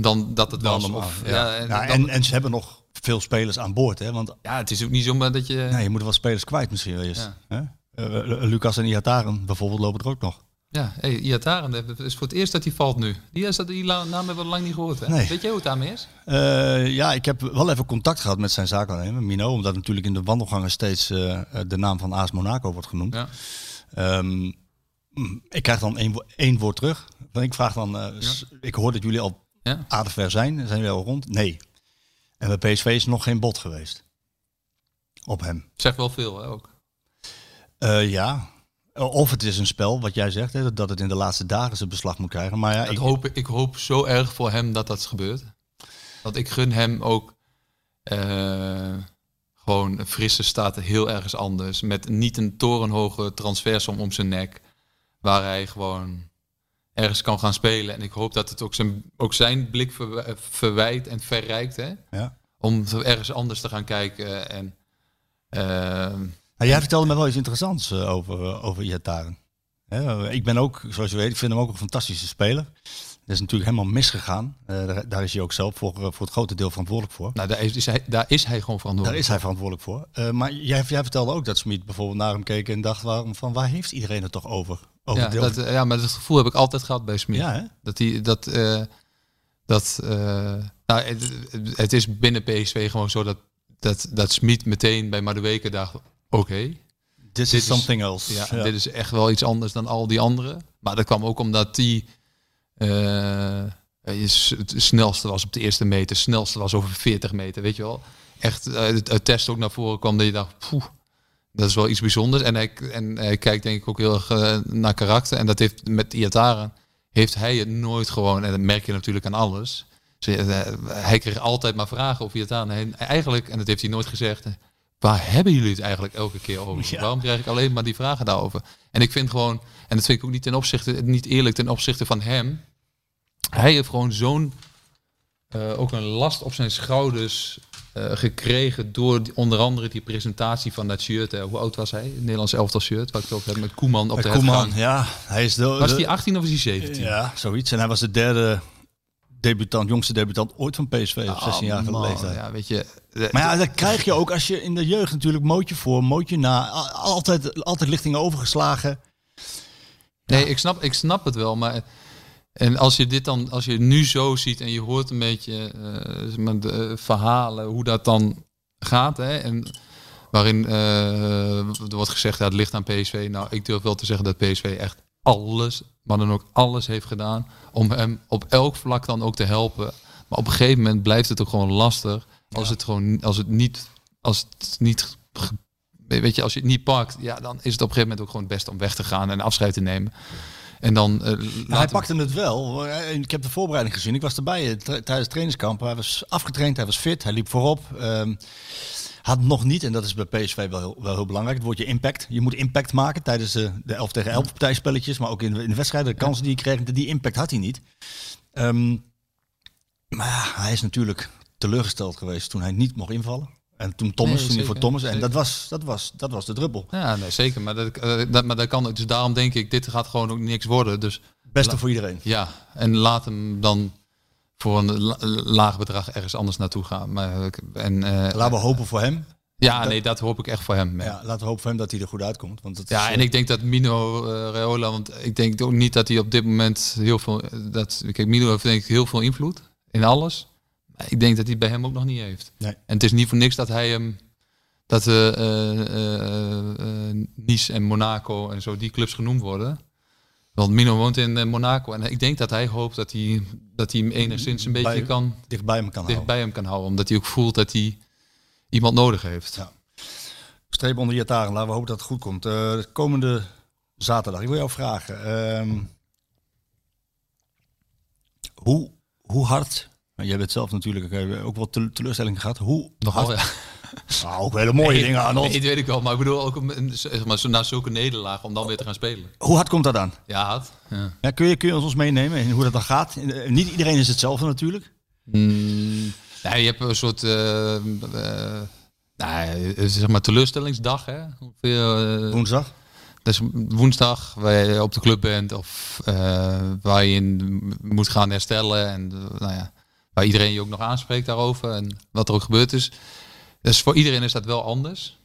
Speaker 5: dan dat het was.
Speaker 4: normaal,
Speaker 5: Of,
Speaker 4: ja.
Speaker 5: ja. en,
Speaker 4: Ja,
Speaker 5: dan-
Speaker 4: en, en ze hebben nog veel spelers aan boord. Hè? Want
Speaker 5: ja, het is ook niet zomaar dat je...
Speaker 4: nee, je moet wel spelers kwijt misschien eerst.
Speaker 5: Ja.
Speaker 4: Hè? Eh, eh, Lucas en Iataren bijvoorbeeld lopen er ook nog.
Speaker 5: Ja, hey, Iataren, dat is voor het eerst dat hij valt nu. Die, is dat, die la- naam hebben we lang niet gehoord. Hè?
Speaker 4: Nee.
Speaker 5: Weet jij hoe het daarmee is?
Speaker 4: Eh, ja, ik heb wel even contact gehad met zijn zaakwaarnemer, Mino. Omdat natuurlijk in de wandelgangen steeds eh, eh, de naam van AS Monaco wordt genoemd.
Speaker 5: Ja.
Speaker 4: Ehm, mm, ik krijg dan één, wo- één woord terug. Want ik vraag dan, eh, s- ik hoor dat jullie al
Speaker 5: Ja.
Speaker 4: aardig ver zijn. Zijn jullie al rond? Nee. En bij PSV is nog geen bod geweest. Op hem.
Speaker 5: Zegt wel veel hè, ook.
Speaker 4: Eh, ja. Of het is een spel, wat jij zegt, hè, dat het in de laatste dagen zijn beslag moet krijgen. Maar ja,
Speaker 5: Ik
Speaker 4: ik,
Speaker 5: hoop, ik hoop zo erg voor hem dat dat gebeurt. Want ik gun hem ook eh, gewoon een frisse staat heel ergens anders. Met niet een torenhoge transfersom om zijn nek. Waar hij gewoon ergens kan gaan spelen. En ik hoop dat het ook zijn, ook zijn blik verw- verwijt en verrijkt. Hè?
Speaker 4: Ja.
Speaker 5: Om zo ergens anders te gaan kijken. En, eh,
Speaker 4: Nou, jij vertelde me wel iets interessants eh, over, eh, over Iataren. Hè, eh, ik ben ook, zoals je weet, ik vind hem ook een fantastische speler. Dat is natuurlijk helemaal misgegaan. Eh, daar, daar is hij ook zelf voor, eh, voor het grote deel verantwoordelijk voor.
Speaker 5: nou, daar is, is hij, daar is hij gewoon
Speaker 4: Daar
Speaker 5: verantwoordelijk.
Speaker 4: is hij verantwoordelijk voor. Eh, maar jij, jij vertelde ook dat Smit bijvoorbeeld naar hem keek en dacht, waarom, van waar heeft iedereen het toch over? over
Speaker 5: ja,
Speaker 4: deel-
Speaker 5: dat, ja, maar dat gevoel heb ik altijd gehad bij Smit.
Speaker 4: ja, hè?
Speaker 5: Dat die dat. eh, dat eh, nou, het, het is binnen PSV gewoon zo dat, dat, dat Smit meteen bij Madueke dacht: oké,
Speaker 4: This is
Speaker 5: dit is-
Speaker 4: something else.
Speaker 5: ja,
Speaker 4: Ja.
Speaker 5: dit is echt wel iets anders dan al die anderen. Maar dat kwam ook omdat die. eh, is het snelste was op de eerste meter, snelste was over 40 meter, weet je wel. Echt, eh, het het test ook naar voren kwam dat je dacht, poeh, dat is wel iets bijzonders. En hij, en hij kijkt denk ik ook heel erg eh, naar karakter. En dat heeft met Iataren, heeft hij het nooit gewoon, en dat merk je natuurlijk aan alles. Dus, eh, hij kreeg altijd maar vragen over Iataren. En eigenlijk, en dat heeft hij nooit gezegd, eh, waar hebben jullie het eigenlijk elke keer over?
Speaker 4: Ja.
Speaker 5: Waarom krijg ik alleen maar die vragen daarover? En ik vind gewoon, en dat vind ik ook niet, ten opzichte, niet eerlijk ten opzichte van hem. Hij heeft gewoon zo'n, eh, ook een last op zijn schouders eh, gekregen door die- onder andere die presentatie van dat shirt. hè. Hoe oud was hij? Het Nederlands elftal shirt, wat ik het ook heb met Koeman op de
Speaker 4: Eh, Koeman,
Speaker 5: hertgang.
Speaker 4: ja, hij is de,
Speaker 5: Was
Speaker 4: de-
Speaker 5: hij 18 of was hij 17?
Speaker 4: Ja, zoiets. En hij was de derde debutant, jongste debutant ooit van PSV op
Speaker 5: Ah,
Speaker 4: 16 jaar
Speaker 5: man,
Speaker 4: leeftijd.
Speaker 5: Ja, weet je. eh,
Speaker 4: Maar ja, dat krijg je ook als je in de jeugd natuurlijk mootje voor, mootje na, a- altijd, altijd lichtingen overgeslagen.
Speaker 5: Nee, ik snap, ik snap het wel, maar... En als je dit dan, als je het nu zo ziet en je hoort een beetje eh, zeg maar, de eh, verhalen, hoe dat dan gaat, hè, en waarin eh, er wordt gezegd, ja, het ligt aan PSV. Nou, ik durf wel te zeggen dat PSV echt alles, maar dan ook alles heeft gedaan om hem op elk vlak dan ook te helpen. Maar op een gegeven moment blijft het ook gewoon lastig als het gewoon, als het niet, als het niet, ge- weet je, als je het niet pakt, ja, dan is het op een gegeven moment ook gewoon het beste om weg te gaan en afscheid te nemen. En dan eh, laat
Speaker 4: hij
Speaker 5: hem-
Speaker 4: pakte het wel. Eh, Ik heb de voorbereiding gezien. Ik was erbij eh, tra- tijdens het trainingskamp. Hij was afgetraind, hij was fit, hij liep voorop. Ehm, had nog niet, en dat is bij PSV wel heel, wel heel belangrijk, het woordje impact. Je moet impact maken tijdens eh, de 11 tegen 11 partijspelletjes, maar ook in, de- in de wedstrijden. De kansen die hij kreeg, die impact had hij niet. Ehm, maar ja, hij is natuurlijk teleurgesteld geweest toen hij niet mocht invallen. En toen Thomas,
Speaker 5: Nee,
Speaker 4: toen hij
Speaker 5: zeker,
Speaker 4: voor Thomas. En
Speaker 5: zeker.
Speaker 4: dat was, dat, was, dat was de druppel.
Speaker 5: Ja, nee, zeker. Maar dat, eh, dat, maar dat kan. ook. Dus daarom denk ik, dit gaat gewoon ook niks worden. Dus
Speaker 4: Beste voor iedereen.
Speaker 5: ja, en laat hem dan voor een la- laag bedrag ergens anders naartoe gaan. Maar, eh, en, eh,
Speaker 4: Laten we hopen voor hem
Speaker 5: Ja, nee, dat hoop ik echt voor hem. Ja,
Speaker 4: Ja, laten we hopen voor hem dat hij er goed uitkomt. Want dat is,
Speaker 5: ja en
Speaker 4: eh,
Speaker 5: ik denk dat Mino eh Raiola, want ik denk ook niet dat hij op dit moment heel veel... eh, Dat, kijk, Mino heeft denk ik heel veel invloed in alles. Maar ik denk dat hij het bij hem ook nog niet heeft.
Speaker 4: Nee.
Speaker 5: En het is niet voor niks dat hij hem... Dat eh, eh, eh, eh, Nice en Monaco en zo die clubs genoemd worden. Want Mino woont in eh, Monaco en ik denk dat hij hoopt dat hij, dat hij hem enigszins een beetje
Speaker 4: Bij-
Speaker 5: kan...
Speaker 4: dichtbij hem Nou. kan
Speaker 5: dicht
Speaker 4: houden.
Speaker 5: bij hem kan houden. Omdat hij ook voelt dat hij iemand nodig heeft.
Speaker 4: Ja. Streep onder je taren. Laten we hopen dat het goed komt. Eh, de komende zaterdag. Ik wil jou vragen. ehm, hoe, hoe hard... maar Jij bent zelf natuurlijk eh, ook wel tele- teleurstelling gehad. Hoe
Speaker 5: Nogal, Oh, ja.
Speaker 4: Nou, ook hele mooie dingen, Arnold.
Speaker 5: Nee, dat weet ik wel. Maar ik bedoel ook om, eh, zeg maar, zo- na zulke nederlaag om dan weer te gaan spelen.
Speaker 4: Hoe hard komt dat aan?
Speaker 5: Ja, had. Ja.
Speaker 4: Ja, kun, je, kun je ons meenemen in hoe dat dan gaat? Eh, Niet iedereen is hetzelfde natuurlijk.
Speaker 5: Ja, je hebt een soort eh, eh, nou, eh, zeg maar teleurstellingsdag. Hè? Ongeveer, eh,
Speaker 4: Woensdag.
Speaker 5: dat is woensdag, waar je op de club bent of eh, waar je in moet gaan herstellen. En eh, nou ja, waar iedereen je ook nog aanspreekt daarover en wat er ook gebeurd is. Dus voor iedereen is dat wel anders.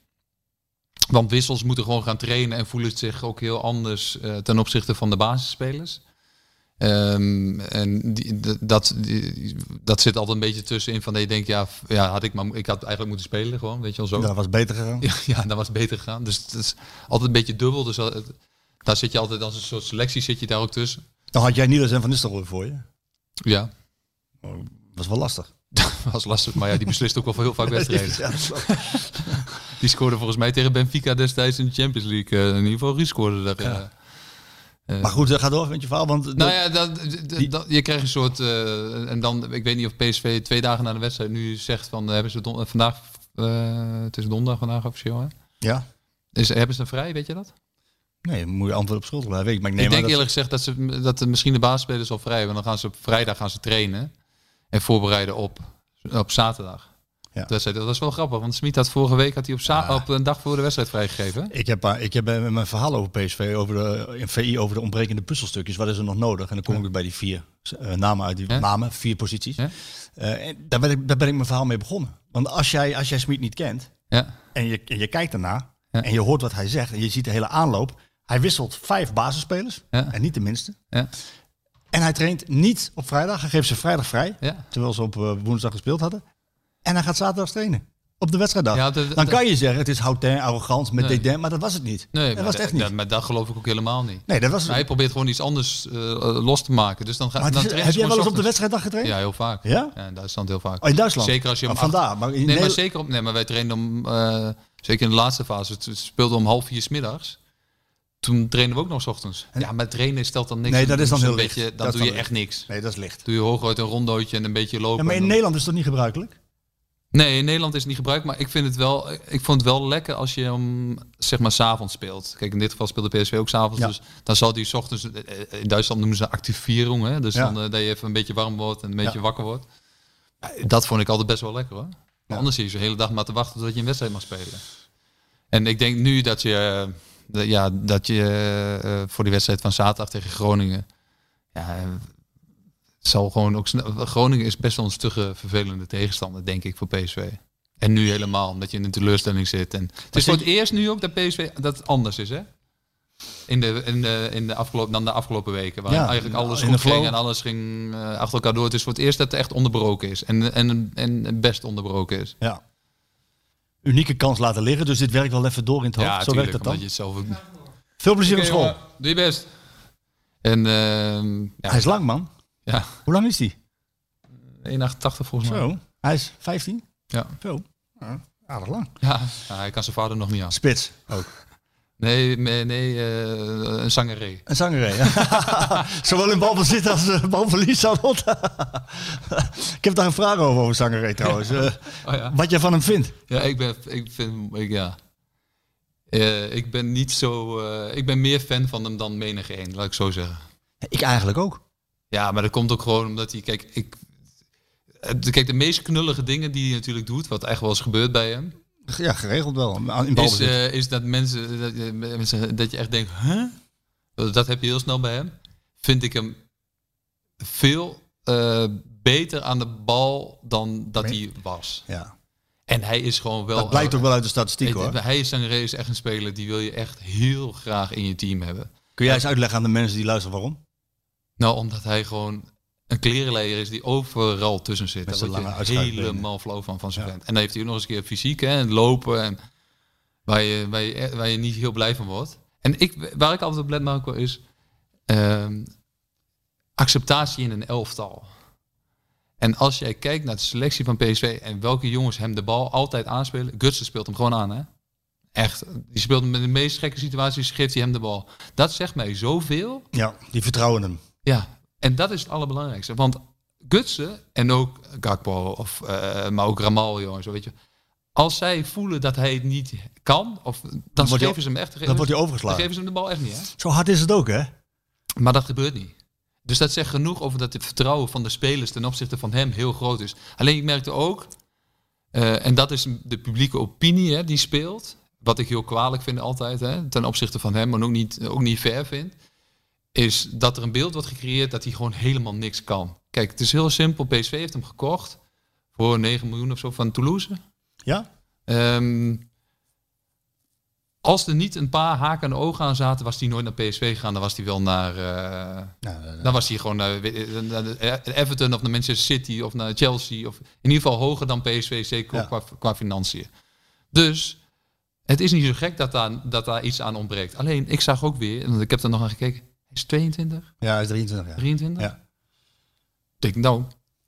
Speaker 5: Want wissels moeten gewoon gaan trainen en voelen het zich ook heel anders eh, ten opzichte van de basisspelers. Ehm, en die, d- dat, die- dat zit altijd een beetje tussenin van dat je denkt, ja, f- ja had ik, maar, mo- ik had eigenlijk moeten spelen gewoon, weet je wel zo.
Speaker 4: Dat was beter gegaan.
Speaker 5: Ja, ja, dat was het beter gegaan. Dus het is altijd een beetje dubbel. Dus dat- daar zit je altijd als een soort selectie zit je daar ook tussen.
Speaker 4: Dan had jij Niels en Van Nistelrooy voor je.
Speaker 5: Ja,
Speaker 4: Dat is wel lastig.
Speaker 5: was lastig. Maar ja, die beslist ook wel heel vaak wedstrijden.
Speaker 4: Ja, dat is wel-
Speaker 5: Die scoorde volgens mij tegen Benfica destijds in de Champions League. eh, in ieder geval, Ries scoorde daar. eh.
Speaker 4: maar goed, eh, ga door met je verhaal. Want
Speaker 5: Nou ja, dat, d- d- dat- je krijgt een soort... eh, en dan, ik weet niet of PSV twee dagen na de wedstrijd nu zegt van... eh, hebben ze don- eh, vandaag... eh, het is donderdag vandaag officieel, hè?
Speaker 4: Ja?
Speaker 5: Is, hebben ze een vrij, weet je dat?
Speaker 4: Nee, dan moet je antwoord op schuld blijven. Ik, maar ik neem
Speaker 5: ik denk
Speaker 4: aan dat-
Speaker 5: eerlijk gezegd dat, ze, dat er misschien de baasspelers al vrij hebben. Dan gaan ze op vrijdag gaan ze trainen en voorbereiden op, op zaterdag.
Speaker 4: Ja. Ah.
Speaker 5: De wedstrijd. Dat was wel grappig, want Smit had vorige week had hij op, za- op een dag voor de wedstrijd vrijgegeven.
Speaker 4: ik heb, eh, ik heb eh, mijn verhaal over PSV, over de, eh, in VI, over de ontbrekende puzzelstukjes. Wat is er nog nodig? En dan kom ik weer bij die vier eh, namen uit. Die
Speaker 5: Ja.
Speaker 4: namen, vier posities.
Speaker 5: Ja.
Speaker 4: Eh, en daar, ben ik, daar ben ik mijn verhaal mee begonnen. Want als jij, als jij Smit niet kent,
Speaker 5: Ja.
Speaker 4: En je, en je kijkt daarna
Speaker 5: Ja.
Speaker 4: en je hoort wat hij zegt en je ziet de hele aanloop. Hij wisselt vijf basisspelers
Speaker 5: Ja.
Speaker 4: en niet de minste.
Speaker 5: Ja.
Speaker 4: En hij traint niet op vrijdag. Hij geeft ze vrijdag vrij,
Speaker 5: Ja.
Speaker 4: terwijl ze op eh, woensdag gespeeld hadden. En hij gaat zaterdag trainen. Op de wedstrijddag.
Speaker 5: Ja, dat-
Speaker 4: Dan
Speaker 5: dat-
Speaker 4: kan je zeggen, het is houtin, arrogant, met
Speaker 5: Nee.
Speaker 4: dédain, maar dat was het niet.
Speaker 5: Nee,
Speaker 4: dat
Speaker 5: maar
Speaker 4: was het echt niet.
Speaker 5: dat- maar dat geloof ik ook helemaal niet.
Speaker 4: nee, dat was
Speaker 5: Maar hij probeert gewoon iets anders eh, los te maken. Dus dan gaat
Speaker 4: Maar
Speaker 5: dan
Speaker 4: het is-
Speaker 5: trainen
Speaker 4: heb
Speaker 5: ze
Speaker 4: jij wel eens op
Speaker 5: gewoon
Speaker 4: de
Speaker 5: ochtends.
Speaker 4: wedstrijddag getraind?
Speaker 5: Ja, heel vaak.
Speaker 4: Ja?
Speaker 5: in Duitsland heel vaak.
Speaker 4: Oh, in Duitsland?
Speaker 5: Zeker als je hem
Speaker 4: Oh, vandaar. Maar in
Speaker 5: nee, maar
Speaker 4: Nederland-
Speaker 5: zeker op. Nee, maar wij trainden om. eh, zeker in de laatste fase. Het het speelde om half vier 's middags. Toen trainen we ook nog 's ochtends. Ja, maar trainen stelt dan niks.
Speaker 4: Nee,
Speaker 5: voor.
Speaker 4: dat is dan
Speaker 5: Een
Speaker 4: heel
Speaker 5: beetje,
Speaker 4: licht.
Speaker 5: Dan
Speaker 4: Dat
Speaker 5: doe je
Speaker 4: dan
Speaker 5: echt niks.
Speaker 4: Nee, dat is licht.
Speaker 5: Doe je hooguit een rondootje en een beetje lopen.
Speaker 4: Ja, maar in
Speaker 5: en dan-
Speaker 4: Nederland is dat niet gebruikelijk?
Speaker 5: Nee, in Nederland is het niet gebruikt. Maar ik, vind het wel, ik vond het wel lekker als je hem zeg maar s'avonds speelt. Kijk, in dit geval speelde PSV ook s'avonds.
Speaker 4: Ja.
Speaker 5: Dus dan zal die 's ochtends... eh, eh, In Duitsland noemen ze activering. Hè? Dus
Speaker 4: Ja.
Speaker 5: dan eh, dat je even een beetje warm wordt en een beetje
Speaker 4: Ja.
Speaker 5: wakker wordt. Eh, Dat vond ik altijd best wel lekker hoor. Maar
Speaker 4: Ja.
Speaker 5: Anders zit je de hele dag maar te wachten totdat je een wedstrijd mag spelen. En ik denk nu dat je, eh, dat- ja, dat je eh, voor die wedstrijd van zaterdag tegen Groningen... Ja, eh, zal gewoon ook snel- Groningen is best wel een stugge, vervelende tegenstander, denk ik, voor PSV. En nu helemaal, omdat je in een teleurstelling zit. En het is voor het eerst nu ook dat PSV dat het anders is, hè? In de, in de, in de afgelopen, dan de afgelopen weken, waar
Speaker 4: Ja,
Speaker 5: eigenlijk alles
Speaker 4: in
Speaker 5: goed
Speaker 4: de flow.
Speaker 5: ging en alles ging eh, achter elkaar door. Het is voor het eerst dat het echt onderbroken is. En, en, en best onderbroken is.
Speaker 4: Ja. Unieke kans laten liggen, dus dit werkt wel even door in het hoofd. Zo werkt dat
Speaker 5: omdat
Speaker 4: dan.
Speaker 5: je het zelf ook...
Speaker 4: Veel plezier op school.
Speaker 5: Oké, jongen, Doe je best. En ehm
Speaker 4: Hij
Speaker 5: ja,
Speaker 4: is lang, man.
Speaker 5: ja,
Speaker 4: Hoe lang is hij?
Speaker 5: 1,88 volgens mij.
Speaker 4: Zo. Hij is 15.
Speaker 5: Ja.
Speaker 4: Zo. Ja, aardig lang.
Speaker 5: Ja, ja, hij kan zijn vader nog niet aan.
Speaker 4: Spits. Ook.
Speaker 5: Nee, nee, nee eh, een zangeré.
Speaker 4: Een zangerij. ja. Zowel in balbezit als eh, balverlies, Arnold. ik heb daar een vraag over, over zangerij trouwens. Eh,
Speaker 5: Oh ja.
Speaker 4: wat jij van hem vindt.
Speaker 5: Ja, ik ben, ik vind, ik, ja. Eh, ik ben niet zo, eh, ik ben meer fan van hem dan menig een, laat ik zo zeggen.
Speaker 4: Ik eigenlijk ook.
Speaker 5: Ja, maar dat komt ook gewoon omdat hij, kijk, ik, het- kijk, de meest knullige dingen die hij natuurlijk doet, wat echt wel eens gebeurt bij hem,
Speaker 4: Ja, geregeld wel. In
Speaker 5: is,
Speaker 4: balbezit.
Speaker 5: eh, is dat mensen dat, je- mensen dat je echt denkt, huh? Dat- Dat heb je heel snel bij hem. Vind ik hem veel eh, beter aan de bal dan dat
Speaker 4: Nee.
Speaker 5: hij was.
Speaker 4: ja.
Speaker 5: En hij is gewoon wel...
Speaker 4: Dat blijkt ook wel uit de statistiek
Speaker 5: Hij-
Speaker 4: hoor.
Speaker 5: Hij is een race echt een speler die wil je echt heel graag in je team hebben.
Speaker 4: Kun jij eens uitleggen aan de mensen die luisteren waarom?
Speaker 5: Nou, omdat hij gewoon een klerenleier is die overal tussen zit.
Speaker 4: Met
Speaker 5: Daar
Speaker 4: zijn
Speaker 5: word je
Speaker 4: lange uitschuifbenen.
Speaker 5: helemaal flauw van, van zijn
Speaker 4: Ja.
Speaker 5: vent. En dan heeft hij ook nog eens een keer fysiek hè, en lopen. En waar, je, waar, je, waar je niet heel blij van wordt. En ik, waar ik altijd op let, Marco, is ehm, acceptatie in een elftal. En als jij kijkt naar de selectie van PSV en welke jongens hem de bal altijd aanspelen. Gutsen speelt hem gewoon aan, hè? Echt. Die speelt hem in de meest gekke situaties, geeft hij hem de bal. Dat zegt mij zoveel.
Speaker 4: Ja, die vertrouwen hem.
Speaker 5: Ja, en dat is het allerbelangrijkste. Want Gutsen en ook Gakpo, of, eh, maar ook Ramal, jongens, weet je. Als zij voelen dat hij het niet kan, of, dan,
Speaker 4: wordt hij
Speaker 5: geven ze hem echt.
Speaker 4: Dan wordt hij
Speaker 5: dan
Speaker 4: overgeslagen.
Speaker 5: geven ze hem de bal echt niet, hè?
Speaker 4: Zo hard is het ook, hè?
Speaker 5: Maar dat gebeurt niet. Dus dat zegt genoeg over dat het vertrouwen van de spelers ten opzichte van hem heel groot is. Alleen ik merkte ook, eh, en dat is de publieke opinie hè, die speelt, wat ik heel kwalijk vind altijd hè, ten opzichte van hem, en ook niet, ook niet fair vind, is dat er een beeld wordt gecreëerd dat hij gewoon helemaal niks kan. Kijk, het is heel simpel. PSV heeft hem gekocht voor 9 miljoen of zo van Toulouse.
Speaker 4: Ja?
Speaker 5: Ehm, als er niet een paar haken en ogen aan zaten, was hij nooit naar PSV gegaan. Dan was hij wel naar. eh,
Speaker 4: Nou, eh,
Speaker 5: dan was hij gewoon naar, weet- eh, naar de- eh, Everton of naar Manchester City of naar Chelsea. Of in ieder geval hoger dan PSV, zeker
Speaker 4: Ja.
Speaker 5: qua, qua financiën. Dus het is niet zo gek dat daar, dat daar iets aan ontbreekt. Alleen, ik zag ook weer, en ik heb er nog aan gekeken, hij is 22,
Speaker 4: ja, hij is 23 jaar.
Speaker 5: 23.
Speaker 4: Ja.
Speaker 5: Ik denk, nou,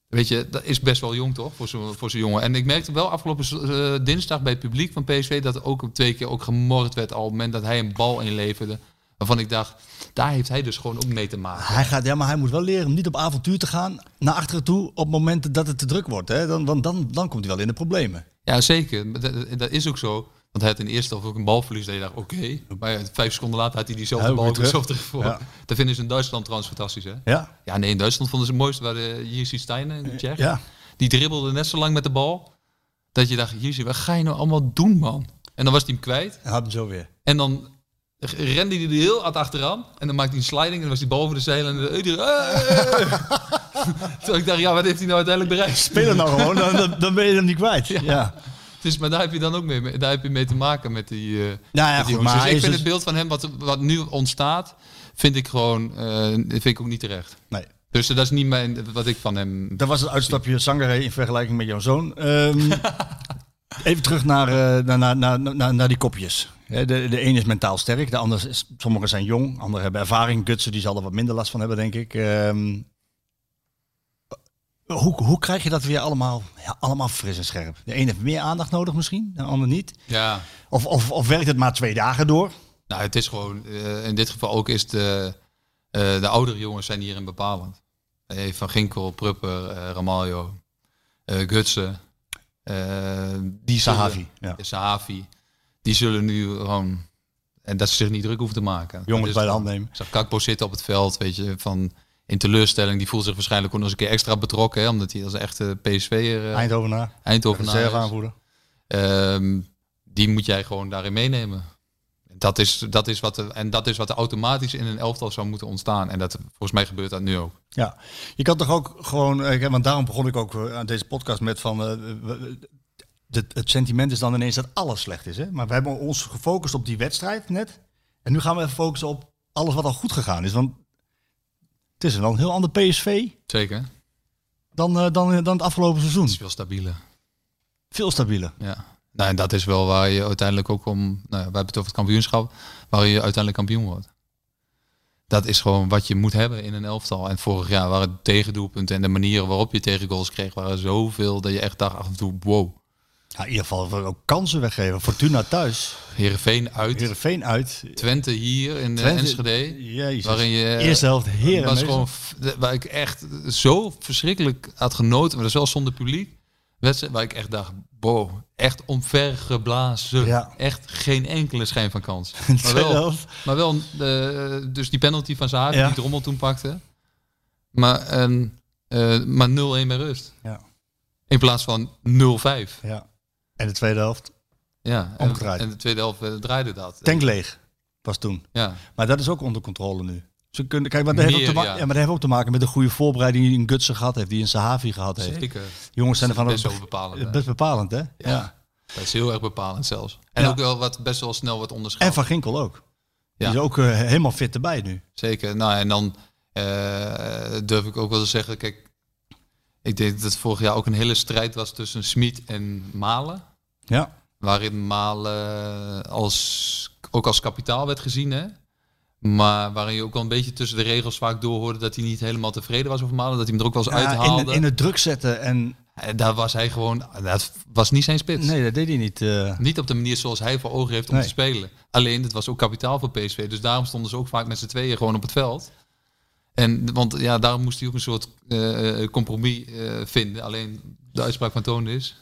Speaker 5: weet je, dat is best wel jong toch, voor zo'n voor zo'n jongen. En ik merkte wel afgelopen z- eh, dinsdag bij het publiek van PSV dat er ook twee keer ook gemord werd al op het moment dat hij een bal inleverde. Waarvan ik dacht, daar heeft hij dus gewoon ook mee te maken.
Speaker 4: Hij gaat, ja, maar hij moet wel leren om niet op avontuur te gaan naar achteren toe op momenten dat het te druk wordt. Hè? Dan, want dan, dan komt hij wel in de problemen.
Speaker 5: Ja, zeker. Maar Dat, dat is ook zo. Want hij had in de eerste helft ook een balverlies. Dat je dacht, oké. Maar ja, vijf seconden later had hij diezelfde
Speaker 4: Ja, ook
Speaker 5: bal
Speaker 4: weer
Speaker 5: ook weer
Speaker 4: terug.
Speaker 5: zo terug voor.
Speaker 4: Ja.
Speaker 5: Dat vinden ze in Duitsland trouwens fantastisch, hè?
Speaker 4: Ja?
Speaker 5: Ja, nee, in Duitsland vonden ze het mooiste. Waar eh, de Jerzy Steinen, de Tsjech.
Speaker 4: Ja.
Speaker 5: Die dribbelde net zo lang met de bal. Dat je dacht, Jerzy, wat ga je nou allemaal doen, man? En dan was hij hem kwijt.
Speaker 4: Hij had hem zo weer.
Speaker 5: En dan rende hij er heel hard achteraan. En dan maakte hij een sliding. En dan was hij bal over de zeil. En de, Terwijl ik dacht, ja, wat heeft hij nou uiteindelijk bereikt?
Speaker 4: Speel hem nou gewoon, dan- dan, dan ben je hem niet kwijt. Ja.
Speaker 5: Dus, maar daar heb je dan ook mee, daar heb je mee te maken met die. eh,
Speaker 4: Nou ja,
Speaker 5: met die
Speaker 4: goed,
Speaker 5: jongens.
Speaker 4: maar
Speaker 5: Dus
Speaker 4: hij
Speaker 5: ik
Speaker 4: is
Speaker 5: vind
Speaker 4: dus-
Speaker 5: het beeld van hem wat, wat nu ontstaat, vind ik gewoon, eh, vind ik ook niet terecht.
Speaker 4: Nee.
Speaker 5: Dus eh, dat is niet mijn, wat ik van hem.
Speaker 4: Dat was het uitstapje Sangare in vergelijking met jouw zoon. Ehm, even terug naar, eh, naar, naar, naar, naar, naar die kopjes. Hè, De, de een is mentaal sterk, de ander is, sommigen zijn jong, anderen hebben ervaring. Gutsen die zal er wat minder last van hebben, denk ik. Ehm, hoe, hoe krijg je dat weer allemaal, ja, allemaal fris en scherp? De een heeft meer aandacht nodig misschien, de ander niet.
Speaker 5: Ja.
Speaker 4: Of, of, of werkt het maar twee dagen door?
Speaker 5: Nou, het is gewoon, eh, in dit geval ook is de, eh, de oudere jongens zijn hierin bepalend. Eh, van Ginkel, Prupper, eh Ramaljo, eh, Gutsen. eh, die zullen-
Speaker 4: Sahavi, ja.
Speaker 5: Sahavi. Die zullen nu gewoon, en dat ze zich niet druk hoeven te maken. Dat
Speaker 4: Jongens
Speaker 5: is
Speaker 4: bij de
Speaker 5: gewoon-
Speaker 4: hand nemen.
Speaker 5: Ik zag Kakpo zitten op het veld, weet je, van in teleurstelling. Die voelt zich waarschijnlijk ook nog eens een keer extra betrokken, hè, omdat hij als een echte PSV'er eh
Speaker 4: Eindhovenaar,
Speaker 5: Eindhovenaar
Speaker 4: reserve
Speaker 5: is.
Speaker 4: aanvoerder.
Speaker 5: Ehm, die moet jij gewoon daarin meenemen. Dat is, dat is wat er, en dat is wat er automatisch in een elftal zou moeten ontstaan. En dat, volgens mij gebeurt dat nu ook.
Speaker 4: Ja, je kan toch ook gewoon, eh, want daarom begon ik ook eh, aan deze podcast met van. eh, we- we- het- het sentiment is dan ineens dat alles slecht is. Hè? Maar we hebben ons gefocust op die wedstrijd net. En nu gaan we even focussen op alles wat al goed gegaan is. Want het is wel een heel ander PSV
Speaker 5: Zeker. Het
Speaker 4: dan, eh, dan, eh, dan het afgelopen seizoen.
Speaker 5: is veel stabieler.
Speaker 4: Veel stabieler.
Speaker 5: Ja. Nou, en dat is wel waar je uiteindelijk ook om. Nou, ja, we hebben het over het kampioenschap, waar je uiteindelijk kampioen wordt. Dat is gewoon wat je moet hebben in een elftal. En vorig jaar waren het tegendoelpunten en de manieren waarop je tegengoals kreeg, waren zoveel dat je echt dacht af en toe, wow.
Speaker 4: Ja, in ieder geval we ook kansen weggeven. Fortuna thuis,
Speaker 5: Heerenveen uit,
Speaker 4: Heerenveen uit.
Speaker 5: Twente hier in eh,
Speaker 4: Twente-
Speaker 5: Enschede.
Speaker 4: Jezus.
Speaker 5: Waarin je,
Speaker 4: Eerste helft
Speaker 5: Het
Speaker 4: heren.
Speaker 5: was gewoon, f- de- waar ik echt zo verschrikkelijk had genoten, maar dat is wel zonder publiek. Wedstrijd waar ik echt dacht, wow, echt omvergeblazen.
Speaker 4: Ja.
Speaker 5: Echt geen enkele schijn van kans. Maar
Speaker 4: Tweede
Speaker 5: wel,
Speaker 4: helft.
Speaker 5: maar wel de, dus die penalty van Zahavi
Speaker 4: Ja.
Speaker 5: die Drommel toen pakte. Maar, en, eh, maar 0-1 bij rust.
Speaker 4: Ja.
Speaker 5: In plaats van 0-5.
Speaker 4: Ja. En de tweede helft,
Speaker 5: Ja, en,
Speaker 4: Omgedraaid.
Speaker 5: en de tweede helft eh, draaide dat.
Speaker 4: tank leeg was toen.
Speaker 5: Ja.
Speaker 4: Maar dat is ook onder controle nu. Ze kunnen, kijk, maar dat, heeft ook
Speaker 5: Meer,
Speaker 4: te ma-
Speaker 5: ja.
Speaker 4: ja, maar dat heeft ook te maken met de goede voorbereiding die een Gutsen gehad heeft, die een Sahavi gehad heeft.
Speaker 5: Zeker.
Speaker 4: Jongens zijn er
Speaker 5: Dat
Speaker 4: van
Speaker 5: is best wel bepalend, hè?
Speaker 4: Best bepalend, hè? Ja.
Speaker 5: Dat is heel erg bepalend zelfs. En
Speaker 4: Ja.
Speaker 5: ook wel wat, best wel snel wat onderschat.
Speaker 4: En Van Ginkel ook.
Speaker 5: Ja.
Speaker 4: Die is ook eh, helemaal fit erbij nu.
Speaker 5: Zeker. Nou, en dan eh, durf ik ook wel te zeggen, kijk, ik denk dat het vorig jaar ook een hele strijd was tussen Smit en Malen.
Speaker 4: Ja.
Speaker 5: Waarin Malen eh, als, ook als kapitaal werd gezien, hè? Maar waarin je ook wel een beetje tussen de regels vaak doorhoorde dat hij niet helemaal tevreden was over Malen. Dat hij hem er ook wel eens
Speaker 4: Ja, in,
Speaker 5: uithaalde.
Speaker 4: in het druk zetten en...
Speaker 5: En Daar was hij gewoon, dat was niet zijn spits.
Speaker 4: Nee, dat deed hij niet. eh.
Speaker 5: Niet op de manier zoals hij voor ogen heeft om
Speaker 4: Nee.
Speaker 5: te spelen. Alleen, het was ook kapitaal voor PSV. Dus daarom stonden ze ook vaak met z'n tweeën gewoon op het veld. En, want ja, daarom moest hij ook een soort eh, eh, compromis eh, vinden. Alleen, de uitspraak van Toon is,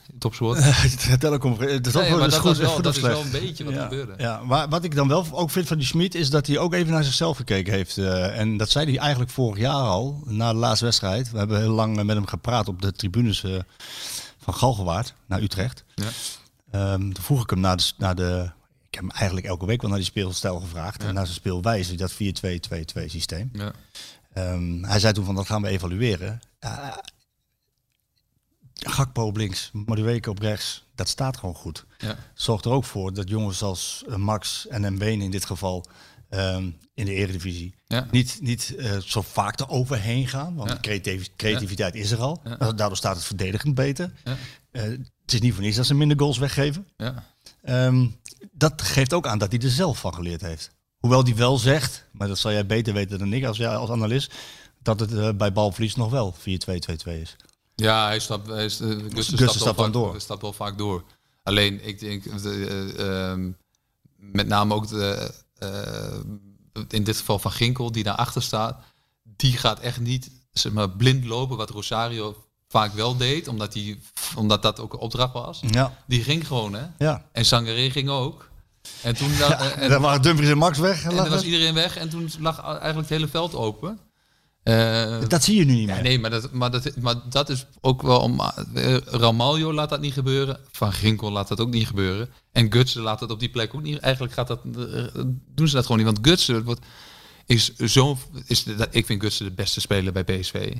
Speaker 5: topsoort. Nee,
Speaker 4: Telecom. Dat is ook
Speaker 5: maar
Speaker 4: wel- dat is
Speaker 5: dat,
Speaker 4: goed-
Speaker 5: was
Speaker 4: is
Speaker 5: wel,
Speaker 4: goed
Speaker 5: dat
Speaker 4: of
Speaker 5: is
Speaker 4: slecht.
Speaker 5: wel een beetje wat
Speaker 4: ja.
Speaker 5: gebeurde.
Speaker 4: Ja, maar wat ik dan wel ook vind van die Schmid is dat hij ook even naar zichzelf gekeken heeft. eh, en dat zei hij eigenlijk vorig jaar al, na de laatste wedstrijd. We hebben heel lang eh, met hem gepraat op de tribunes eh, van Galgenwaard naar Utrecht.
Speaker 5: Ja.
Speaker 4: Ehm, toen vroeg ik hem naar de, s- naar de... Ik heb hem eigenlijk elke week wel naar die speelstijl gevraagd. En naar zijn speelwijze, dat 4-2-2-2 systeem.
Speaker 5: Ja.
Speaker 4: Ehm, hij zei toen van dat gaan we evalueren. Ja, Gakpo op links, Madueke op rechts. Dat staat gewoon goed.
Speaker 5: Ja.
Speaker 4: Zorgt er ook voor dat jongens als eh, Max en Mbeen in dit geval ehm, in de eredivisie
Speaker 5: Ja.
Speaker 4: niet, niet eh, zo vaak er overheen gaan. Want
Speaker 5: Ja.
Speaker 4: creativi- creativiteit is er al.
Speaker 5: Ja.
Speaker 4: Da- Daardoor staat het verdedigend beter.
Speaker 5: Ja.
Speaker 4: Eh, het is niet voor niets dat ze minder goals weggeven.
Speaker 5: Ja.
Speaker 4: Ehm, dat geeft ook aan dat hij er zelf van geleerd heeft. Hoewel die wel zegt, maar dat zal jij beter weten dan ik als, jij als analist, dat het eh, bij balverlies nog wel 4-2-2-2 is.
Speaker 5: Ja, hij stapt, hij is, eh, Gusten
Speaker 4: Gusten
Speaker 5: stapt,
Speaker 4: stapt
Speaker 5: wel
Speaker 4: dan
Speaker 5: vaak-
Speaker 4: door.
Speaker 5: stapt wel vaak door. Alleen, ik denk, eh, eh, ehm, met name ook de, eh, in dit geval van Ginkel, die daarachter staat, die gaat echt niet zeg maar, blind lopen, wat Rosario vaak wel deed, omdat, die, omdat dat ook een opdracht was.
Speaker 4: Ja,
Speaker 5: Die ging gewoon, hè?
Speaker 4: ja.
Speaker 5: En Sangaré ging ook. En toen da- eh, en-
Speaker 4: En dan waren Dumfries en Max weg.
Speaker 5: en
Speaker 4: laat
Speaker 5: dan was
Speaker 4: het.
Speaker 5: iedereen weg en toen lag eigenlijk het hele veld open. Eh,
Speaker 4: dat zie je nu niet
Speaker 5: ja,
Speaker 4: meer.
Speaker 5: nee, maar dat, maar, dat, maar dat is ook wel om. eh, Ramaljo laat dat niet gebeuren. Van Ginkel laat dat ook niet gebeuren. En Gutsen laat dat op die plek ook niet. Eigenlijk gaat dat, eh, doen ze dat gewoon niet. Want Gutsen wordt, is zo'n. Is, de- dat- ik vind Gutsen de beste speler bij PSV.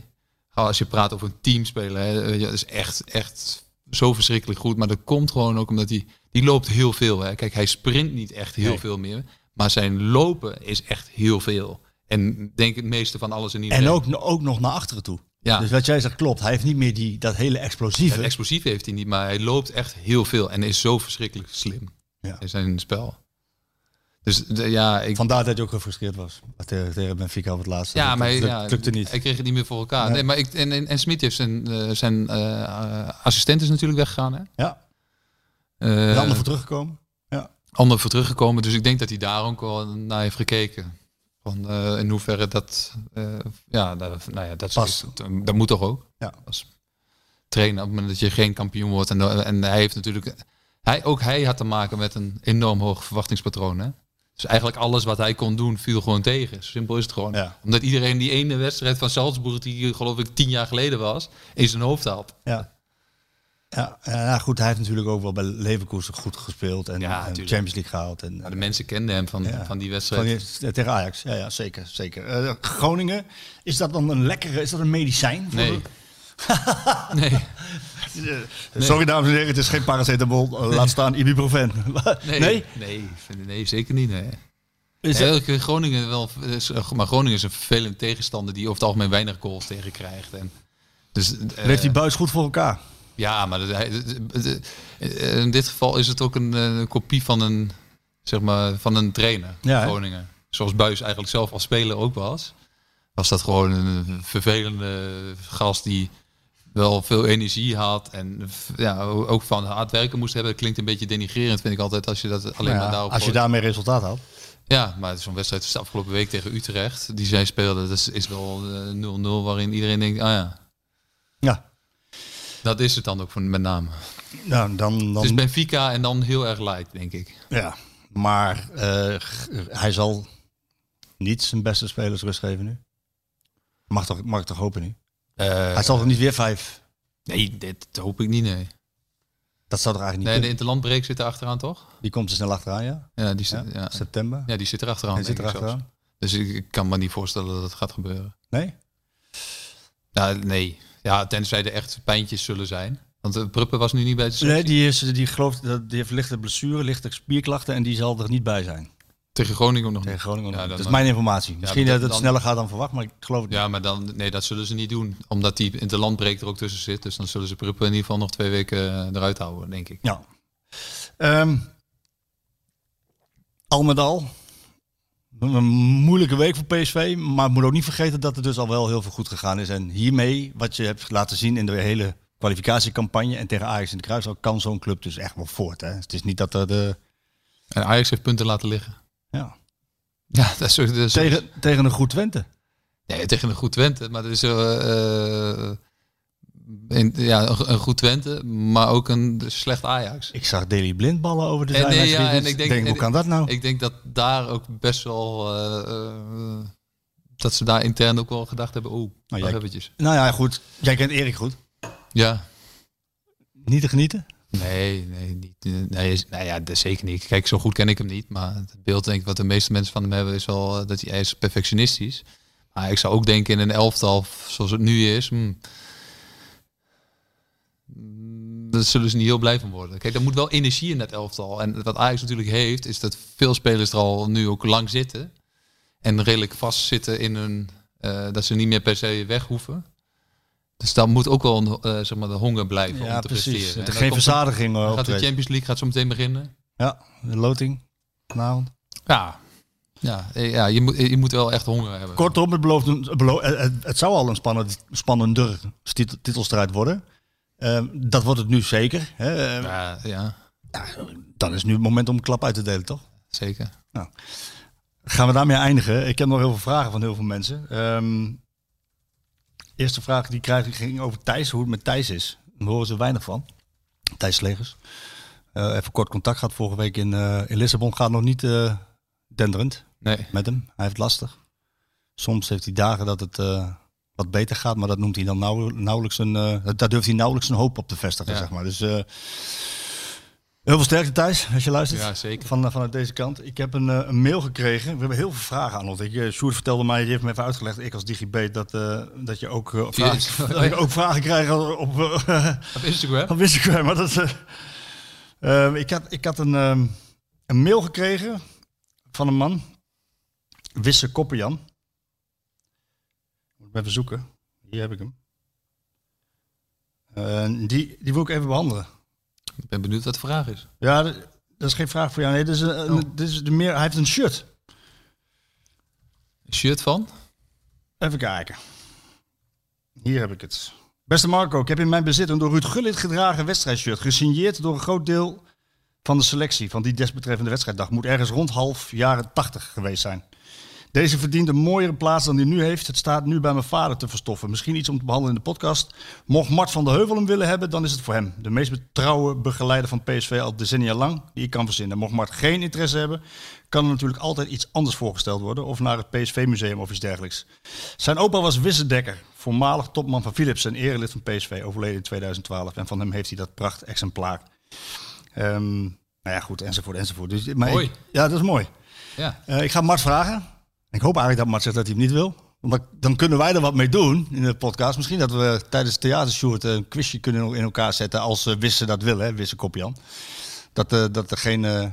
Speaker 5: Al Als je praat over een teamspeler, hè, weet je, dat is echt, echt zo verschrikkelijk goed. Maar dat komt gewoon ook omdat hij. Die loopt heel veel. Hè. Kijk, hij sprint niet echt heel
Speaker 4: Nee.
Speaker 5: veel meer. Maar zijn lopen is echt heel veel. En denk het meeste van alles en iedereen.
Speaker 4: En ook, ook nog naar achteren toe.
Speaker 5: Ja.
Speaker 4: Dus wat jij zegt klopt. Hij heeft niet meer die, dat hele
Speaker 5: Ja,
Speaker 4: explosieve.
Speaker 5: het explosief heeft hij niet, maar hij loopt echt heel veel en is zo verschrikkelijk slim
Speaker 4: Ja.
Speaker 5: in zijn spel. Dus de- ja, ik,
Speaker 4: Vandaar dat hij ook gefrustreerd was. Maar Tegen, tegen Benfica op het laatste.
Speaker 5: ja,
Speaker 4: dat,
Speaker 5: maar
Speaker 4: dat
Speaker 5: ja,
Speaker 4: lukte niet.
Speaker 5: Hij kreeg het niet meer voor elkaar.
Speaker 4: Nee.
Speaker 5: Nee, maar ik, en, en, en Smit heeft zijn, eh, zijn eh, assistent is natuurlijk weggegaan. Hè?
Speaker 4: Ja,
Speaker 5: Eh,
Speaker 4: de ander voor teruggekomen.
Speaker 5: ander voor teruggekomen. Dus ik denk dat hij daar ook wel naar heeft gekeken. Van, eh, in hoeverre dat, eh, ja, dat, nou ja, dat, is-
Speaker 4: Past.
Speaker 5: dat, dat moet toch ook.
Speaker 4: Ja.
Speaker 5: Als trainer, op het moment dat je geen kampioen wordt. En, dan- en hij heeft natuurlijk, hij, ook hij had te maken met een enorm hoog verwachtingspatroon. Hè? Dus eigenlijk alles wat hij kon doen viel gewoon tegen. Zo Simpel is het gewoon.
Speaker 4: Ja.
Speaker 5: Omdat iedereen die ene wedstrijd van Salzburg, die geloof ik tien jaar geleden was, in zijn hoofd had.
Speaker 4: Ja. Ja, eh, nou goed, hij heeft natuurlijk ook wel bij Leverkusen goed gespeeld en, en
Speaker 5: Ja, tuurlijk.
Speaker 4: Champions League gehaald. En,
Speaker 5: Maar de mensen kenden hem van,
Speaker 4: Ja.
Speaker 5: van die wedstrijd.
Speaker 4: Van die- eh, tegen Ajax, ja, ja zeker. zeker. Eh, Groningen, is dat dan een lekkere, is dat een medicijn? voor
Speaker 5: Nee.
Speaker 4: de-
Speaker 5: nee.
Speaker 4: Eh, Sorry dames en heren, het is geen paracetamol, eh, laat staan ibuprofen. nee?
Speaker 5: Nee, nee, nee, zeker niet. Nee.
Speaker 4: Is
Speaker 5: Nee,
Speaker 4: dat-
Speaker 5: ook, eh, Groningen wel, is- eh, maar Groningen is een vervelend tegenstander die over het algemeen weinig goals tegen krijgt. En, dus, eh,
Speaker 4: Leeft die buis goed voor elkaar?
Speaker 5: ja, maar dat- hij- dat- dat- eh, in dit geval is het ook een, eh, kopie van een, zeg maar, van een trainer.
Speaker 4: Ja, hè?
Speaker 5: Groningen. Zoals Buis eigenlijk zelf als speler ook was. Was dat gewoon een vervelende gast die wel veel energie had. En ja, ook van hard werken moest hebben. Dat klinkt een beetje denigrerend, vind ik altijd. Als je dat alleen
Speaker 4: Nou Ja,
Speaker 5: maar nou daarop
Speaker 4: als je
Speaker 5: gooit.
Speaker 4: daarmee resultaat haalt.
Speaker 5: Ja, maar zo'n wedstrijd is de afgelopen week tegen Utrecht. Die zij speelden, dat is, is wel eh, 0-0 waarin iedereen denkt, ah ja,
Speaker 4: Ja,
Speaker 5: dat is het dan ook van, met name.
Speaker 4: nou, dan... dan
Speaker 5: Het is Dus Benfica en dan heel erg light, denk ik.
Speaker 4: ja. Maar eh, g- hij zal niet zijn beste spelers rust geven nu. Mag, toch, mag ik toch hopen nu? hij zal toch niet weer vijf...
Speaker 5: Eh, Nee, dit hoop ik niet, nee.
Speaker 4: Dat zou toch eigenlijk niet
Speaker 5: Nee, de
Speaker 4: kunnen?
Speaker 5: interlandbreek zit er achteraan, toch?
Speaker 4: Die komt dus er snel achteraan, ja?
Speaker 5: Ja, die
Speaker 4: ja?
Speaker 5: zit, ja.
Speaker 4: September.
Speaker 5: Ja, die zit er achteraan.
Speaker 4: Hij zit
Speaker 5: denk ik zelfs.
Speaker 4: erachteraan.
Speaker 5: Dus ik, ik kan me niet voorstellen dat het gaat gebeuren.
Speaker 4: Nee?
Speaker 5: Ja, nee. Ja, tenzij er echt pijntjes zullen zijn. Want eh, Pruppen was nu niet bij de selectie.
Speaker 4: Nee, die, is, die, gelooft, dat- die heeft lichte blessure, lichte spierklachten en die zal er niet bij zijn.
Speaker 5: Tegen Groningen ook nog
Speaker 4: Tegen
Speaker 5: niet.
Speaker 4: Groningen.
Speaker 5: Ja,
Speaker 4: nog.
Speaker 5: dat
Speaker 4: dat is
Speaker 5: mag-
Speaker 4: mijn informatie. Misschien
Speaker 5: dat-
Speaker 4: dat het
Speaker 5: dan-
Speaker 4: sneller gaat dan verwacht, maar ik geloof het niet.
Speaker 5: Ja, maar dan, nee, dat zullen ze niet doen. Omdat die in de landbreek er ook tussen zit. Dus dan zullen ze Pruppen in ieder geval nog twee weken eh, eruit houden, denk ik.
Speaker 4: Ja. Ehm, al met al, een moeilijke week voor PSV. Maar moet ook niet vergeten dat er dus al wel heel veel goed gegaan is. En hiermee, wat je hebt laten zien in de hele kwalificatiecampagne en tegen Ajax in de Kruis, kan zo'n club dus echt wel voort. Hè? Dus het is niet dat er de...
Speaker 5: En Ajax heeft punten laten liggen.
Speaker 4: Ja.
Speaker 5: Ja, dat is, dat is-
Speaker 4: Tegen, tegen een goed Twente.
Speaker 5: Nee, tegen een goed Twente. Maar dat is eh, eh, in- ja, een een goed Twente, maar ook een slecht Ajax.
Speaker 4: Ik zag Daily Blind ballen over de
Speaker 5: En, nee,
Speaker 4: zijlijn.
Speaker 5: ja,
Speaker 4: schieten.
Speaker 5: en ik denk-
Speaker 4: hoe kan dat nou?
Speaker 5: Ik denk dat daar ook best wel... eh, eh, dat ze daar intern ook wel gedacht hebben, oh, wacht
Speaker 4: jij-
Speaker 5: eventjes.
Speaker 4: Nou ja, goed. Jij kent Erik goed.
Speaker 5: Ja,
Speaker 4: Niet te genieten?
Speaker 5: Nee, nee, niet, eh, nee, is- nou ja, dat zeker niet. Kijk, zo goed ken ik hem niet. Maar het beeld denk ik wat de meeste mensen van hem hebben is wel eh, dat hij, hij is perfectionistisch. Maar ik zou ook denken in een elftal f- zoals het nu is. hmm, mm, Daar zullen ze niet heel blij van worden. Kijk, er moet wel energie in dat elftal. En wat Ajax natuurlijk heeft, is dat veel spelers er al nu ook lang zitten. En redelijk vastzitten in hun... eh, dat ze niet meer per se weg hoeven. Dus daar moet ook wel een, eh, zeg maar de honger blijven om te presteren. En
Speaker 4: Het
Speaker 5: dan
Speaker 4: is
Speaker 5: komt
Speaker 4: geen
Speaker 5: er-
Speaker 4: verzadiging hoor.
Speaker 5: dan
Speaker 4: op
Speaker 5: gaat de
Speaker 4: Twente.
Speaker 5: Champions League gaat zo meteen beginnen.
Speaker 4: Ja, de loting. Vanavond.
Speaker 5: Ja. Ja, eh, ja je, moet, je moet wel echt honger hebben.
Speaker 4: Kortom, het, belooft een- het belo- eh, het, het zou al een spannend, spannender titel- titelstrijd worden. Ehm, dat wordt het nu zeker. Hè? Ehm,
Speaker 5: Ja, ja,
Speaker 4: Dan is nu het moment om een klap uit te delen, toch?
Speaker 5: zeker.
Speaker 4: Gaan we daarmee eindigen? Ik heb nog heel veel vragen van heel veel mensen. Ehm, eerste vraag die ik krijg die ging over Thijs, hoe het met Thijs is. Daar horen ze weinig van. Thijs Slegers. Eh, even kort contact gehad vorige week in, eh, in Lissabon. Gaat nog niet eh, denderend
Speaker 5: Nee.
Speaker 4: met hem. Hij heeft het lastig. Soms heeft hij dagen dat het eh, wat beter gaat, maar dat noemt hij dan nauw- nauwelijks een. eh, daar durft hij nauwelijks een hoop op te vestigen,
Speaker 5: Ja.
Speaker 4: zeg maar. Dus eh, heel veel sterkte thuis, als je luistert.
Speaker 5: Ja, zeker.
Speaker 4: Van, eh, vanuit deze kant. Ik heb een, eh, een mail gekregen. We hebben heel veel vragen aan ons. Ik, eh, Sjoerd vertelde mij, die heeft me even uitgelegd, ik als DigiB, dat, eh, dat je ook, eh,
Speaker 5: Via
Speaker 4: vragen,
Speaker 5: Instagram.
Speaker 4: dat ik ook vragen krijgt op, eh,
Speaker 5: Op Instagram?
Speaker 4: op Instagram. Maar dat, is, eh, eh, ik had, ik had een, ehm, een mail gekregen van een man. Wisse Koppenjan. Moet ik even zoeken. Hier heb ik hem. Eh, die, die wil ik even behandelen.
Speaker 5: Ik ben benieuwd wat de vraag is.
Speaker 4: Ja, d- dat is geen vraag voor jou. Nee, dit is een, een- dit is de meer, hij heeft een shirt.
Speaker 5: Een shirt van?
Speaker 4: Even kijken. Hier heb ik het. Beste Marco, ik heb in mijn bezit een door Ruud Gullit gedragen wedstrijdshirt. Gesigneerd door een groot deel van de selectie van die desbetreffende wedstrijddag. Moet ergens rond half jaren 80 geweest zijn. Deze verdient een mooiere plaats dan die nu heeft. Het staat nu bij mijn vader te verstoffen. Misschien iets om te behandelen in de podcast. Mocht Mart van der Heuvel hem willen hebben, dan is het voor hem. De meest betrouwe begeleider van PSV al decennia lang, die ik kan verzinnen. Mocht Mart geen interesse hebben, kan er natuurlijk altijd iets anders voorgesteld worden. Of naar het PSV-museum of iets dergelijks. Zijn opa was Wissedekker, voormalig topman van Philips en erelid van PSV, overleden in 2012. En van hem heeft hij dat pracht-exemplaar. Ehm, nou ja, goed, enzovoort, enzovoort. Dus, maar
Speaker 5: Mooi.
Speaker 4: ik- ja, dat is mooi.
Speaker 5: Ja.
Speaker 4: Eh, ik ga Mart vragen. Ik hoop eigenlijk dat Mart zegt dat hij hem niet wil. Want dan- dan kunnen wij er wat mee doen in de podcast. Misschien dat we tijdens het theatershoot een quizje kunnen in elkaar zetten. Als eh Wisse dat wil, hè, Wisse Kopjan. Dat, eh, dat degene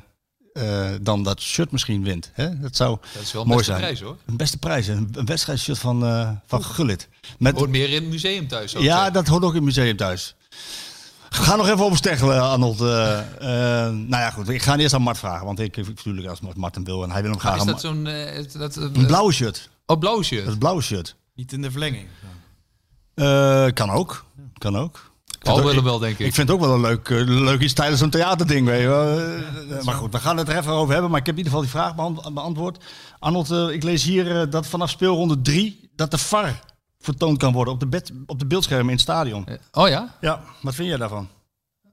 Speaker 4: eh, dan dat shirt misschien wint. Hè? Dat zou
Speaker 5: Dat is wel een
Speaker 4: mooi
Speaker 5: beste
Speaker 4: zijn.
Speaker 5: prijs, hoor.
Speaker 4: Een beste prijs. Een, een wedstrijdshirt van, eh, van Gullit. Met,
Speaker 5: Hoort meer in het museum thuis. zou ik
Speaker 4: ja,
Speaker 5: zeggen.
Speaker 4: dat hoort ook in het museum thuis. Ga nog even opsteggelen, Arnold. Eh, eh, nou ja, goed. Ik ga eerst aan Mart vragen. Want ik, ik- natuurlijk, als Mart hem wil en hij wil hem graag.
Speaker 5: Is
Speaker 4: aan
Speaker 5: dat
Speaker 4: Mart-
Speaker 5: zo'n... eh, dat, eh,
Speaker 4: Een blauwe shirt.
Speaker 5: Oh, blauw
Speaker 4: Dat
Speaker 5: shirt.
Speaker 4: is blauwe shirt.
Speaker 1: Niet in de verlenging.
Speaker 4: Eh, kan ook. Kan ook.
Speaker 5: Paul
Speaker 4: dat-
Speaker 5: wil hem wel, denk
Speaker 4: Ik
Speaker 5: ik.
Speaker 4: vind het ook wel een leuk, eh, leuk iets tijdens zo'n theaterding. Weet je wel. Eh, maar goed, we gaan het er even over hebben. Maar ik heb in ieder geval die vraag beant- beantwoord. Arnold, eh, ik lees hier eh, dat vanaf speelronde 3 dat de VAR vertoond kan worden op de, bed, op de beeldschermen in het stadion.
Speaker 5: Oh ja?
Speaker 4: Ja, wat vind jij daarvan?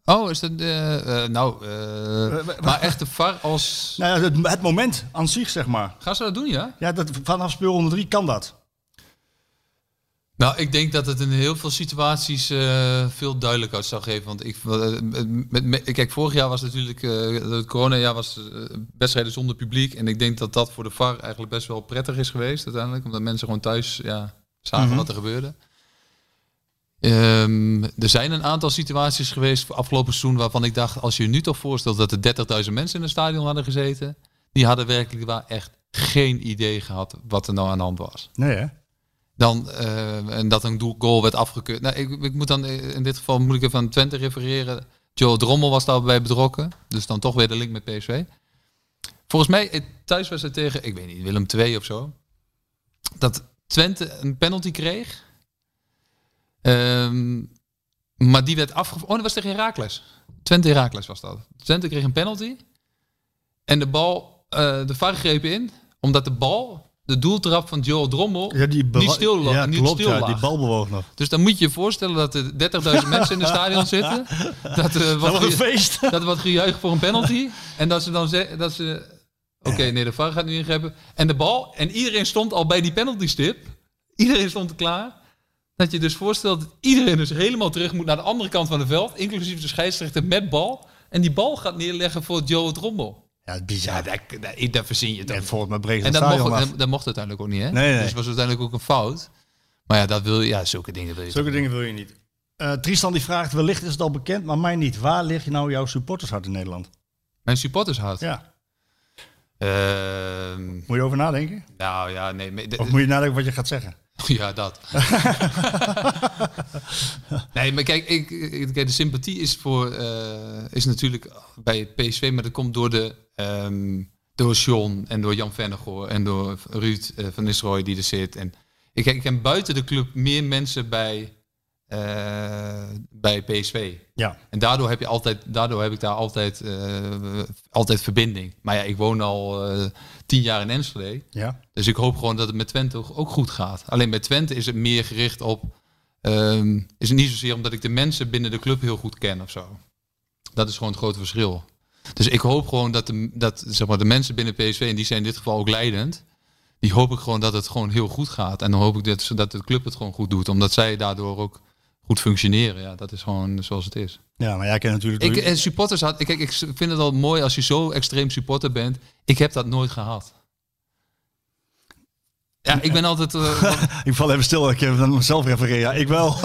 Speaker 5: Oh, is dat... eh, eh, nou, eh,
Speaker 4: Eh, wa-
Speaker 5: maar echt de var als...
Speaker 4: Nou ja, het, het moment aan zich, zeg maar.
Speaker 5: Gaan ze dat doen, ja?
Speaker 4: Ja, dat, vanaf speelronde 3 kan dat.
Speaker 5: Nou, ik denk dat het in heel veel situaties eh, veel duidelijkheid zou geven. Want ik, eh, met, met- kijk, vorig jaar was natuurlijk, eh, het coronajaar was eh, wedstrijden zonder publiek. En ik denk dat dat voor de VAR eigenlijk best wel prettig is geweest uiteindelijk. Omdat mensen gewoon thuis ja, zagen wat er gebeurde. Ehm, er zijn een aantal situaties geweest afgelopen seizoen waarvan ik dacht, als je je nu toch voorstelt dat er 30.000 mensen in een stadion hadden gezeten. Die hadden werkelijk waar echt geen idee gehad wat er nou aan de hand was.
Speaker 4: Nee, hè?
Speaker 5: Dan, eh, en dat een doel- goal werd afgekeurd. Nou, ik, ik moet dan, eh, in dit geval moet ik even aan Twente refereren. Joe Drommel was daarbij betrokken. Dus dan toch weer de link met PSV. Volgens mij eh, thuis was het tegen, ik weet niet, Willem II of zo. Dat Twente een penalty kreeg. Ehm, maar die werd afgevoerd. Oh, dat was tegen Herakles. Twente Herakles was dat. Twente kreeg een penalty. En de bal, eh, de VAR greep in. Omdat de bal, de doeltrap van Joe Drommel,
Speaker 4: Ja, die bewa-
Speaker 5: niet stil lag.
Speaker 4: Ja,
Speaker 5: niet
Speaker 4: klopt,
Speaker 5: stil
Speaker 4: ja,
Speaker 5: lag.
Speaker 4: die bal bewoog nog.
Speaker 5: Dus dan moet je je voorstellen dat er 30.000 mensen in het stadion zitten. Dat, er
Speaker 4: Dat
Speaker 5: wat
Speaker 4: was een
Speaker 5: ge-
Speaker 4: feest.
Speaker 5: dat er wat gejuich voor een penalty. En dat ze dan zeggen dat ze. Oké, nee, de VAR gaat nu ingrijpen. En de bal. En iedereen stond al bij die penaltystip. Iedereen stond er klaar. Dat je dus voorstelt dat iedereen dus helemaal terug moet naar de andere kant van het veld. Inclusief de scheidsrechter met bal. En die bal gaat neerleggen voor Joe Trommel.
Speaker 4: Ja, bizar.
Speaker 5: Daar, daar, daar verzin je toch
Speaker 4: en volgens mij breekt
Speaker 5: en
Speaker 4: het
Speaker 5: dat mocht,
Speaker 4: stadion af.
Speaker 5: dat- dat mocht uiteindelijk ook niet, hè?
Speaker 4: Nee, nee.
Speaker 5: Dus het was uiteindelijk ook een fout. Maar ja, dat wil, je- ja zulke dingen wil je
Speaker 4: Zulke dingen wil je niet. Eh, Tristan die vraagt, wellicht is het al bekend, maar mij niet. Waar ligt nou jouw supportershart in Nederland?
Speaker 5: Mijn supporters houdt.
Speaker 4: Ja.
Speaker 5: Ehm,
Speaker 4: Moet je over nadenken?
Speaker 5: nou ja, nee. maar de-
Speaker 4: Of moet je nadenken wat je gaat zeggen?
Speaker 5: Ja, dat. nee, maar kijk, ik, ik- kijk, de sympathie is, voor, eh, is natuurlijk bij het PSV, maar dat komt door, de, ehm, door Sean en door Jan Vennegoor en door Ruud eh, van Nistelrooy die er zit. En ik, kijk, ik ken buiten de club meer mensen bij, eh, bij PSV.
Speaker 4: Ja.
Speaker 5: En daardoor heb, je altijd, daardoor heb ik daar altijd, eh, altijd verbinding. Maar ja, ik woon al eh, tien jaar in Enschede.
Speaker 4: Ja.
Speaker 5: Dus ik hoop gewoon dat het met Twente ook- ook goed gaat. Alleen bij Twente is het meer gericht op. ehm, is het niet zozeer omdat ik de mensen binnen de club heel goed ken of zo. Dat is gewoon het grote verschil. Dus ik hoop gewoon dat de, dat, zeg maar, de mensen binnen PSV, en die zijn in dit geval ook leidend. Die hoop ik gewoon dat het gewoon heel goed gaat. En dan hoop ik dat, ze- dat de club het gewoon goed doet. Omdat zij daardoor ook goed functioneren. Ja, dat is gewoon zoals het is.
Speaker 4: Ja, maar jij kent natuurlijk...
Speaker 5: Ik, en supporters had, kijk, ik vind het al mooi als je zo extreem supporter bent. Ik heb dat nooit gehad. Ja, ik ben altijd. eh,
Speaker 4: Ik val even stil, ik heb dan zelf refereren. Ja, ik wel.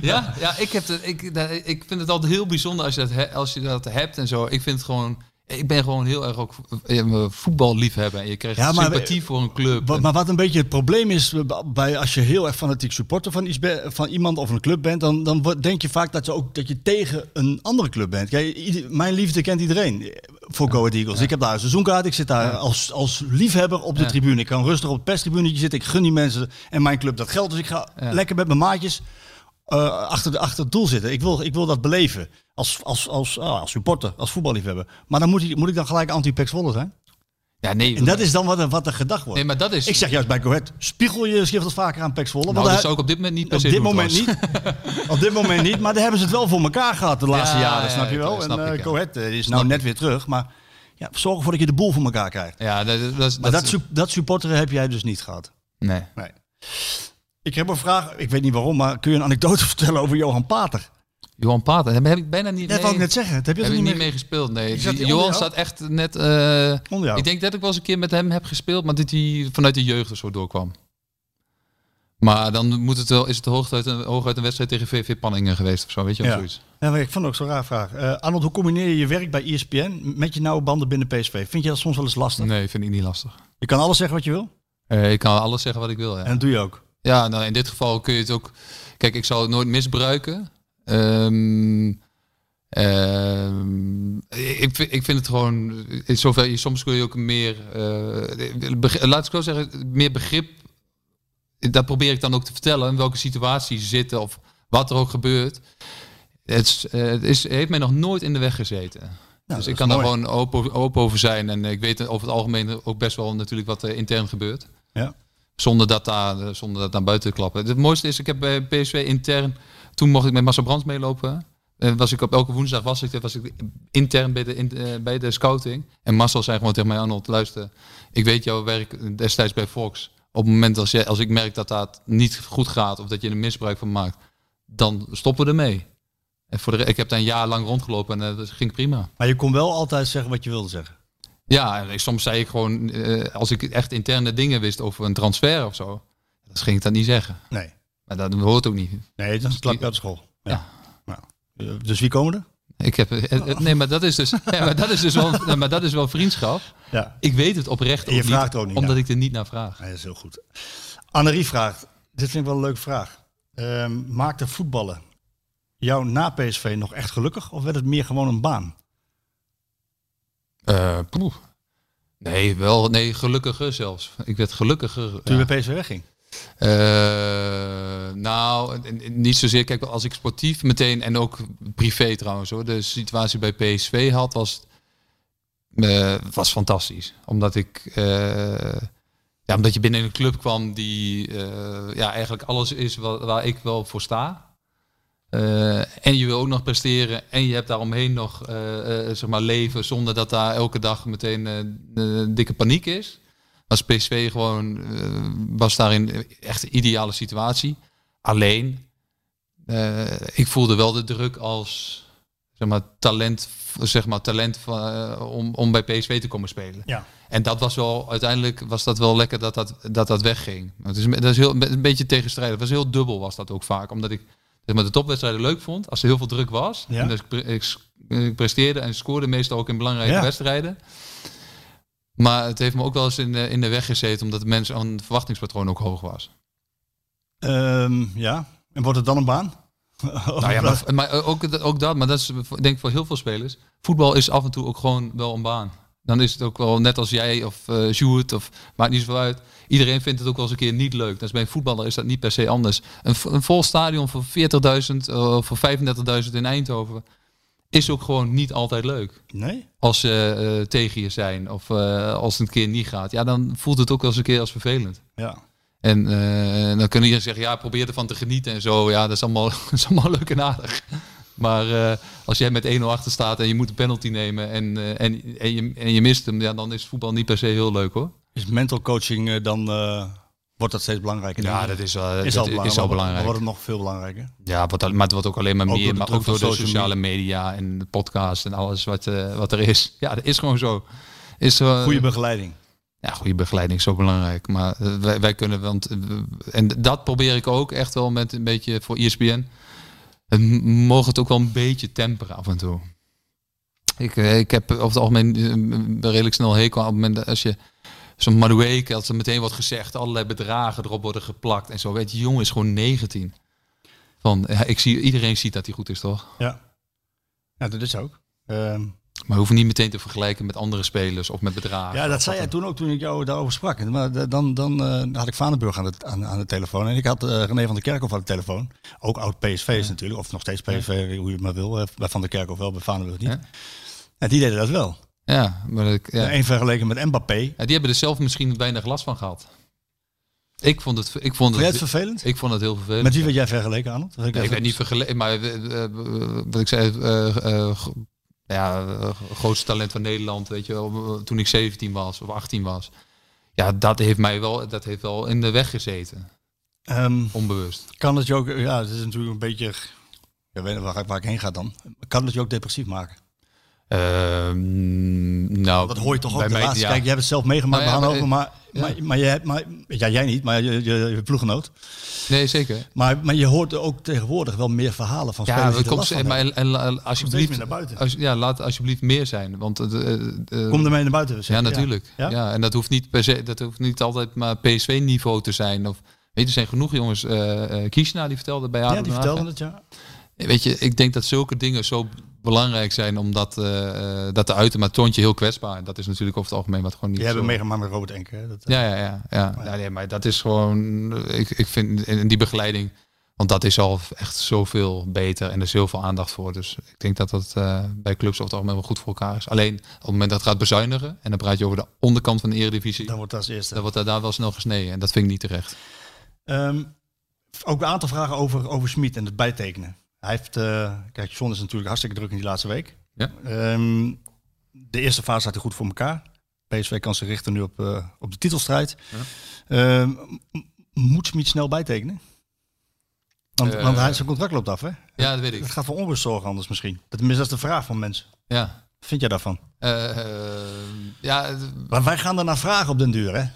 Speaker 5: ja, ja ik, heb dat, ik, dat- ik vind het altijd heel bijzonder als je, dat he- als je dat hebt en zo. Ik vind het gewoon. Ik ben gewoon heel erg ook eh, voetballiefhebber. En je krijgt
Speaker 4: Ja, maar-
Speaker 5: sympathie voor een club.
Speaker 4: Wat- maar wat een beetje het probleem is eh, bij als je heel erg fanatiek supporter van, iets be- van iemand of een club bent, dan, dan wordt- denk je vaak dat je ook dat je tegen een andere club bent. Kijk, ieder- mijn liefde kent iedereen eh, voor Go Ahead Eagles. Ik heb daar een seizoenkaart, ik zit daar als, als liefhebber op de
Speaker 5: Ja.
Speaker 4: tribune. Ik kan rustig op het perstribunetje zitten, ik gun die mensen en mijn club dat geld. Dus ik ga
Speaker 5: Ja.
Speaker 4: lekker met mijn maatjes eh, achter, de, achter het doel zitten. Ik wil, ik wil dat beleven als, als, als, ah, als supporter, als voetballiefhebber. Maar dan moet, ik- moet ik dan gelijk anti-Pex Wolle zijn?
Speaker 5: ja, nee,
Speaker 4: En dat is dan wat er, wat er gedacht wordt.
Speaker 5: nee, maar dat is.
Speaker 4: Ik zeg juist bij Go Ahead, spiegel je schift vaker aan Pek Zwolle.
Speaker 5: nou,
Speaker 4: want
Speaker 5: dat
Speaker 4: daar-
Speaker 5: zou ik op dit moment niet per
Speaker 4: op
Speaker 5: se
Speaker 4: dit
Speaker 5: doen,
Speaker 4: moment
Speaker 5: trouwens.
Speaker 4: niet. op dit moment niet, maar daar hebben ze het wel voor elkaar gehad de laatste
Speaker 5: Ja,
Speaker 4: jaren,
Speaker 5: ja,
Speaker 4: snap je
Speaker 5: ja,
Speaker 4: wel?
Speaker 5: ja, snap
Speaker 4: en eh,
Speaker 5: ik, ja.
Speaker 4: Go Ahead eh, die is nou net weer terug, maar ja, zorg ervoor dat je de boel voor elkaar krijgt.
Speaker 5: Ja, dat, dat, dat,
Speaker 4: Maar dat, su- dat supporteren heb jij dus niet gehad.
Speaker 5: Nee.
Speaker 4: Nee. Ik heb een vraag, ik weet niet waarom, maar kun je een anekdote vertellen over Johan Pater?
Speaker 5: Johan Pater, dat heb ik bijna niet.
Speaker 4: Dat
Speaker 5: nee.
Speaker 4: wou ik net zeggen, dat heb je
Speaker 5: Heb
Speaker 4: toch
Speaker 5: ik
Speaker 4: niet
Speaker 5: niet
Speaker 4: meer...
Speaker 5: mee gespeeld, nee.
Speaker 4: Die zat
Speaker 5: Die-
Speaker 4: hier onder
Speaker 5: Johan
Speaker 4: jou?
Speaker 5: staat echt net... eh,
Speaker 4: Onder jou.
Speaker 5: ik denk dat ik wel eens een keer met hem heb gespeeld, maar dat hij vanuit de jeugd of zo doorkwam. Maar dan moet het wel, is het hooguit een, hooguit een wedstrijd tegen VV Panningen geweest of zo, weet je wel,
Speaker 4: Ja.
Speaker 5: zoiets.
Speaker 4: Ja, maar ik vond het ook zo'n raar vraag. Eh, Arnold, hoe combineer je je werk bij E ESPN met je nauwe banden binnen PSV? Vind je dat soms wel eens lastig?
Speaker 5: Nee, vind ik niet lastig.
Speaker 4: Je kan alles zeggen wat je wil
Speaker 5: Eh, ik kan alles zeggen wat ik wil, ja.
Speaker 4: en dat doe je ook.
Speaker 5: Ja, nou in dit geval kun je het ook. Kijk, ik zal het nooit misbruiken. Ehm, ehm, ik, vind- ik vind het gewoon. In zoverre, je- soms kun je ook meer. eh, beg- laat ik zo zeggen, meer begrip. Dat probeer ik dan ook te vertellen. In welke situatie ze zitten of wat er ook gebeurt. Het, is- eh, het is, heeft mij nog nooit in de weg gezeten.
Speaker 4: Nou, dat
Speaker 5: dus
Speaker 4: is
Speaker 5: ik kan daar
Speaker 4: mooi.
Speaker 5: gewoon open, open over zijn. En ik weet over het algemeen ook best wel natuurlijk wat er intern gebeurt.
Speaker 4: Ja.
Speaker 5: Zonder dat, daar, eh, zonder dat naar buiten te klappen. Het mooiste is, ik heb eh, bij PSV intern... Toen mocht ik met Massa Brands meelopen. Eh, was ik op elke woensdag was ik, er, was ik intern bij de, in- eh, bij de scouting. En Marcel zei gewoon tegen mij, Arnold, luister. Ik weet jouw werk destijds bij Fox. op het moment als, jij, als ik merk dat dat niet goed gaat of dat je er misbruik van maakt, dan stoppen we ermee. En voor de, re- ik heb daar een jaar lang rondgelopen en eh, dat ging prima.
Speaker 4: Maar je kon wel altijd zeggen wat je wilde zeggen.
Speaker 5: Ja, en ik- soms zei ik gewoon, eh, als ik echt interne dingen wist over een transfer of zo, dan ging ik dat niet zeggen.
Speaker 4: Nee.
Speaker 5: Maar dat hoort ook niet.
Speaker 4: Nee, dan klap je uit school.
Speaker 5: Ja.
Speaker 4: Nou, eh, Dus wie komen er?
Speaker 5: Ik heb, eh, eh, nee, maar dat is dus, ja, maar dat is dus wel, nee, maar dat is wel vriendschap.
Speaker 4: Ja.
Speaker 5: Ik weet het oprecht
Speaker 4: En je
Speaker 5: ook niet,
Speaker 4: vraagt ook niet
Speaker 5: omdat
Speaker 4: naar.
Speaker 5: ik er niet naar vraag.
Speaker 4: Dat is heel goed. Annerie vraagt, dit vind ik wel een leuke vraag. Ehm maakte voetballen jou na PSV nog echt gelukkig? Of werd het meer gewoon een baan?
Speaker 5: Eh, poeh. nee, wel, nee, gelukkiger zelfs. Ik werd gelukkiger. ja.
Speaker 4: Toen je bij PSV wegging?
Speaker 5: Eh, nou, en- en niet zozeer. Kijk, als ik sportief meteen en ook privé trouwens hoor, de situatie bij PSV had, was, eh, was fantastisch. Omdat ik. eh, ja, omdat je binnen een club kwam die eh, ja, eigenlijk alles is wa- waar ik wel voor sta. Eh, en je wil ook nog presteren en je hebt daaromheen nog eh, eh, zeg maar leven zonder dat daar elke dag meteen eh, eh, dikke paniek is was PSV gewoon eh, was daarin echt een ideale situatie. Alleen, eh, ik voelde wel de druk als zeg maar, talent, zeg maar, talent van, eh, om, om bij PSV te komen spelen.
Speaker 4: Ja.
Speaker 5: En dat was wel, uiteindelijk was dat wel lekker dat dat, dat, dat wegging. Maar Het is, dat is heel, een beetje tegenstrijdig. Het was heel dubbel was dat ook vaak. Omdat ik zeg maar, de topwedstrijden leuk vond. Als er heel veel druk was.
Speaker 4: Ja.
Speaker 5: En dus ik, pre- ik, s- ik presteerde en scoorde meestal ook in belangrijke
Speaker 4: Ja.
Speaker 5: wedstrijden. Maar het heeft me ook wel eens in de, in de weg gezeten. Omdat de mensen aan het verwachtingspatroon ook hoog was.
Speaker 4: Ehm, ja. En wordt het dan een baan?
Speaker 5: Nou ja, maar, maar ook, dat- ook dat, maar dat is voor- denk ik voor heel veel spelers. Voetbal is af en toe ook gewoon wel een baan. Dan is het ook wel net als jij of eh Sjoerd of maakt niet zoveel uit. Iedereen vindt het ook wel eens een keer niet leuk. Dus bij een voetballer is dat niet per se anders. Een, vo- een vol stadion voor 40.000 eh, of voor 35.000 in Eindhoven is ook gewoon niet altijd leuk.
Speaker 4: Nee?
Speaker 5: Als ze eh, tegen je zijn of eh, als het een keer niet gaat. Ja, dan voelt het ook wel eens een keer als vervelend.
Speaker 4: Ja.
Speaker 5: En eh, dan kunnen iedereen zeggen, ja, probeer ervan te genieten en zo. Ja, dat is allemaal, dat is allemaal leuk en aardig. Maar eh, als jij met 1-0 achter staat en je moet een penalty nemen en, eh, en, en, je, en je mist hem, ja, dan is voetbal niet per se heel leuk hoor.
Speaker 4: Is mental coaching eh, dan... eh, wordt dat steeds belangrijker?
Speaker 5: Ja, dat is, wel eh,
Speaker 4: is
Speaker 5: dat
Speaker 4: al belangrijk.
Speaker 5: is al
Speaker 4: Dan
Speaker 5: belangrijk.
Speaker 4: wordt het nog veel belangrijker.
Speaker 5: Ja, wat, al- maar het wordt ook alleen maar
Speaker 4: Ook door
Speaker 5: meer,
Speaker 4: de
Speaker 5: maar
Speaker 4: druk
Speaker 5: ook door
Speaker 4: van
Speaker 5: de
Speaker 4: social
Speaker 5: sociale media en de podcast en alles wat, eh, wat er is. Ja, dat is gewoon zo. Is, eh,
Speaker 4: Goede begeleiding.
Speaker 5: Ja, goede begeleiding is zo belangrijk. Maar eh, wij, wij kunnen, want eh, en dat probeer ik ook echt wel met een beetje voor E ESPN. Het m- mogen het ook wel een beetje temperen af en toe. Ik, eh, ik heb over het algemeen eh, een redelijk snel hekel aan op het moment dat als je zo'n Madueke, als er meteen wordt gezegd, allerlei bedragen erop worden geplakt en zo. Weet je, die jongen is gewoon 19. Van, ja, ik zie, iedereen ziet dat hij goed is, toch?
Speaker 4: Ja. Ja, dat is ook. Ehm,
Speaker 5: Maar we hoeven niet meteen te vergelijken met andere spelers of met bedragen.
Speaker 4: Ja, dat zei jij toen ook toen ik jou daarover sprak. Maar da- dan, dan eh, had ik Vanenburg aan de, aan, aan de telefoon. En ik had eh, René van der Kerkhoff aan de telefoon. Ook oud PSV is natuurlijk. Of nog steeds PSV, hoe je het maar wil. Eh, Bij Van der Kerkhoff wel, bij Vanenburg niet.
Speaker 5: Ja.
Speaker 4: En die deden dat wel.
Speaker 5: Ja, maar ik, ja.
Speaker 4: Eén vergeleken met Mbappé.
Speaker 5: Ja, die hebben er zelf misschien weinig last van gehad. Ik vond het, ik vond
Speaker 4: Vond jij het
Speaker 5: het,
Speaker 4: vervelend?
Speaker 5: ik vond het heel vervelend.
Speaker 4: Met wie werd jij vergeleken, Arnold? Dat
Speaker 5: Nee, ik
Speaker 4: even-
Speaker 5: ben niet vergeleken, maar eh, eh, wat ik zei, eh, eh, gro- ja, eh, grootste talent van Nederland, weet je wel, eh, toen ik 17 was of 18 was. Ja, dat heeft mij wel, dat heeft wel in de weg gezeten,
Speaker 4: Ehm,
Speaker 5: onbewust.
Speaker 4: kan het je ook... Ja, het is natuurlijk een beetje... Ik weet niet waar, ik- waar ik heen ga dan. Kan het je ook depressief maken?
Speaker 5: Ehm, nou,
Speaker 4: Dat hoor je toch ook
Speaker 5: bij
Speaker 4: de
Speaker 5: mij-
Speaker 4: laatste.
Speaker 5: ja.
Speaker 4: Kijk, jij hebt het zelf meegemaakt
Speaker 5: Nou ja,
Speaker 4: bij Hannover.
Speaker 5: maar-
Speaker 4: Maar,
Speaker 5: ja.
Speaker 4: maar, maar, jij, maar ja, jij niet, maar je, je, je ploeggenoot.
Speaker 5: Nee, zeker.
Speaker 4: Maar, maar je hoort ook tegenwoordig wel meer verhalen van
Speaker 5: Ja,
Speaker 4: spelers die
Speaker 5: dat
Speaker 4: er
Speaker 5: komt
Speaker 4: last van
Speaker 5: en, maar,
Speaker 4: hebben.
Speaker 5: en, en alsjeblieft,
Speaker 4: meer naar buiten.
Speaker 5: als, ja, laat alsjeblieft meer zijn, want het, eh, eh,
Speaker 4: Kom ermee naar buiten. we
Speaker 5: Ja,
Speaker 4: zeggen.
Speaker 5: natuurlijk.
Speaker 4: Ja?
Speaker 5: Ja? en dat hoeft niet per se, dat hoeft niet altijd maar PSV-niveau te zijn. Of, weet je, er zijn genoeg jongens. eh eh Kishna die vertelde bij
Speaker 4: Ja,
Speaker 5: Adem.
Speaker 4: die
Speaker 5: Den Haag,
Speaker 4: vertelden het, ja.
Speaker 5: hè. Weet je, ik denk dat zulke dingen zo belangrijk zijn om dat, eh, eh, dat te uiten. Maar Tontje heel kwetsbaar. En dat is natuurlijk over het algemeen wat gewoon niet.
Speaker 4: Die hebben
Speaker 5: zo-
Speaker 4: meegemaakt met Robert Enke. hè. Dat, eh,
Speaker 5: Ja, ja, ja. ja. Nou, nee, maar dat is gewoon. Ik, ik vind en die begeleiding. Want dat is al echt zoveel beter en er is heel veel aandacht voor. Dus ik denk dat dat eh, bij clubs over het algemeen wel goed voor elkaar is. Alleen op het moment dat het gaat bezuinigen, en dan praat je over de onderkant van de eredivisie,
Speaker 4: Dan wordt dat als eerste.
Speaker 5: dan wordt daar, daar wel snel gesneden. En dat vind ik niet terecht.
Speaker 4: Ehm, ook een aantal vragen over, over Schmid en het bijtekenen. Hij heeft, eh, kijk, John is natuurlijk hartstikke druk in die laatste week.
Speaker 5: Ja.
Speaker 4: Ehm, de eerste fase had hij goed voor elkaar. PSV kan zich richten nu op, eh, op de titelstrijd. Eh, m- moet Smit snel bijtekenen? Want,
Speaker 5: Eh,
Speaker 4: want hij, zijn contract loopt af, hè?
Speaker 5: Ja, dat weet
Speaker 4: Het
Speaker 5: ik.
Speaker 4: gaat voor onrust zorgen anders misschien. Dat, tenminste, dat is de vraag van mensen.
Speaker 5: Ja.
Speaker 4: Wat vind jij daarvan?
Speaker 5: Eh, eh, ja, het-
Speaker 4: Maar wij gaan daarna vragen op den duur, hè? E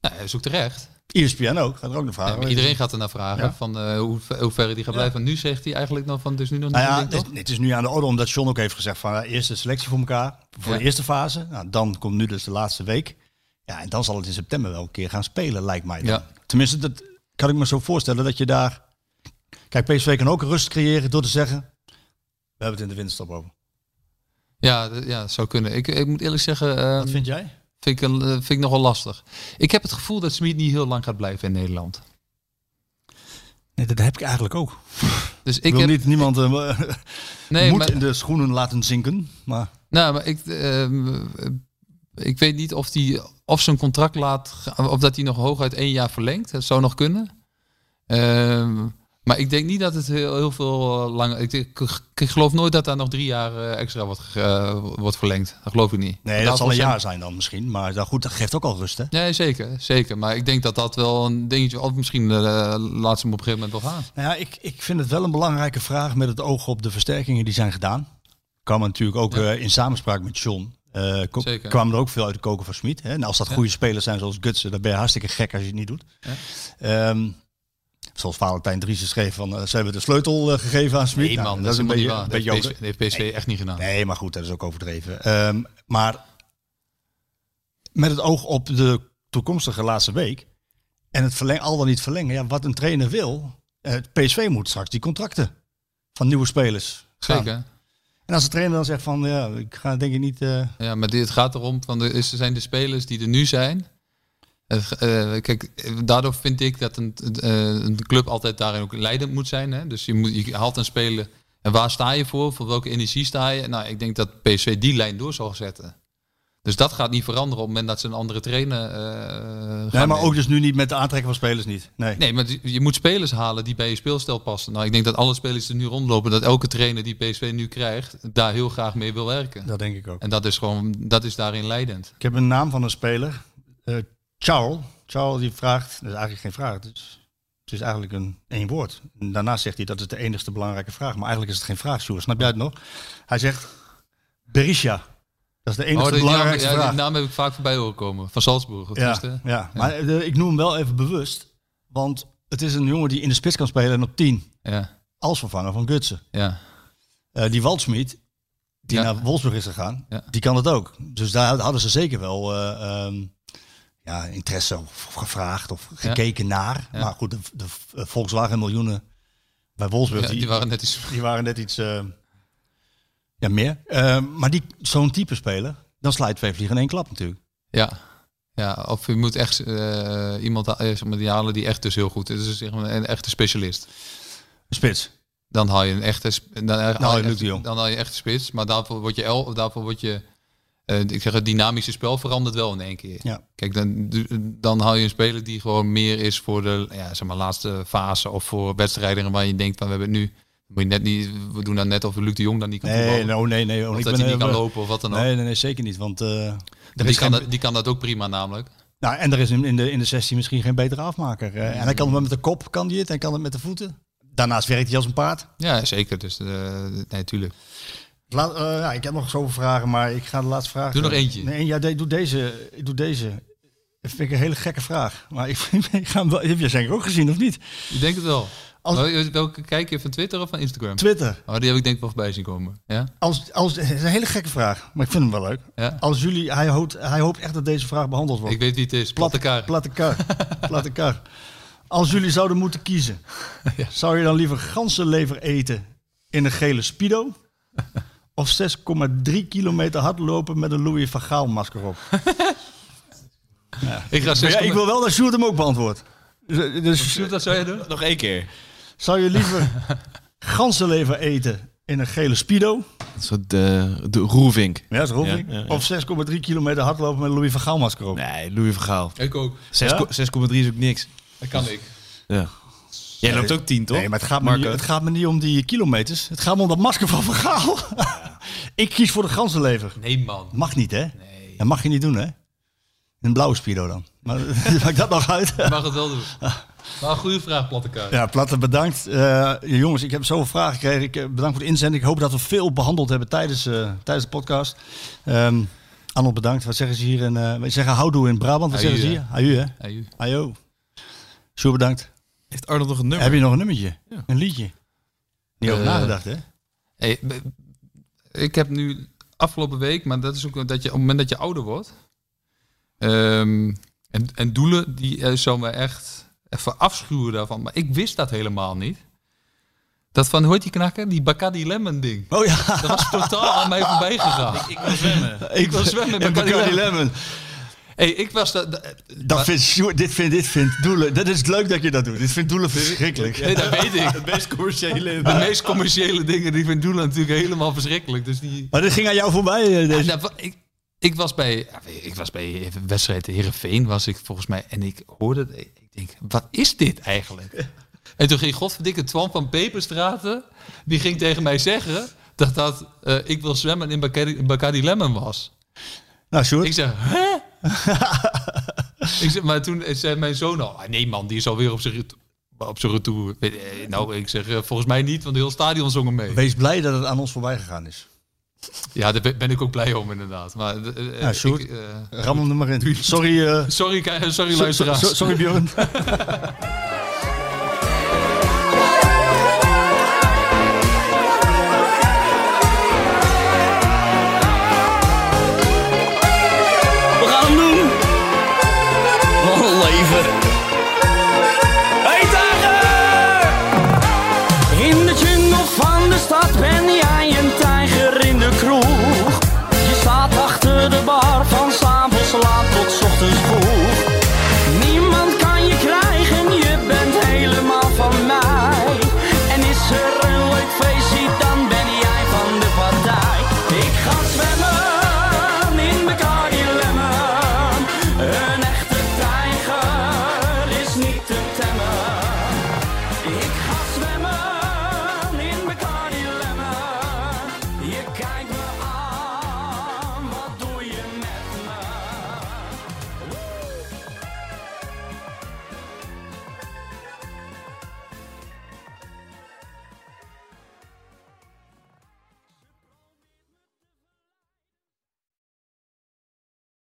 Speaker 5: nou, hij zoekt terecht.
Speaker 4: ESPN ook, gaat er ook naar
Speaker 5: Ja,
Speaker 4: vragen.
Speaker 5: maar iedereen gaat er naar vragen
Speaker 4: Ja.
Speaker 5: van eh, hoe, ver- hoe ver die gaat blijven. Nu zegt hij eigenlijk nog van, dus nu nog niet.
Speaker 4: Nou ja,
Speaker 5: ik denk,
Speaker 4: het,
Speaker 5: toch?
Speaker 4: is- het is nu aan de orde omdat John ook heeft gezegd van ja, eerst de selectie voor elkaar, voor
Speaker 5: Ja.
Speaker 4: de eerste fase. Nou, dan komt nu dus de laatste week. Ja, en dan zal het in september wel een keer gaan spelen, lijkt mij. dan.
Speaker 5: Ja.
Speaker 4: Tenminste, dat kan ik me zo voorstellen dat je daar... Kijk, PSV kan ook rust creëren door te zeggen, we hebben het in de winterstop over.
Speaker 5: ja, d- ja, zou kunnen. Ik, ik moet eerlijk zeggen, eh,
Speaker 4: Wat vind jij?
Speaker 5: vind, ik, een- eh, vind ik nogal lastig. Ik heb het gevoel dat Smit niet heel lang gaat blijven in Nederland.
Speaker 4: Nee, dat heb ik eigenlijk ook. Ik,
Speaker 5: Dus ik
Speaker 4: wil
Speaker 5: heb,
Speaker 4: niet niemand eh,
Speaker 5: nee,
Speaker 4: moet
Speaker 5: maar-
Speaker 4: in de schoenen laten zinken, maar...
Speaker 5: Nou, maar ik, ehm, ik weet niet of hij of zijn contract laat, ga- of dat hij nog hooguit één jaar verlengt. Dat zou nog kunnen. Ehm, maar ik denk niet dat het heel, heel veel eh, langer. Ik, ik, ik geloof nooit dat daar nog drie jaar eh, extra wordt, ge- eh, wordt verlengd. Dat geloof ik niet.
Speaker 4: Nee, dat zal een
Speaker 5: zijn-
Speaker 4: jaar zijn dan misschien. Maar dat, goed, dat geeft ook al rust, hè?
Speaker 5: Nee, zeker, zeker. Maar ik denk dat dat wel een dingetje. Of misschien eh, laat ze hem op een gegeven moment wel gaan.
Speaker 4: Nou ja, ik, ik vind het wel een belangrijke vraag met het oog op de versterkingen die zijn gedaan. Kwam er natuurlijk ook eh, in samenspraak met John. eh, ko-
Speaker 5: Zeker.
Speaker 4: kwamen er ook veel uit de koken van Smit. hè. En als dat goede spelers zijn zoals Gutsen, dan ben je hartstikke gek als je het niet doet. Ehm, zoals Valentijn Driessen schreef van eh, ze hebben de sleutel eh, gegeven aan Smit.
Speaker 5: Nee,
Speaker 4: Nou,
Speaker 5: man,
Speaker 4: dat is een
Speaker 5: helemaal
Speaker 4: beetje,
Speaker 5: niet
Speaker 4: een
Speaker 5: waar.
Speaker 4: beetje
Speaker 5: Dat heeft
Speaker 4: over-
Speaker 5: PSV, dat heeft PSV echt niet gedaan.
Speaker 4: Nee, maar goed, dat is ook overdreven. Ehm, maar met het oog op de toekomstige laatste week en het verleng, al dan niet verlengen, ja, wat een trainer wil, eh, het PSV moet straks die contracten van nieuwe spelers gaan.
Speaker 5: Zeker.
Speaker 4: En als de trainer dan zegt van, ja, ik ga denk ik niet... eh,
Speaker 5: Ja, maar dit gaat erom, van de, is- zijn de spelers die er nu zijn. Eh, g- eh, kijk, eh, daardoor vind ik dat een, eh, een club altijd daarin ook leidend moet zijn. Hè? Dus je, moet, je haalt een speler. En waar sta je voor? Voor welke energie sta je? Nou, ik denk dat PSV die lijn door zal zetten. Dus dat gaat niet veranderen op het moment dat ze een andere trainer eh, gaan
Speaker 4: nee, maar
Speaker 5: nemen.
Speaker 4: ook dus nu niet met de aantrekken van spelers niet. Nee.
Speaker 5: Nee, maar je- je moet spelers halen die bij je speelstijl passen. Nou, ik denk dat alle spelers die nu rondlopen, dat elke trainer die PSV nu krijgt, daar heel graag mee wil werken.
Speaker 4: Dat denk ik ook.
Speaker 5: En dat is gewoon, dat is daarin leidend.
Speaker 4: Ik heb een naam van een speler, eh, Charles. Charles die vraagt, dat is eigenlijk geen vraag, het is, het is eigenlijk een één woord. En daarna zegt hij dat is de enigste belangrijke vraag, maar eigenlijk is het geen vraag, Sjoerd. Snap jij het nog? Hij zegt Berisha. Dat is de enige
Speaker 5: Oh, die, naam,
Speaker 4: belangrijkste
Speaker 5: ja, die
Speaker 4: vraag.
Speaker 5: naam heb ik vaak voorbij horen komen. Van Salzburg. of
Speaker 4: ja,
Speaker 5: tenminste.
Speaker 4: ja, maar eh, ik noem hem wel even bewust, want het is een jongen die in de spits kan spelen en op 10
Speaker 5: ja,
Speaker 4: als vervanger van Gutsen.
Speaker 5: ja.
Speaker 4: Eh, die Waldsmit, die
Speaker 5: Ja.
Speaker 4: naar Wolfsburg is gegaan,
Speaker 5: Ja.
Speaker 4: die kan dat ook. Dus daar hadden ze zeker wel eh, ehm, ja, interesse of gevraagd of gekeken naar. Maar goed, de, de Volkswagen miljoenen bij Wolfsburg,
Speaker 5: Ja,
Speaker 4: die,
Speaker 5: die waren net iets.
Speaker 4: waren net iets eh, ja, meer. Eh, maar die zo'n type speler, dan sla je twee vliegen in één klap natuurlijk.
Speaker 5: Ja. ja, of je moet echt eh, iemand ha- eh, zeg maar, die halen die echt dus heel goed is. Dus zeg maar, een echte specialist.
Speaker 4: Spits.
Speaker 5: Dan haal je een echte. sp- Dan,
Speaker 4: haal
Speaker 5: haal
Speaker 4: je
Speaker 5: je
Speaker 4: Luc de Jong.
Speaker 5: echt, dan haal je echt spits. Maar daarvoor word je. El, daarvoor word je eh, ik zeg, het dynamische spel verandert wel in één keer.
Speaker 4: Ja.
Speaker 5: Kijk, dan, dan haal je een speler die gewoon meer is voor de ja, zeg maar, laatste fase of voor wedstrijden waar je denkt van we hebben het nu. Moet je net niet, we doen dan net of Luc de Jong dan niet kan
Speaker 4: Nee,
Speaker 5: voetballen.
Speaker 4: nee, oh, nee, nee. want
Speaker 5: Of
Speaker 4: ik
Speaker 5: dat
Speaker 4: ben,
Speaker 5: hij niet kan
Speaker 4: eh,
Speaker 5: lopen of wat dan ook.
Speaker 4: Nee, nee, nee, zeker niet. Want, eh, er
Speaker 5: die,
Speaker 4: is
Speaker 5: kan
Speaker 4: geen-
Speaker 5: dat, die kan dat ook prima namelijk.
Speaker 4: Nou, en er is in in de, in de 16 misschien geen betere afmaker. Eh, En hij kan het met de kop, kan die het, en kan het met de voeten. Daarnaast werkt hij als een paard.
Speaker 5: Ja, zeker. Dus eh, nee, tuurlijk.
Speaker 4: La- eh, ja, ik heb nog zoveel vragen, maar ik ga de laatste vraag.
Speaker 5: Doe nog eentje.
Speaker 4: Nee, ja, de- doe deze. Ik doe deze. Dat vind ik een hele gekke vraag. Maar ik, ik ga hem wel, heb je zeker ook gezien, of niet?
Speaker 5: Ik denk het wel.
Speaker 4: Als-
Speaker 5: Wel- eh, Welke kijk je van Twitter of van Instagram?
Speaker 4: Twitter.
Speaker 5: Oh, die heb ik denk ik wel voorbij zien komen. Ja?
Speaker 4: Als, als, het is een hele gekke vraag, maar ik vind hem wel leuk.
Speaker 5: Ja.
Speaker 4: Als jullie, hij hoopt, hij hoopt echt dat deze vraag behandeld wordt.
Speaker 5: Ik weet wie het is. Platte kaart.
Speaker 4: Platte kar. platte kar. Als jullie zouden moeten kiezen, zou je dan liever ganzenlever eten in een gele Speedo? Of 6,3 kilometer hardlopen met een Louis van Gaal masker op?
Speaker 5: ik ga
Speaker 4: Maar
Speaker 5: zes
Speaker 4: ja, ik wil wel dat Sjoerd hem ook beantwoordt. Dus, dus
Speaker 5: dat zou jij doen?
Speaker 1: Nog één keer.
Speaker 4: zou je liever ganzenlever eten in een gele Speedo?
Speaker 1: Een soort de, de roevink.
Speaker 4: Ja, dat hoef ik.
Speaker 1: Ja, ja, ja.
Speaker 4: Of 6,3 kilometer hardlopen met een Louis van Gaal masker op?
Speaker 1: Nee, Louis van Gaal.
Speaker 5: Ik ook.
Speaker 1: Zes-
Speaker 4: Ja?
Speaker 1: 6,3 is ook niks.
Speaker 5: Dat kan ik.
Speaker 1: Ja. Jij loopt ook 10, toch?
Speaker 4: Nee, maar het gaat, me niet, het gaat me niet om die kilometers. Het gaat me om dat masker van Van Gaal. ik kies voor de ganzenlever.
Speaker 5: Nee man.
Speaker 4: Mag niet, hè? Dat mag je niet doen, hè? Een blauwe Spiro dan. Maar maakt dat nog uit?
Speaker 5: Mag het wel doen. Maar een goede vraag, platte kaart.
Speaker 4: Ah. Ja, Platte, bedankt. Eh, jongens, ik heb zoveel vragen gekregen. Ik, eh, bedankt voor de inzending. Ik hoop dat we veel behandeld hebben tijdens, eh, tijdens de podcast. Ehm Arnold, bedankt. Wat zeggen ze hier? In, eh wij zeggen houdoe in Brabant. Wat
Speaker 5: Aju,
Speaker 4: zeggen ze
Speaker 5: hè?
Speaker 4: hier?
Speaker 6: eh.
Speaker 4: Aju, hè?
Speaker 5: Hey,
Speaker 4: Ajo. oh. Sjoerd, bedankt.
Speaker 6: Heeft Arnold nog een nummer?
Speaker 4: Heb je nog een nummertje? Een liedje? Niet over
Speaker 5: Eh,
Speaker 4: nagedacht, hè?
Speaker 5: Hey, b- ik heb nu afgelopen week, maar dat is ook dat je op het moment dat je ouder wordt. ehm, en, en doelen die eh, zou me echt even afschuwen daarvan. Maar ik wist dat helemaal niet. Dat van, hoe heet die knakker? Die Bacardi Lemon ding.
Speaker 4: Oh ja,
Speaker 5: Dat was totaal aan mij voorbij gegaan. Ik,
Speaker 6: wil zwemmen.
Speaker 4: ik
Speaker 5: wil zwemmen met Bacardi
Speaker 4: Bacardi
Speaker 5: Lemon.
Speaker 4: Lemon.
Speaker 5: Hey, ik was da- da-
Speaker 4: Dat vindt, Sjoerd- dit vindt, dit vindt Doelen. Dat is leuk dat je dat doet. Dit vindt Doelen verschrikkelijk.
Speaker 5: nee, dat weet ik.
Speaker 6: Het meest commerciële.
Speaker 5: De meest commerciële dingen die vind Doelen natuurlijk helemaal verschrikkelijk. Dus die...
Speaker 4: Maar dit ging aan jou voorbij. eh,
Speaker 5: Ja, nou,
Speaker 4: deze-
Speaker 5: dat wa- ik, ik was bij, ik was bij wedstrijd Herenveen was ik volgens mij en ik hoorde, het, ik denk, wat is dit eigenlijk? En toen ging godverdikke Twan van Peperstraten, die ging tegen mij zeggen dat dat eh, ik wil zwemmen in Bacardi, Bacardi Lemon was.
Speaker 4: Nou, Sjoerd.
Speaker 5: Ik zeg, hè? ik zeg, maar toen zei mijn zoon al, "Ah, nee man, die is alweer op zijn ret- op zijn retour. Eh, Nou, ik zeg, eh, volgens mij niet, want heel stadion zong hem mee.
Speaker 4: Wees blij dat het aan ons voorbij gegaan is.
Speaker 5: Ja, daar ben ben ik ook blij om inderdaad. Maar, eh, eh,
Speaker 4: Ja, Sjoerd.
Speaker 5: ik, eh,
Speaker 4: Ram hem er maar in. Sorry, eh,
Speaker 5: sorry, ki- sorry
Speaker 4: so- so-
Speaker 5: luisteraars.
Speaker 4: sorry Björn.